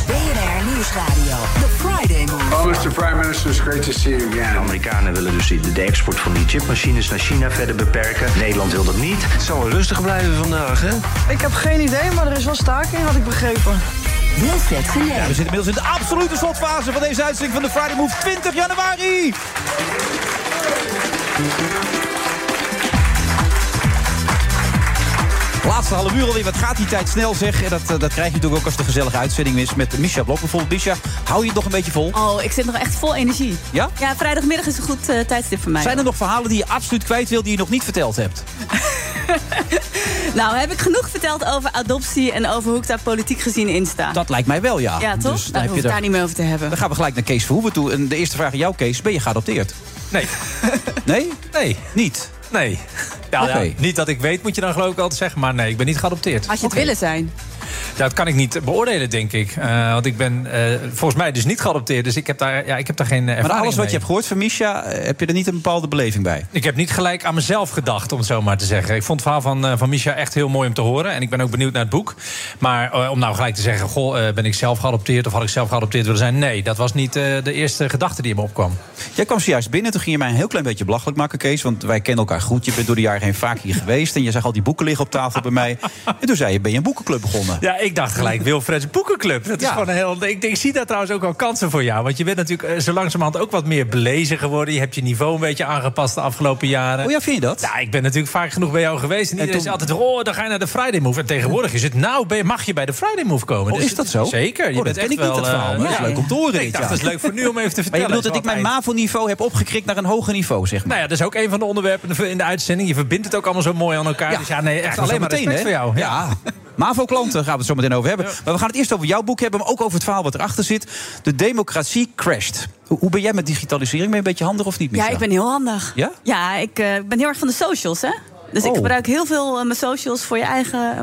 BNR Nieuwsradio. The Friday Move.
Oh, Mr. Prime Minister, it's great to see you
De
again.
Amerikanen willen dus de de export van die chipmachines naar China verder beperken. Nederland wil dat niet. Het zal wel rustig blijven vandaag, hè?
Ik heb geen idee, maar er is wel staking, had ik begrepen.
Wilfred
Ja, we zitten inmiddels in de absolute slotfase van deze uitzending van de Friday Move 20 januari. Laatste half uur alweer, wat gaat die tijd snel zeg. En dat, eh, dat krijg je natuurlijk ook als de gezellige uitzending is met Misha Blok bijvoorbeeld. Misha, hou je het nog een beetje vol?
Oh, ik zit nog echt vol energie.
Ja?
Ja, vrijdagmiddag is een goed eh, tijdstip voor mij.
Zijn er nog verhalen die je absoluut kwijt wil die je nog niet verteld hebt?
Nou, heb ik genoeg verteld over adoptie en over hoe ik daar politiek gezien in sta.
Dat lijkt mij wel, ja.
Ja, toch?
Dus
Daar hoef ik daar niet meer over te hebben.
Dan gaan we gelijk naar Kees Verhoeven toe. En de eerste vraag aan jou, Kees. Ben je geadopteerd?
Nee.
Nee?
Nee.
Niet?
Nee. Ja,
Oké.
ja, niet dat ik weet, moet je dan geloof ik altijd zeggen. Maar nee, ik ben niet geadopteerd.
Had je het willen zijn?
Ja, dat kan ik niet beoordelen, denk ik. Eh, want ik ben eh, volgens mij dus niet geadopteerd. Dus ik heb daar, ja, ik heb daar geen eh,
Maar
ervaring
alles wat
mee.
je hebt gehoord van Misha, eh, heb je er niet een bepaalde beleving bij?
Ik heb niet gelijk aan mezelf gedacht, om het zo maar te zeggen. Ik vond het verhaal van, eh, van Misha echt heel mooi om te horen. En ik ben ook benieuwd naar het boek. Maar eh, om nou gelijk te zeggen, goh, eh, ben ik zelf geadopteerd... of had ik zelf geadopteerd willen zijn? Nee, dat was niet eh, de eerste gedachte die in me opkwam.
Jij kwam zojuist binnen, toen ging je mij een heel klein beetje belachelijk maken, Kees. Want wij kennen elkaar goed. Je bent door de jaren heen vaak hier geweest. En je zag al die boeken liggen op tafel bij mij. En toen zei je, ben je een boekenclub begonnen?
Ja, ik dacht gelijk Wilfred's Boekenclub. Dat is gewoon een heel... Ik, denk, ik zie daar trouwens ook wel kansen voor jou. Want je bent natuurlijk eh, zo langzamerhand ook wat meer belezen geworden. Je hebt je niveau een beetje aangepast de afgelopen jaren.
Oh ja, vind je dat?
Ja, ik ben natuurlijk vaak genoeg bij jou geweest. En, iedereen
toen-
is altijd, oh, dan ga je naar de Friday Move. En tegenwoordig is het, nou ben je- mag je bij de Friday Move komen.
Oh,
Dus
is dat
het-
zo?
Zeker.
Oh, dat ken ik niet, dat verhaal, maar dat is leuk om te horen
Ik
dit
dacht,
jaar.
eh, dat is leuk voor nu om even te vertellen.
Maar je bedoelt dat
Zo
ik mijn
aan het
MAVO-niveau heb opgekrikt naar een hoger niveau, zeg maar.
nou ja, dat is ook een van de onderwerpen in de uitzending. Je verbindt het ook allemaal zo mooi aan elkaar. dus ja, nee, echt
Dat is
alleen maar
meteen,
respect voor
hè?
jou.
Ja. MAVO-klanten gaan we het zo meteen over hebben. Maar we gaan het eerst over jouw boek hebben, maar ook over het verhaal wat erachter zit. De democratie crasht. Hoe, hoe ben jij met digitalisering? Ben je een beetje handig of niet,
Ja,
Misha?
ik ben heel handig.
Ja?
Ja, ik eh, ben heel erg van de socials, hè? Dus ik
Oh.
gebruik heel veel eh, mijn socials voor je eigen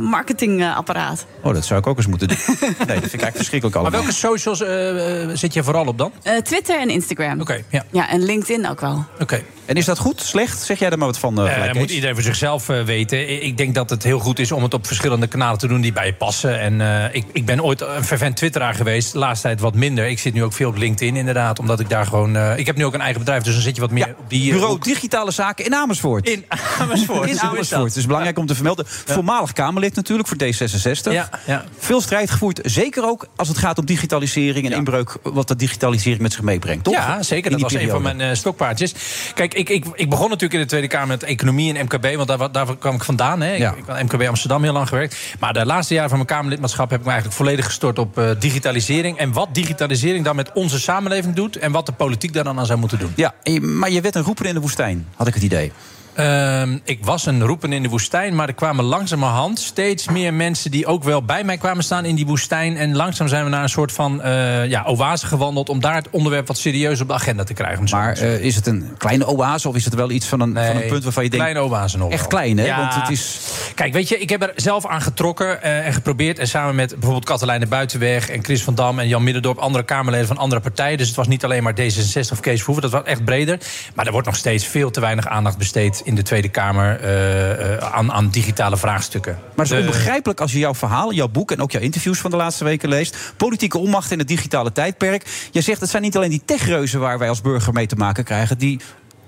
marketingapparaat.
Oh, dat zou ik ook eens moeten doen. Nee, dat vind ik eigenlijk verschrikkelijk allemaal.
Maar welke socials eh, eh, zit je vooral op dan?
Eh, Twitter en Instagram. Oké,
ja.
Ja, en LinkedIn ook wel.
Oké.
En is dat goed, slecht? Zeg jij er maar wat van, eh,
Eh,
gelijk, Kees?
moet iedereen voor zichzelf eh, weten. I- Ik denk dat het heel goed is om het op verschillende kanalen te doen die bij je passen. En eh, ik, ik ben ooit een fervent twitteraar geweest. De laatste tijd wat minder. Ik zit nu ook veel op LinkedIn inderdaad. Omdat ik daar gewoon... eh, ik heb nu ook een eigen bedrijf, dus dan zit je wat meer op die... eh,
Bureau
hoek.
Digitale Zaken in Amersfoort.
In Amersfoort.
In
Zo is dat.
Amersfoort. Het is belangrijk om te vermelden. Voormalig Kamerlid natuurlijk voor D66.
Ja, ja.
Veel strijd gevoerd. Zeker ook als het gaat om digitalisering en inbreuk. Wat de digitalisering met zich meebrengt. Toch?
Ja, zeker.
In
Dat
die
was een van
periode.
mijn eh, stokpaardjes. Kijk, ik, ik, ik begon natuurlijk in de Tweede Kamer met economie en MKB. Want daar, wa- daar kwam ik vandaan. Hè. Ik-
Ja.
Ik, had MKB Amsterdam heel lang gewerkt. Maar de laatste jaren van mijn Kamerlidmaatschap... heb ik me eigenlijk volledig gestort op eh, digitalisering. En wat digitalisering dan met onze samenleving doet... en wat de politiek daar dan aan zou moeten doen.
Ja, en je- maar je werd een roeper in de woestijn, had ik het idee.
Ehm, ik was een roepen in de woestijn, maar er kwamen langzamerhand steeds meer mensen die ook wel bij mij kwamen staan in die woestijn. En langzaam zijn we naar een soort van eh, ja, oase gewandeld om daar het onderwerp wat serieus op de agenda te krijgen. Maar
Eh, is het een kleine oase of is het wel iets van een, van een punt waarvan je denkt...
Kleine oase nog.
Echt
wel.
klein, hè?
Ja.
Want het is...
Kijk, weet je, ik heb er zelf aan getrokken eh, en geprobeerd. En samen met bijvoorbeeld Katelijne Buitenweg en Chris van Dam en Jan Middendorp, andere Kamerleden van andere partijen. Dus het was niet alleen maar D66 of Kees Verhoeven, dat was echt breder. Maar er wordt nog steeds veel te weinig aandacht besteed in de Tweede Kamer eh, eh, aan, aan digitale vraagstukken.
Maar het is
De-
onbegrijpelijk als je jouw verhaal, jouw boek en ook jouw interviews van de laatste weken leest. Politieke onmacht in het digitale tijdperk. Je zegt het zijn niet alleen die techreuzen waar wij als burger mee te maken krijgen. die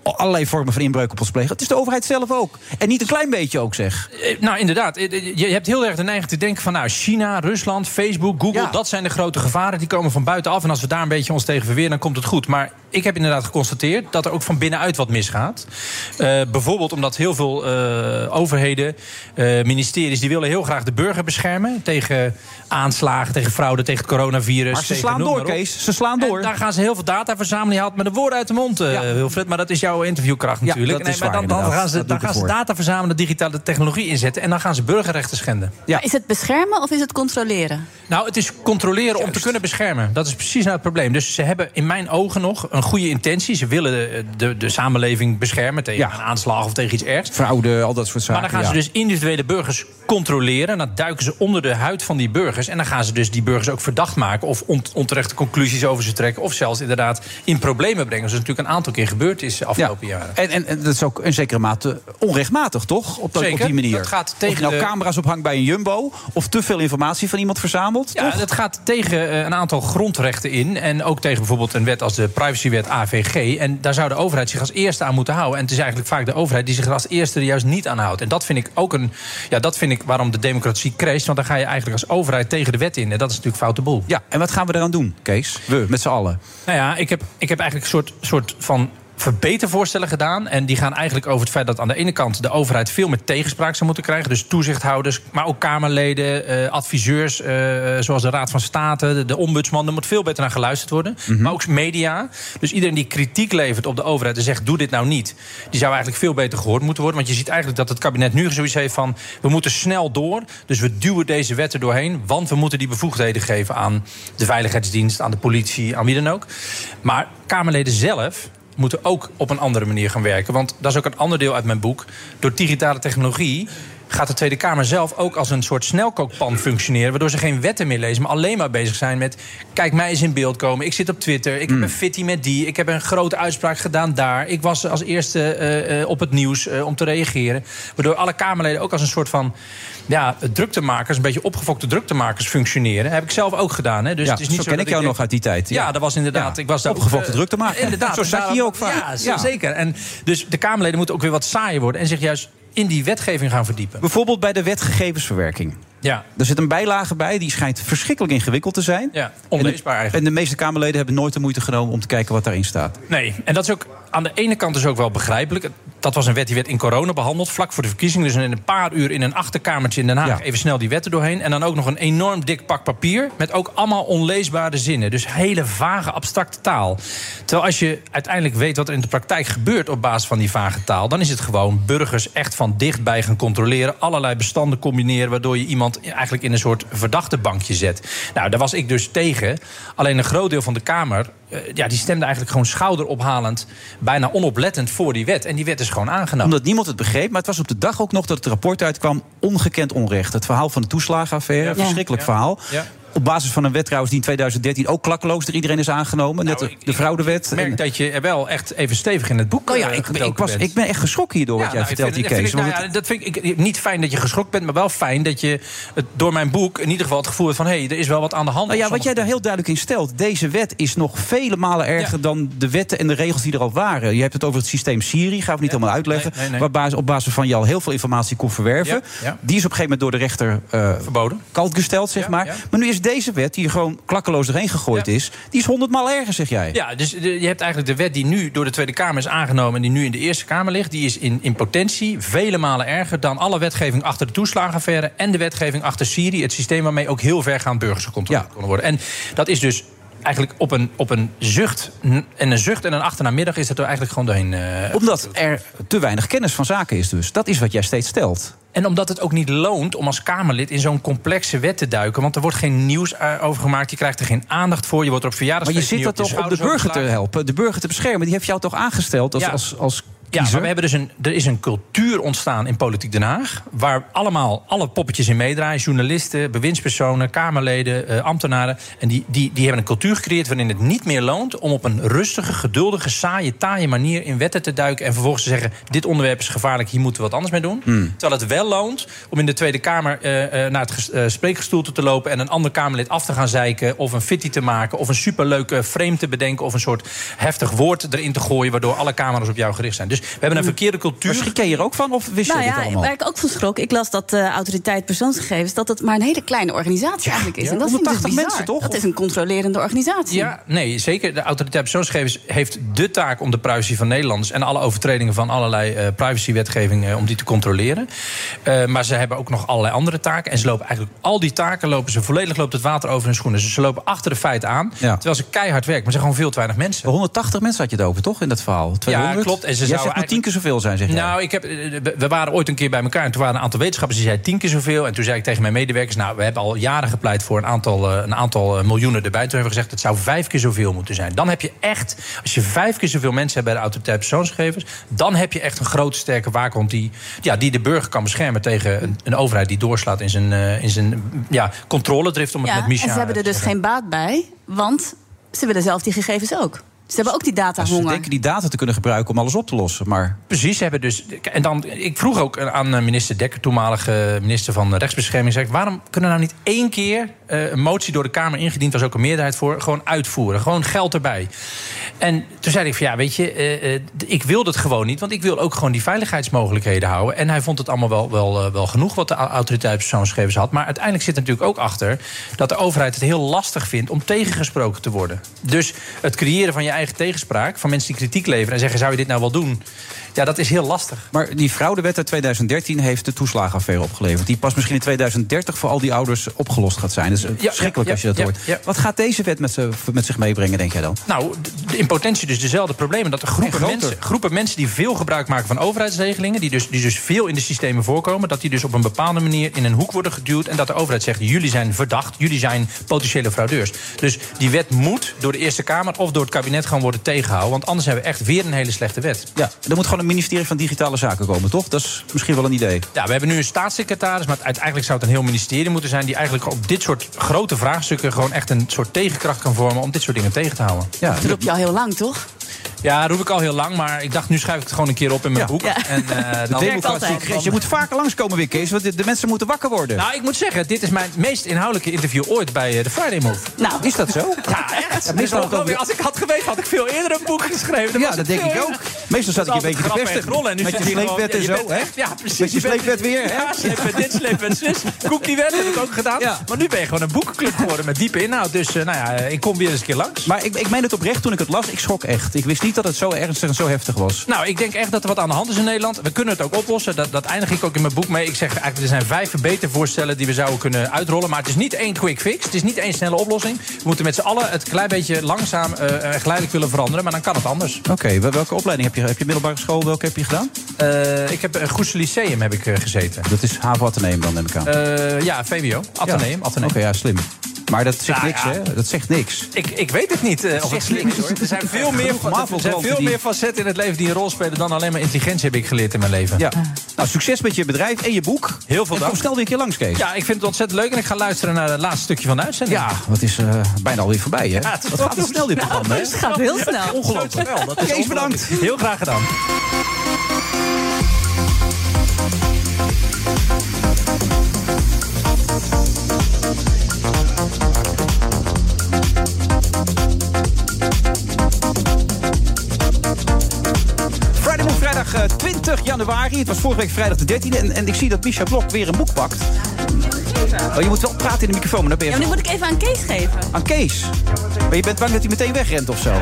allerlei vormen van inbreuk op ons plegen. Het is de overheid zelf ook. En niet een klein beetje ook zeg.
Eh, Nou, inderdaad. Eh, eh, Je hebt heel erg de neiging te denken van... nou, China, Rusland, Facebook, Google... dat zijn de grote gevaren. Die komen van buitenaf. En als we daar een beetje ons tegen verweren, dan komt het goed. Maar ik heb inderdaad geconstateerd dat er ook van binnenuit wat misgaat. Eh, bijvoorbeeld omdat heel veel eh, overheden, eh, ministeries... die willen heel graag de burger beschermen... tegen aanslagen, tegen fraude, tegen het coronavirus.
Maar ze
tegen
slaan
Dus noem
door,
maar op.
Kees. Ze slaan door.
En daar gaan ze heel veel data verzamelen. Je haalt me de woorden uit de mond, eh, Wilfred. Maar dat is jouw interviewkracht natuurlijk.
dat is
maar
waar,
dan, dan
inderdaad.
gaan ze,
Dat doe
dan
ik
gaan ze
ervoor.
data verzamelen, digitale technologie inzetten... en dan gaan ze burgerrechten schenden.
Maar is het beschermen of is het controleren?
Nou, het is controleren om te kunnen beschermen. Dat is precies nou het probleem. Dus ze hebben in mijn ogen nog een goede intentie. Ze willen de, de, de samenleving beschermen tegen een aanslag of tegen iets ergs.
Fraude, al dat soort zaken.
Maar dan gaan ze
ja.
dus individuele burgers controleren. Dan duiken ze onder de huid van die burgers. En dan gaan ze dus die burgers ook verdacht maken. Of ont- onterechte conclusies over ze trekken. Of zelfs inderdaad in problemen brengen. Zoals natuurlijk een aantal keer gebeurd is de afgelopen jaren.
En, en, en dat is ook in zekere mate onrechtmatig, toch? Op, dat- op
Zeker.
die manier.
Dat gaat tegen
of je nou
de-
camera's ophangt bij een jumbo... of te veel informatie van iemand verzamelt,
Ja,
toch?
dat gaat tegen eh, een aantal grondrechten in. En ook tegen bijvoorbeeld een wet als de privacywet AVG. En daar zou de overheid zich als eerste aan moeten houden. En het is eigenlijk vaak de overheid die zich er als eerste er juist niet aan houdt. En dat vind ik ook een. Ja, dat vind ik waarom de democratie crasht. Want dan ga je eigenlijk als overheid tegen de wet in. En dat is natuurlijk foute boel.
Ja, en wat gaan we eraan doen, Kees? We, met z'n allen.
Nou ja, ik heb, ik heb eigenlijk een soort, soort van verbetervoorstellen gedaan. En die gaan eigenlijk over het feit dat aan de ene kant de overheid veel meer tegenspraak zou moeten krijgen. Dus toezichthouders, maar ook Kamerleden, eh, adviseurs, eh, zoals de Raad van State, de, de ombudsman. Er moet veel beter naar geluisterd worden. Maar ook media. Dus iedereen die kritiek levert op de overheid en zegt: doe dit nou niet. Die zou eigenlijk veel beter gehoord moeten worden. Want je ziet eigenlijk dat het kabinet nu zoiets heeft van: we moeten snel door. Dus we duwen deze wetten doorheen. Want we moeten die bevoegdheden geven aan de veiligheidsdienst, aan de politie, aan wie dan ook. Maar Kamerleden zelf moeten ook op een andere manier gaan werken. Want dat is ook een ander deel uit mijn boek. Door digitale technologie gaat de Tweede Kamer zelf ook als een soort snelkookpan functioneren... waardoor ze geen wetten meer lezen, maar alleen maar bezig zijn met... kijk, mij eens in beeld komen, ik zit op Twitter, ik heb een fitty met die... ik heb een grote uitspraak gedaan daar, ik was als eerste eh, eh, op het nieuws eh, om te reageren. Waardoor alle Kamerleden ook als een soort van ja, druktemakers... een beetje opgefokte druktemakers functioneren. heb ik zelf ook gedaan. Hè? Dus
Ja,
het is niet
zo
zo,
ken
dat
ik jou
denk-
nog uit die tijd, ja.
Ja, dat was inderdaad...
Ja,
Ik was daar
opgefokt
eh,
druk te maken.
Inderdaad.
Zo zat je je ook vaak.
Ja, zo
Ja.
zeker. En dus de Kamerleden moeten ook weer wat saaier worden... en zich juist in die wetgeving gaan verdiepen.
Bijvoorbeeld bij de wet gegevensverwerking.
Ja.
Er zit een bijlage bij, die schijnt verschrikkelijk ingewikkeld te zijn.
Ja, onleesbaar
en de, en de meeste Kamerleden hebben nooit de moeite genomen om te kijken wat daarin staat.
Nee, en dat is ook aan de ene kant dus ook wel begrijpelijk. Dat was een wet die werd in corona behandeld, vlak voor de verkiezingen. Dus in een paar uur in een achterkamertje in Den Haag even snel die wetten doorheen. En dan ook nog een enorm dik pak papier met ook allemaal onleesbare zinnen. Dus hele vage, abstracte taal. Terwijl als je uiteindelijk weet wat er in de praktijk gebeurt op basis van die vage taal... dan is het gewoon burgers echt van dichtbij gaan controleren. Allerlei bestanden combineren, waardoor je iemand eigenlijk in een soort verdachte bankje zet. Nou, daar was ik dus tegen. Alleen een groot deel van de Kamer eh, ja, die stemde eigenlijk gewoon schouderophalend, bijna onoplettend voor die wet. En die wet is gewoon aangenomen.
Omdat niemand het begreep, maar het was op de dag ook nog dat het rapport uitkwam... ongekend onrecht. Het verhaal van de toeslagenaffaire, verschrikkelijk verhaal.
Ja.
Op basis van een wet trouwens die in 2013 ook klakkeloos door iedereen is aangenomen. Net de, de fraudewet.
Nou, Ik merk dat je er wel echt even stevig in het boek
Nou ja,
eh,
ik, ik,
gedoken
was,
bent.
ik ben echt geschrokken hierdoor wat
Ja,
jij
nou,
vertelt,
ik
die
vind-
Kees.
vind ik-
want
nou ja, dat vind ik ik- niet fijn dat je geschokt bent, maar wel fijn dat je het, door mijn boek in ieder geval het gevoel hebt van hé, hey, er is wel wat aan de hand.
Nou ja,
op
wat jij daar heel duidelijk in stelt. Deze wet is nog vele malen erger dan de wetten en de regels die er al waren. Je hebt het over het systeem Siri, gaan we niet helemaal uitleggen.
nee, nee.
Waar basis, op basis van je al heel veel informatie kon verwerven.
Ja, ja.
Die is op een gegeven moment door de rechter eh,
verboden.
Kalt gesteld, zeg maar. Maar nu is deze wet, die er gewoon klakkeloos doorheen gegooid is, die is honderdmaal erger, zeg jij.
Ja, dus de- je hebt eigenlijk de wet die nu door de Tweede Kamer is aangenomen... en die nu in de Eerste Kamer ligt... die is in, in potentie vele malen erger dan alle wetgeving achter de toeslagenaffaire... en de wetgeving achter Syrië, het systeem waarmee ook heel ver gaan burgers gecontroleerd konden worden. En dat is dus eigenlijk op een, op een zucht n- en een zucht en een achternamiddag is het er eigenlijk gewoon doorheen. eh,
Omdat er te weinig kennis van zaken is dus. Dat is wat jij steeds stelt.
En omdat het ook niet loont om als Kamerlid in zo'n complexe wet te duiken. Want er wordt geen nieuws eh, over gemaakt. Je krijgt er geen aandacht voor. Je wordt er op dus
Maar
verjaardag.
je zit dat toch om de burger te helpen, de burger te beschermen. Die heeft jou toch aangesteld als,
Ja.
als, als
Ja, maar
kiezer?
we hebben dus een, er is een cultuur ontstaan in Politiek Den Haag. Waar allemaal alle poppetjes in meedraaien. Journalisten, bewindspersonen, Kamerleden, eh, ambtenaren. En die, die, die hebben een cultuur gecreëerd waarin het niet meer loont om op een rustige, geduldige, saaie, taaie manier in wetten te duiken. En vervolgens te zeggen: dit onderwerp is gevaarlijk, hier moeten we wat anders mee doen.
Hmm.
Terwijl het wel loont om in de Tweede Kamer eh, eh, naar het ges- eh, spreekgestoelte te lopen... en een ander Kamerlid af te gaan zeiken of een fitty te maken... of een superleuke frame te bedenken of een soort heftig woord erin te gooien... waardoor alle camera's op jou gericht zijn. Dus we hebben een verkeerde cultuur. Schrik
Mm. jij hier ook van of wist
nou ja, waar ik ook van schrok, ik las dat de autoriteit persoonsgegevens... dat het maar een hele kleine organisatie eigenlijk is.
ja,
en dat vind ik dus
180
bizar.
mensen, toch?
Dat is een controlerende organisatie.
Ja, nee, zeker. De autoriteit persoonsgegevens heeft de taak om de privacy van Nederlanders en alle overtredingen van allerlei eh, privacywetgeving eh, om die te controleren. Eh, maar ze hebben ook nog allerlei andere taken. En ze lopen eigenlijk al die taken lopen ze volledig loopt het water over hun schoenen. Dus ze lopen achter de feiten aan. Terwijl ze keihard werken, maar ze hebben gewoon veel te weinig mensen.
180 mensen had je het over, toch, in dat verhaal? 200?
Ja, klopt. En ze
Jij
zouden
zegt maar
eigenlijk-
tien keer zoveel zijn, zeg jij.
Nou, ik heb, eh, we- we waren ooit een keer bij elkaar. En toen waren een aantal wetenschappers die zeiden tien keer zoveel. En toen zei ik tegen mijn medewerkers: Nou, we hebben al jaren gepleit voor een aantal, eh, een aantal eh, miljoenen erbij. Toen hebben we gezegd: Het zou vijf keer zoveel moeten zijn. Dan heb je echt, als je vijf keer zoveel mensen hebt bij de autoriteit persoonsgegevens. dan heb je echt een grote, sterke waakhond die, ja, die de burger kan beschermen tegen een, een overheid die doorslaat in zijn, eh, in zijn ja, controledrift. Om het
Ja,
met Micha
en ze hebben er
te
dus
zeggen.
geen baat bij, want ze willen zelf die gegevens ook. Ze hebben ook die
Ze
datahonger.
denken die data te kunnen gebruiken om alles op te lossen. Maar
Precies, hebben dus. En dan, ik vroeg ook aan eh, minister Dekker, toenmalige minister van Rechtsbescherming, zeg ik, waarom kunnen we nou niet één keer eh, een motie door de Kamer ingediend, was ook een meerderheid voor, gewoon uitvoeren, gewoon geld erbij. En toen zei ik van ja, weet je, eh, eh, d- ik wil dat gewoon niet, want ik wil ook gewoon die veiligheidsmogelijkheden houden. En hij vond het allemaal wel, wel, eh, wel genoeg wat de au- autoriteit persoonsgegevens had. Maar uiteindelijk zit er natuurlijk ook achter dat de overheid het heel lastig vindt om tegengesproken te worden. Dus het creëren van je eigen tegenspraak, van mensen die kritiek leveren en zeggen: zou je dit nou wel doen? Ja, dat is heel lastig.
Maar die fraudewet uit 2013 heeft de toeslagenaffaire opgeleverd. Die pas misschien in 2030 voor al die ouders opgelost gaat zijn. Dus eh,
ja,
verschrikkelijk
ja,
als je dat
ja,
hoort.
ja.
Wat gaat deze wet met, ze- met zich meebrengen, denk jij dan?
Nou, d- in potentie dus dezelfde problemen. Dat er groepen
groter.
mensen, groepen mensen die veel gebruik maken van overheidsregelingen... Die dus, die dus veel in de systemen voorkomen... dat die dus op een bepaalde manier in een hoek worden geduwd... en dat de overheid zegt, jullie zijn verdacht, jullie zijn potentiële fraudeurs. Dus die wet moet door de Eerste Kamer of door het kabinet gewoon worden tegengehouden... want anders hebben we echt weer een hele slechte wet.
Ja, er moet gewoon een ministerie van Digitale Zaken komen, toch? Dat is misschien wel een idee.
Ja, we hebben nu een staatssecretaris, maar uiteindelijk zou het een heel ministerie moeten zijn... die eigenlijk op dit soort grote vraagstukken gewoon echt een soort tegenkracht kan vormen... om dit soort dingen tegen te houden.
Ja,
Dat roep je al heel lang, toch?
Ja, dat roep ik al heel lang, maar ik dacht, nu schrijf ik het gewoon een keer op in mijn boek. En, eh,
De
dan
democratie, Chris, je moet vaker langskomen weer, Kees. Want de, de mensen moeten wakker worden.
Nou, ik moet zeggen, dit is mijn meest inhoudelijke interview ooit bij eh, de Friday Move.
Nou,
is dat zo?
Ja, echt.
Ja,
Dat is
meestal
wel
ook
weer.
wel-
Als ik had geweten, had ik veel eerder een boek geschreven. Dan
Ja,
was het
dat denk ik
veel
ook.
eerder.
Meestal zat ik
Dat
een
is altijd
beetje te
grappen en
pesten.
rollen en nu
Met je
zit gewoon-
sleepwet en
ja, je
zo,
bent-
hè?
Ja, precies.
Met je
bent-
sleepwet weer, hè?
Ja, sleepwet dit, sleepwet zus. Cookiewet heb ik ook gedaan. Maar nu ben je gewoon een boekenclub geworden met diepe inhoud. Dus eh, nou ja, ik kom weer eens een keer langs.
Maar ik, ik meen het oprecht toen ik het las. Ik schrok echt. Ik wist niet dat het zo ernstig en zo heftig was.
Nou, ik denk echt dat er wat aan de hand is in Nederland. We kunnen het ook oplossen. Dat, dat eindig ik ook in mijn boek mee. Ik zeg eigenlijk, er zijn vijf verbetervoorstellen die we zouden kunnen uitrollen. Maar het is niet één quick fix. Het is niet één snelle oplossing. We moeten met z'n allen het klein beetje langzaam eh, eh, geleidelijk willen veranderen. Maar dan kan het anders.
Oké, wel- welke opleiding heb je? Heb je middelbare school? Welke heb je gedaan?
Eh, ik heb een Goes Lyceum heb ik eh, gezeten.
Dat is HAVO Atheneum dan, neem ik aan.
Eh, ja, VWO. Atheneum.
Ja. Oké,
Atheneum.
ja, slim. Maar dat zegt
Nou
niks,
ja.
hè? Dat zegt niks.
Ik, ik weet het niet eh, of het
Zegt
slim is,
niks.
hoor. Er zijn veel, meer,
Genoeg
er zijn
Marvel-klanten
veel
die-
meer facetten in het leven die een rol spelen... dan alleen maar intelligentie heb ik geleerd in mijn leven.
Ja. Nou, succes met je bedrijf en je boek.
Heel veel
en
dank.
Kom snel weer een keer langs, Kees.
Ja, ik vind het ontzettend leuk en ik ga luisteren naar het laatste stukje van de uitzending.
Ja, wat is eh, bijna alweer voorbij, hè?
Ja, het is
Wat
toch
gaat het snel, dit
snel.
programma, hè?
Het gaat heel snel.
Ongelooflijk.
Zo snel, dat is
Kees,
ongelooflijk.
bedankt.
Heel graag gedaan.
Friday Move, vrijdag eh, 20 januari. Het was vorige week vrijdag de 13e. En, en ik zie dat Misha Blok weer een boek pakt. Oh, je moet wel praten in de microfoon, maar dan ben
Ja,
je
maar die moet ik even aan Kees geven.
aan Kees. Maar je bent bang dat hij meteen wegrent of zo?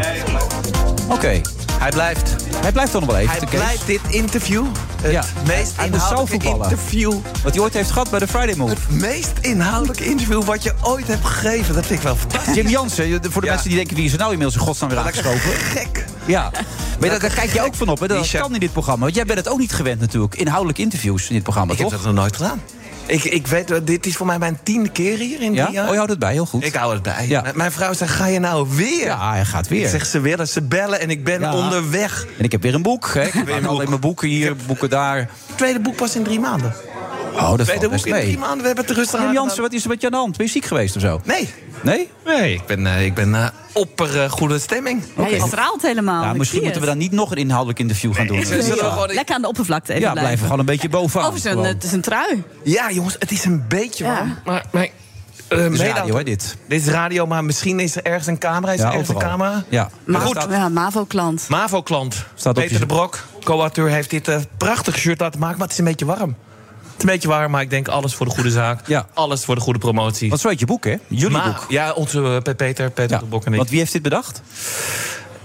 Oké. Hij blijft. Hij blijft toch nog wel even.
Hij
Kees.
blijft dit interview het
Ja.
meest
Hij moet
inhoudelijke
zaalvoetballen.
interview.
Wat hij ooit heeft gehad bij de Friday Move.
Het meest inhoudelijke interview wat je ooit hebt gegeven. Dat vind ik wel fantastisch.
Jim Jansen, je- voor de mensen die denken, wie is er nou inmiddels in godsnaam weer aangeschoven? Gek. Ja. Maar daar, daar kijk je ook van op, hè? Dat
Misha.
kan in dit programma. Want jij bent het ook niet gewend natuurlijk. Inhoudelijk interviews in dit programma,
Ik heb
toch?
dat nog nooit gedaan. Ik, ik weet, wel, dit is voor mij mijn tiende keer hier in
Ja?
die jaar.
Oh, je houdt het bij, heel goed.
Ik hou het bij. M- Mijn vrouw zegt, ga je nou weer?
Ja, hij gaat weer.
Ik zeg, ze willen, ze bellen en ik ben
Ja.
onderweg.
En ik heb weer een boek. Hè? Ik
heb weer
heb
een
alleen mijn boeken hier, boeken daar.
Tweede boek pas in drie maanden.
Oh, dat
Tweede
valt
boek
best
in
mee.
drie maanden, we hebben het rustig
Jim
aan
Jansen, wat is er met je aan de hand? Ben je ziek geweest of zo?
Nee.
Nee?
Nee, ik ben, eh, ik ben eh, opper eh, goede stemming.
Hij straalt helemaal.
Ja,
Ik
misschien
zie
moeten we dan
het.
niet nog een inhoudelijk interview gaan doen.
zullen we
Ja.
gewoon-
Lekker aan de oppervlakte even
ja,
blijven.
blijven gewoon een beetje bovenaan.
Overigens, een-
gewoon.
het is een trui.
Ja, jongens, het is een beetje
Ja.
warm. Maar, maar, eh,
Het is
mede-
radio, hè, dit.
Dit is radio, maar misschien is er ergens een camera. Is
Ja,
er ergens
overal.
een camera?
Ja.
Maar
Maar
goed.
ja, MAVO-klant.
MAVO-klant,
Staat op
Peter
je-
de Brok, co-auteur, heeft dit eh, prachtig shirt laten maken. Maar het is een beetje warm. Het is een beetje warm, maar ik denk alles voor de goede zaak. Alles voor de goede promotie.
Want zo heet je boek, hè? Jullie
Ma-
boek.
Ja, onze eh, Peter, Peter de Brok en ik.
Want wie heeft dit bedacht?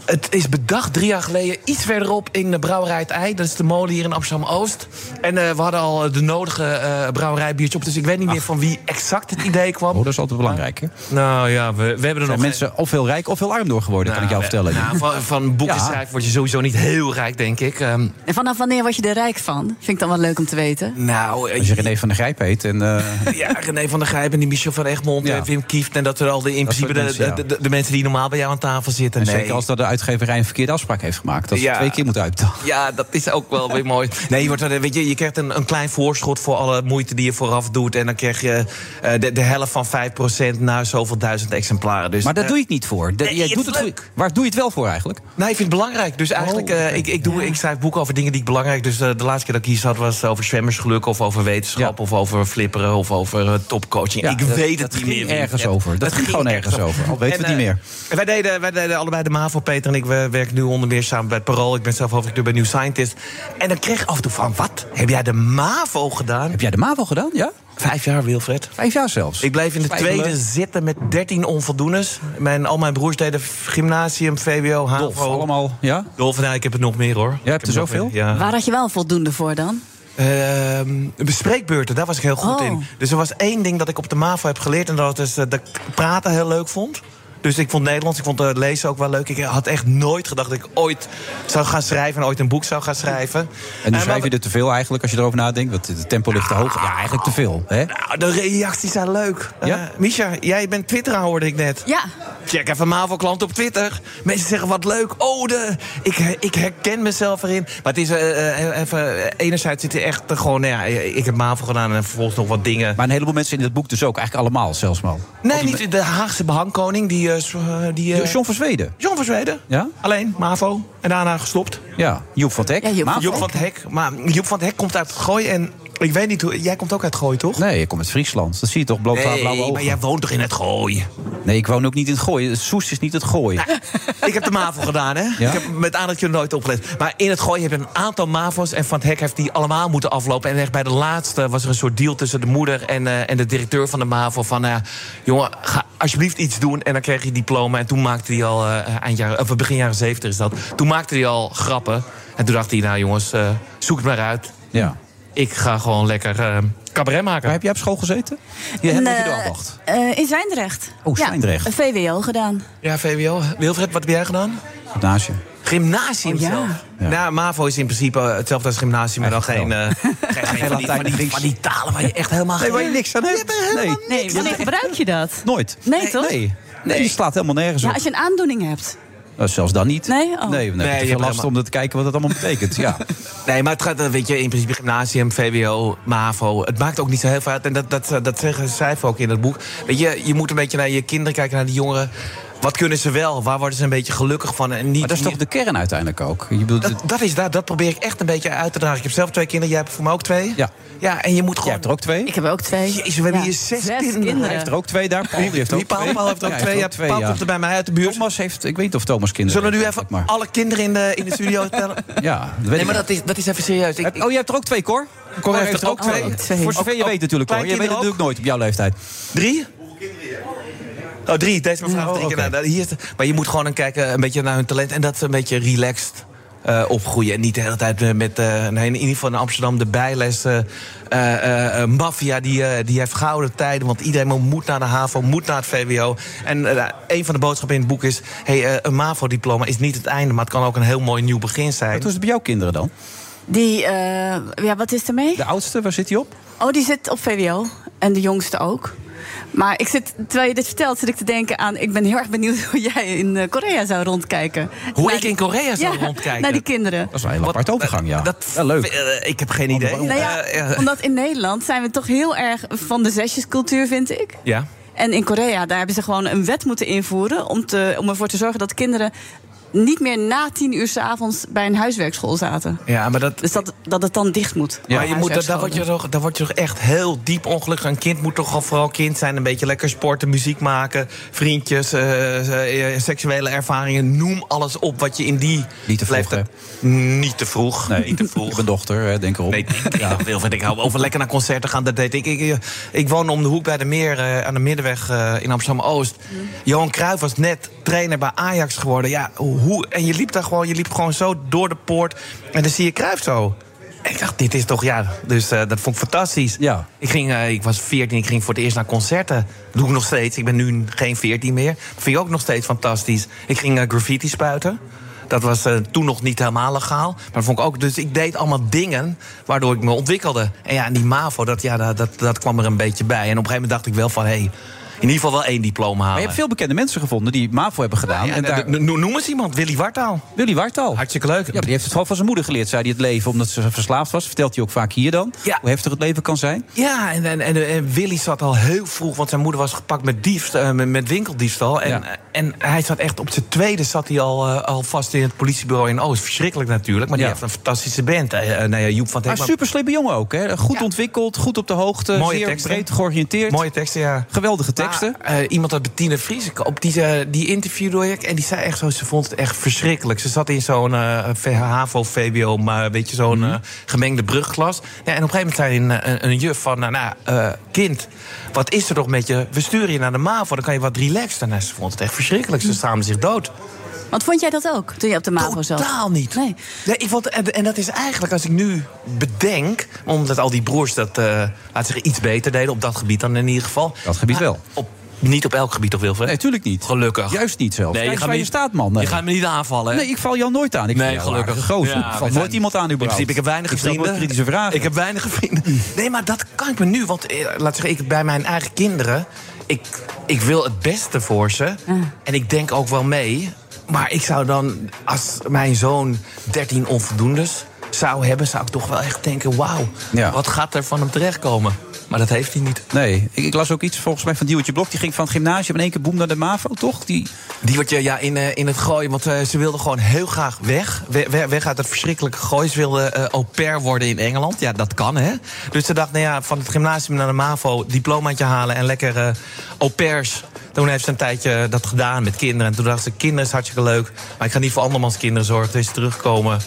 Het is bedacht drie jaar geleden iets verderop in de Brouwerij het Ei. Dat is de molen hier in Amsterdam-Oost. En eh, we hadden al eh, de nodige eh brouwerijbiertjes op. Dus ik weet niet meer van wie exact het idee kwam.
Oh, dat is altijd belangrijk, hè?
Nou ja, we, we hebben er nog...
Zijn mensen eh, of heel rijk of heel arm door geworden, kan ik jou
Nou,
vertellen.
nou, van, van boeken
Ja.
schrijven word je sowieso niet heel rijk, denk ik. Ehm,
En vanaf wanneer word je er rijk van? Vind ik dan wel leuk om te weten.
nou, eh,
Als je René van der Grijp heet en... eh,
ja, René van der Grijp en die Michel van Egmond en Wim Kieft... en dat er al de, in principe de,
mensen, ja.
de, de- de mensen die normaal bij jou aan tafel zitten.
En zeker als dat de uitgeverij een verkeerde afspraak heeft gemaakt. Dat ze
Ja.
twee keer moeten uitbetalen.
Ja, dat is ook wel weer mooi. Nee, je, wordt, er- weet je, je krijgt een, een klein voorschot voor alle moeite die je vooraf doet. En dan krijg je eh, de, de helft van 5% na zoveel duizend exemplaren. Dus,
Maar daar
eh,
doe je het niet voor. De-
nee,
jij
het
doet
is
het
leuk.
voor- Waar doe je het wel voor eigenlijk?
Nee, ik vind het belangrijk. Dus eigenlijk,
Oh,
eh, ik, ik, doe, ik schrijf boeken over dingen die ik belangrijk... dus eh, de laatste keer dat ik hier zat was over zwemmersgeluk... of over wetenschap, of over flipperen, of over eh, topcoaching.
Ja,
ik
dat-
weet het
dat
niet
ging
meer. Wim.
ergens
Het-
over. Dat
het
ging gewoon ergens over. Al weten we
En,
het niet
eh,
meer.
en Wij deden, wij deden allebei de MAVO, Peter en ik. We werken nu onder meer samen bij het Parool. Ik ben zelf hoofdredacteur bij New Scientist. En dan kreeg ik af en toe van, wat? Heb jij de MAVO gedaan?
Heb jij de MAVO gedaan, ja?
Vijf jaar, Wilfred.
Vijf jaar zelfs.
Ik bleef in de
Twijfelen.
tweede zitten met 13 onvoldoenes. Mijn, al mijn broers deden gymnasium, VWO, HAVO.
Dolf, allemaal, ja?
Oh, Dolf, nou, ik heb het nog meer hoor.
Jij hebt er
Ik heb
zoveel?
nog meer, Ja.
Waar had je wel voldoende voor dan?
Ehm, bespreekbeurten, daar was ik heel goed
Oh.
in. Dus er was één ding dat ik op de MAVO heb geleerd... en dat is eh, dat ik praten heel leuk vond. Dus ik vond Nederlands, ik vond eh, lezen ook wel leuk. Ik had echt nooit gedacht dat ik ooit zou gaan schrijven... en ooit een boek zou gaan schrijven.
En nu
Eh, maar
schrijf je er te veel eigenlijk, als je erover nadenkt. Want het tempo ligt te hoog. Ja, eigenlijk te veel. Hè?
Nou, de reacties zijn leuk.
Ja?
Eh, Misha, jij bent Twitteraar, hoorde ik net.
Ja.
Check even MAVO-klant op Twitter. Mensen zeggen wat leuk. Oh, de, ik, ik herken mezelf erin. Maar het is eh, eh, even... eh, Enerzijds zit er echt eh, gewoon... nou ja, ik heb MAVO gedaan en vervolgens nog wat dingen.
Maar een heleboel mensen in het boek dus ook. Eigenlijk allemaal zelfs, man.
Nee, niet de Haagse behangkoning. Die, eh, zo- eh, die, eh,
John van Zweden.
John van Zweden.
Ja?
Alleen, MAVO. En daarna gestopt.
Ja, Joep van Teck.
Ja, Joep van
Mavo.
Joep van het Hek. Maar Joep van het Hek komt uit het gooi en... Ik weet niet hoe... Jij komt ook uit het gooi, toch?
Nee, ik kom uit Friesland. Dat zie je toch, blauw blauwe
Nee,
ogen.
maar jij woont toch in het gooi? Nou,
Nee, ik woon ook niet in het gooien. Soest is niet het gooien.
Ik heb de MAVO gedaan, hè? Ik heb met aandachtje nooit opgelet. Maar in het gooi heb je een aantal MAVO's... en Van het Hek heeft die allemaal moeten aflopen. En echt bij de laatste was er een soort deal tussen de moeder... en, eh, en de directeur van de MAVO van... eh, jongen, ga alsjeblieft iets doen. En dan kreeg hij diploma. En toen maakte hij al... eh, eind jaren, of begin jaren zeventig is dat. Toen maakte hij al grappen. En toen dacht hij, nou jongens, eh, zoek het maar uit.
Ja.
Ik ga gewoon lekker eh, cabaret maken.
Waar heb jij op school gezeten? Je hebt
En,
dat je
eh,
er afwacht.
eh, in Zwijndrecht.
Oh, Zwijndrecht.
Ja, een VWO gedaan.
Ja, VWO. Wilfred, wat heb jij gedaan?
Naast je.
Gymnasium
Oh, ja.
zelf. Ja. MAVO is in principe eh, hetzelfde als gymnasium, maar dan geen, eh, geen, geen van, die, van, die, van die talen waar je echt helemaal
Nee, waar je
geen...
niks aan hebt. Nee,
Nee, wanneer gebruik je dat?
nooit.
Nee, toch?
Nee. Nee, die slaat helemaal nergens
Ja,
op.
als je een aandoening hebt.
Eh,
Nou, zelfs dan niet.
Nee? Oh.
Nee, we
Nee,
hebben
je
te veel
hebt
last om
helemaal-
te kijken wat dat allemaal betekent. Ja.
Nee, maar het gaat, eh, weet je, in principe gymnasium, VWO, MAVO. Het maakt ook niet zo heel veel uit. En dat, dat, eh, dat zeggen cijfer ook in het boek. Weet je, je moet een beetje naar je kinderen kijken, naar die jongeren. Wat kunnen ze wel? Waar worden ze een beetje gelukkig van? En niet,
Maar dat is toch
niet-
de kern uiteindelijk ook? Je bedoelt,
dat, dat is daar, dat probeer ik echt een beetje uit te dragen. Ik heb zelf twee kinderen, jij hebt voor mij ook twee.
Ja.
Ja, en je moet gewoon...
Jij hebt er ook twee.
Ik heb ook twee.
Jezus, we hebben
Ja.
hier zes,
Zes
kinderen.
kinderen.
Hij heeft er ook twee daar. Paul die heeft ook
Die Paul,
twee.
Paul heeft er ook
Ja, hij
twee. Ja,
heeft er ook
Paul
ja.
komt er bij mij uit de buurt.
Thomas heeft, ik weet niet of Thomas kinderen
Zullen we nu
heeft,
even
maar-
alle kinderen in de, in de studio tellen?
Ja, dat weet
Nee,
ik
maar
niet.
dat is, dat is even serieus. Ik,
Heb- Oh, je hebt er ook twee, Cor? Cor
heeft er ook twee.
Voor zover je weet natuurlijk, Cor. Je weet het
Kleinkinderen
natuurlijk nooit op jouw leeftijd.
Drie? Oh, drie. Deze mevrouw. drie keer. Nou, hier is de- maar je moet gewoon dan kijken een beetje naar hun talent. En dat ze een beetje relaxed eh, opgroeien. En niet de hele tijd eh, met, eh, nee, in ieder geval in Amsterdam, de bijles. eh, eh, eh, maffia, die, eh, die heeft gouden tijden. Want iedereen moet naar de HAVO, moet naar het VWO. En eh, een van de boodschappen in het boek is... Hey, eh, een MAVO-diploma is niet het einde, maar het kan ook een heel mooi nieuw begin zijn. Wat
is het bij jouw kinderen dan?
Die, eh, ja, wat is ermee?
De oudste, waar zit hij op?
Oh, die zit op VWO. En de jongste ook. Maar ik zit, terwijl je dit vertelt, zit ik te denken aan... ik ben heel erg benieuwd hoe jij in eh, Korea zou rondkijken.
Hoe
Naar
ik
die-
in Korea zou
Ja,
rondkijken.
Naar die kinderen.
Dat is wel een hele aparte overgang, ja. Dat, leuk.
eh, ik heb geen idee.
Nou ja,
Eh, ja.
omdat in Nederland zijn we toch heel erg van de zesjescultuur, vind ik.
Ja.
En in Korea, daar hebben ze gewoon een wet moeten invoeren... om, te, om ervoor te zorgen dat kinderen niet meer na tien uur s'avonds bij een huiswerkschool zaten.
Ja, maar dat...
Dus dat, dat het dan dicht moet.
maar je moet, daar- daar, word je
Huiswerkscholen.
toch, daar word je toch echt heel diep ongelukkig. Een kind moet toch al vooral kind zijn. Een beetje lekker sporten, muziek maken, vriendjes, eh, eh, seksuele ervaringen. Noem alles op wat je in die
Niet te vroeg,
leeftijd- Niet te vroeg. Nee, niet te vroeg.
Mijn dochter, hè, denk erop.
Nee, ik, ja. ik, ik hou over lekker naar concerten gaan. Dat deed ik. Ik, ik, ik woon om de hoek bij de meer eh, aan de Middenweg eh, in Amsterdam-Oost. Johan Cruijff was net trainer bij Ajax geworden. Ja, hoe, en je liep daar gewoon, je liep gewoon zo door de poort. En dan zie je Cruijff zo. En ik dacht, dit is toch ja. Dus eh, dat vond ik fantastisch. Ja. Ik, ging, eh, ik was 14, ik ging voor het eerst naar concerten. Dat doe ik nog steeds. Ik ben nu geen 14 meer. Dat vind ik ook nog steeds fantastisch. Ik ging eh, graffiti spuiten. Dat was eh, toen nog niet helemaal legaal. Maar dat vond ik ook. Dus ik deed allemaal dingen waardoor ik me ontwikkelde. En ja, en die MAVO, dat, ja, dat, dat, dat kwam er een beetje bij. En op een gegeven moment dacht ik wel van hé, hey, in ieder geval wel één diploma halen.
Maar je hebt veel bekende mensen gevonden die MAVO hebben gedaan.
ja, nou, de- de- noem eens iemand, Willy Wartaal.
Willy Wartaal.
Hartstikke leuk.
Ja, die heeft het gewoon van zijn moeder geleerd, zei hij, het leven. Omdat ze verslaafd was, vertelt hij ook vaak hier dan. Hoe heftig het leven kan zijn.
Ja, en, en, en, en Willy zat al heel vroeg, want zijn moeder was gepakt met, diefst, eh, met, met winkeldiefstal. En, eh, en hij zat echt op zijn tweede zat hij al, eh, al vast in het politiebureau in Oost. Verschrikkelijk natuurlijk, maar die
Ja.
heeft een fantastische band. Eh, eh, nou ja, Joep van het
Maar
Hek-
super slimme jongen ook, hè? Goed ontwikkeld, goed op de hoogte,
Mooie
zeer
teksten.
breed georiënteerd.
Mooie teksten, ja.
Geweldige teksten.
Maar, eh, iemand uit Bettine Vriesekoop, die, eh, die interviewde ik. En die zei echt zo, ze vond het echt verschrikkelijk. Ze zat in zo'n eh, V- HAVO, VWO, maar weet je,
Mhm.
zo'n eh, gemengde brugklas. Ja, en op een gegeven moment zei een, een, een juf van, nou, nou eh, kind, wat is er toch met je? We sturen je naar de MAVO, dan kan je wat relaxen. En ze vond het echt verschrikkelijk, ze schaamde zich dood.
Want vond jij dat ook, toen je op de MAVO zat?
Totaal niet. Nee. ik vond, en, en dat is eigenlijk, als ik nu bedenk... omdat al die broers dat, eh laat zeggen, iets beter deden op dat gebied dan in ieder geval.
Dat gebied wel.
Op, niet op elk gebied toch, Wilfred?
Nee, tuurlijk niet.
Gelukkig.
Juist niet zelf.
Nee, je
Kijk
gaat
eens waar
me-
je staat, man. Nee.
Je gaat me niet aanvallen, hè?
Nee, ik val jou nooit aan. Ik
nee,
vind jou
gelukkig.
een aardige gozer.
Ja,
ik
we
val
zijn-
nooit iemand aan,
In
überhaupt.
principe, ik heb weinig
Ik stel nooit
vrienden.
kritische vragen.
Ik heb weinig vrienden. Nee, maar dat kan ik me nu. Want eh, laat zeggen, ik bij mijn eigen kinderen... Ik, ik wil het beste voor ze. En ik denk ook wel mee. Maar ik zou dan, als mijn zoon 13 onvoldoendes zou hebben... zou ik toch wel echt denken, wauw, wat gaat er van hem terechtkomen? Maar dat heeft hij niet.
Nee, ik, ik las ook iets volgens mij van Diewertje Blok. Die ging van het gymnasium in één keer boem naar de MAVO, toch? Die...
Die wordt je ja, in, eh, in het gooien, want eh, ze wilde gewoon heel graag weg. We- we- weg uit het verschrikkelijke gooi. Ze wilde eh au pair worden in Engeland. Ja, dat kan, hè? Dus ze dacht, nou ja, van het gymnasium naar de MAVO... diplomaatje halen en lekker eh au pairs. Toen heeft ze een tijdje eh, dat gedaan met kinderen. En toen dacht ze, kinderen is hartstikke leuk... maar ik ga niet voor andermans kinderen zorgen, dus terugkomen.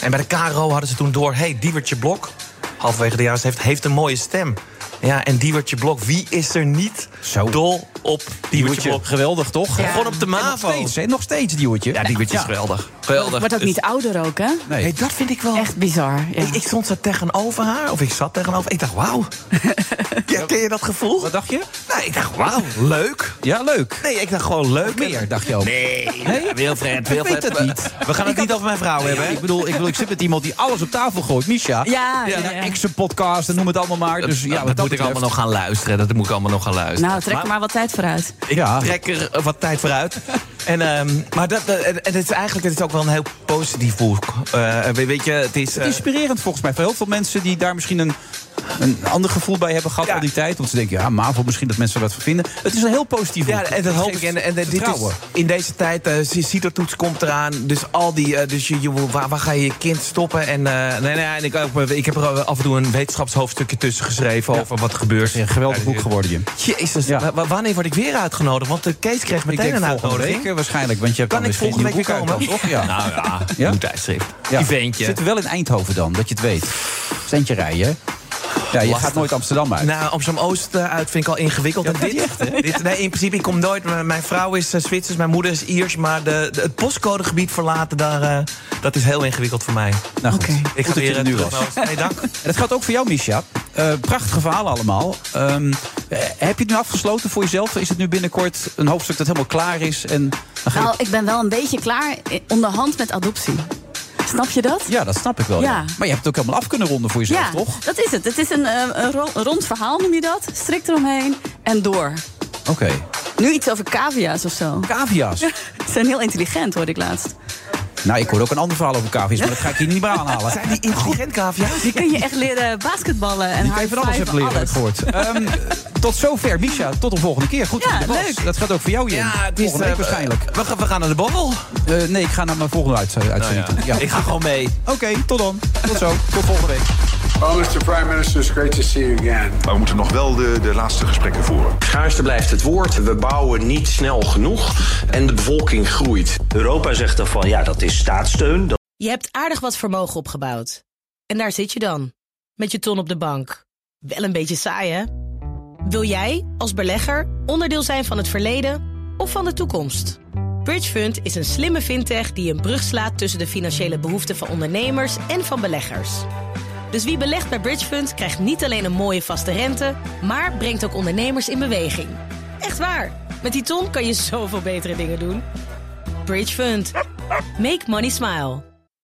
En bij de KRO hadden ze toen door... hé, hey, Diewertje Blok, halverwege de jaren... heeft, heeft een mooie stem. Ja, en Diewertje Blok, wie is er niet dol op Diewertje Blok?
Geweldig, toch?
Ja. Gewoon op de
En
MAVO.
Nog steeds, hè? Nog steeds, Diewertje. Ja,
Oh. Diewertje is geweldig. Geweldig. Dus-
Wordt ook niet ouder ook, hè?
Nee.
Hey, dat vind ik wel...
Echt bizar, ja.
Ik, ik stond zo tegenover haar, of ik zat tegenover... Ik dacht, wauw. ja, ken je dat gevoel? Wat
dacht je?
Nee, ik dacht, wauw, leuk.
Ja, leuk.
Nee, ik dacht gewoon leuk.
meer, dacht je ook?
Nee, Wilfred,
Ik
Wilfred.
weet het
we-
niet.
We gaan
Ik
het niet
had-
over mijn vrouw
Nou,
hebben.
ja, ik, bedoel, ik bedoel, ik zit met iemand die alles op tafel gooit. Misha.
Ja, ja,
En
ja.
haar ex-podcast en noem het allemaal maar. Dus, ja,
dat,
wat
moet ik
betreft-
allemaal nog gaan luisteren. Dat moet ik allemaal nog gaan luisteren.
Nou, trek er maar wat tijd vooruit.
Ik trek er eh, wat tijd vooruit. En, ehm, maar dat, eh, en het is eigenlijk het is ook wel een heel positief boek. Eh, weet weet je, het is... eh,
inspirerend volgens mij voor heel veel mensen die daar misschien een, een ander gevoel bij hebben gehad al die tijd. Want ze denken, ja, MAVO, misschien dat mensen er wat van vinden. Het is een heel positief
Ja,
boek.
en dat
Het
hoop ik.
geeft
En, en dit is,
vertrouwen.
in deze tijd, eh CITO-toets komt eraan. Dus al die, eh, dus je, je- waar, waar ga je je kind stoppen? En, eh, nee, nee, en ik, ook, eh, ik heb er af en toe een wetenschapshoofdstukje tussen geschreven over wat er gebeurt.
Een geweldig boek geworden, Jim.
Jezus, wa- wa- wanneer word ik weer uitgenodigd? Want de Kees kreeg
Ik
meteen
denk
een
volgende
uitnodiging.
week eh, waarschijnlijk, want je hebt
Kan
dan
ik
weer geen
volgende
nieuw
week
boek
weer
uit,
komen?
toch? Ja.
Nou ja,
eh,
ja?
moet tijdschrift.
Ja.
Eventje.
Zitten we wel in Eindhoven dan, dat je het weet. Centje rijden.
Ja, je
Lastig.
gaat nooit Amsterdam uit.
Nou, Amsterdam-Oost eh, uit vind ik al ingewikkeld. en dit, dit, nee, in principe, ik kom nooit. m- Mijn vrouw is eh, Zwitsers, mijn moeder is Iers. Maar de, de- het postcodegebied verlaten, daar, eh, dat is heel ingewikkeld voor mij.
Nou goed,
Ik ga
dat je
weer
er nu
terug
was.
naar Oost. Nee, dank.
En dat geldt ook voor jou, Misha. Eh prachtige verhalen allemaal. Ehm, eh, heb je het nu afgesloten voor jezelf? Is het nu binnenkort een hoofdstuk dat helemaal klaar is? En dan ga je-
Nou, ik ben wel een beetje klaar eh, onderhand met adoptie. Snap je dat?
Ja, dat snap ik wel.
Ja.
Maar je hebt het ook helemaal af kunnen ronden voor jezelf,
ja,
toch?
dat is het. Het is een, eh, een ro- een rond verhaal, noem je dat. Strikt eromheen en door.
Oké.
Nu iets over cavia's of zo.
Cavia's?
Ze zijn heel intelligent, hoorde ik laatst.
Nou, ik hoor ook een ander verhaal over cavia's, maar dat ga ik hier niet meer aanhalen.
Zijn
die intelligent cavia's?
Die kun je echt leren basketballen en
Ik heb van alles heb
high-fiven,
leren, heb ik gehoord. Ehm, tot zover, Misha. Tot de volgende keer. Goed
Ja,
dat je er was.
leuk.
Dat gaat ook voor jou, Jim.
Ja, het is,
volgende week
eh,
waarschijnlijk.
We gaan, we gaan naar de borrel.
Eh, nee, ik ga naar mijn volgende uit, uitzending toe. Ja.
Nou Ik ga gewoon mee.
Oké, tot dan. Tot zo. Tot volgende week.
Well, Mr. Oh, Prime Minister, it's great to see you again.
Maar we moeten nog wel de, de laatste gesprekken voeren.
Schaarste blijft het woord. We bouwen niet snel genoeg en de bevolking groeit.
Europa zegt dan van ja, dat is staatssteun. Dat
Je hebt aardig wat vermogen opgebouwd. En daar zit je dan, met je ton op de bank. Wel een beetje saai, hè? Wil jij, als belegger, onderdeel zijn van het verleden of van de toekomst? Bridgefund is een slimme fintech die een brug slaat tussen de financiële behoeften van ondernemers en van beleggers. Dus wie belegt bij Bridgefund krijgt niet alleen een mooie vaste rente, maar brengt ook ondernemers in beweging. Echt waar, met die ton kan je zoveel betere dingen doen. Bridgefund. Make money smile.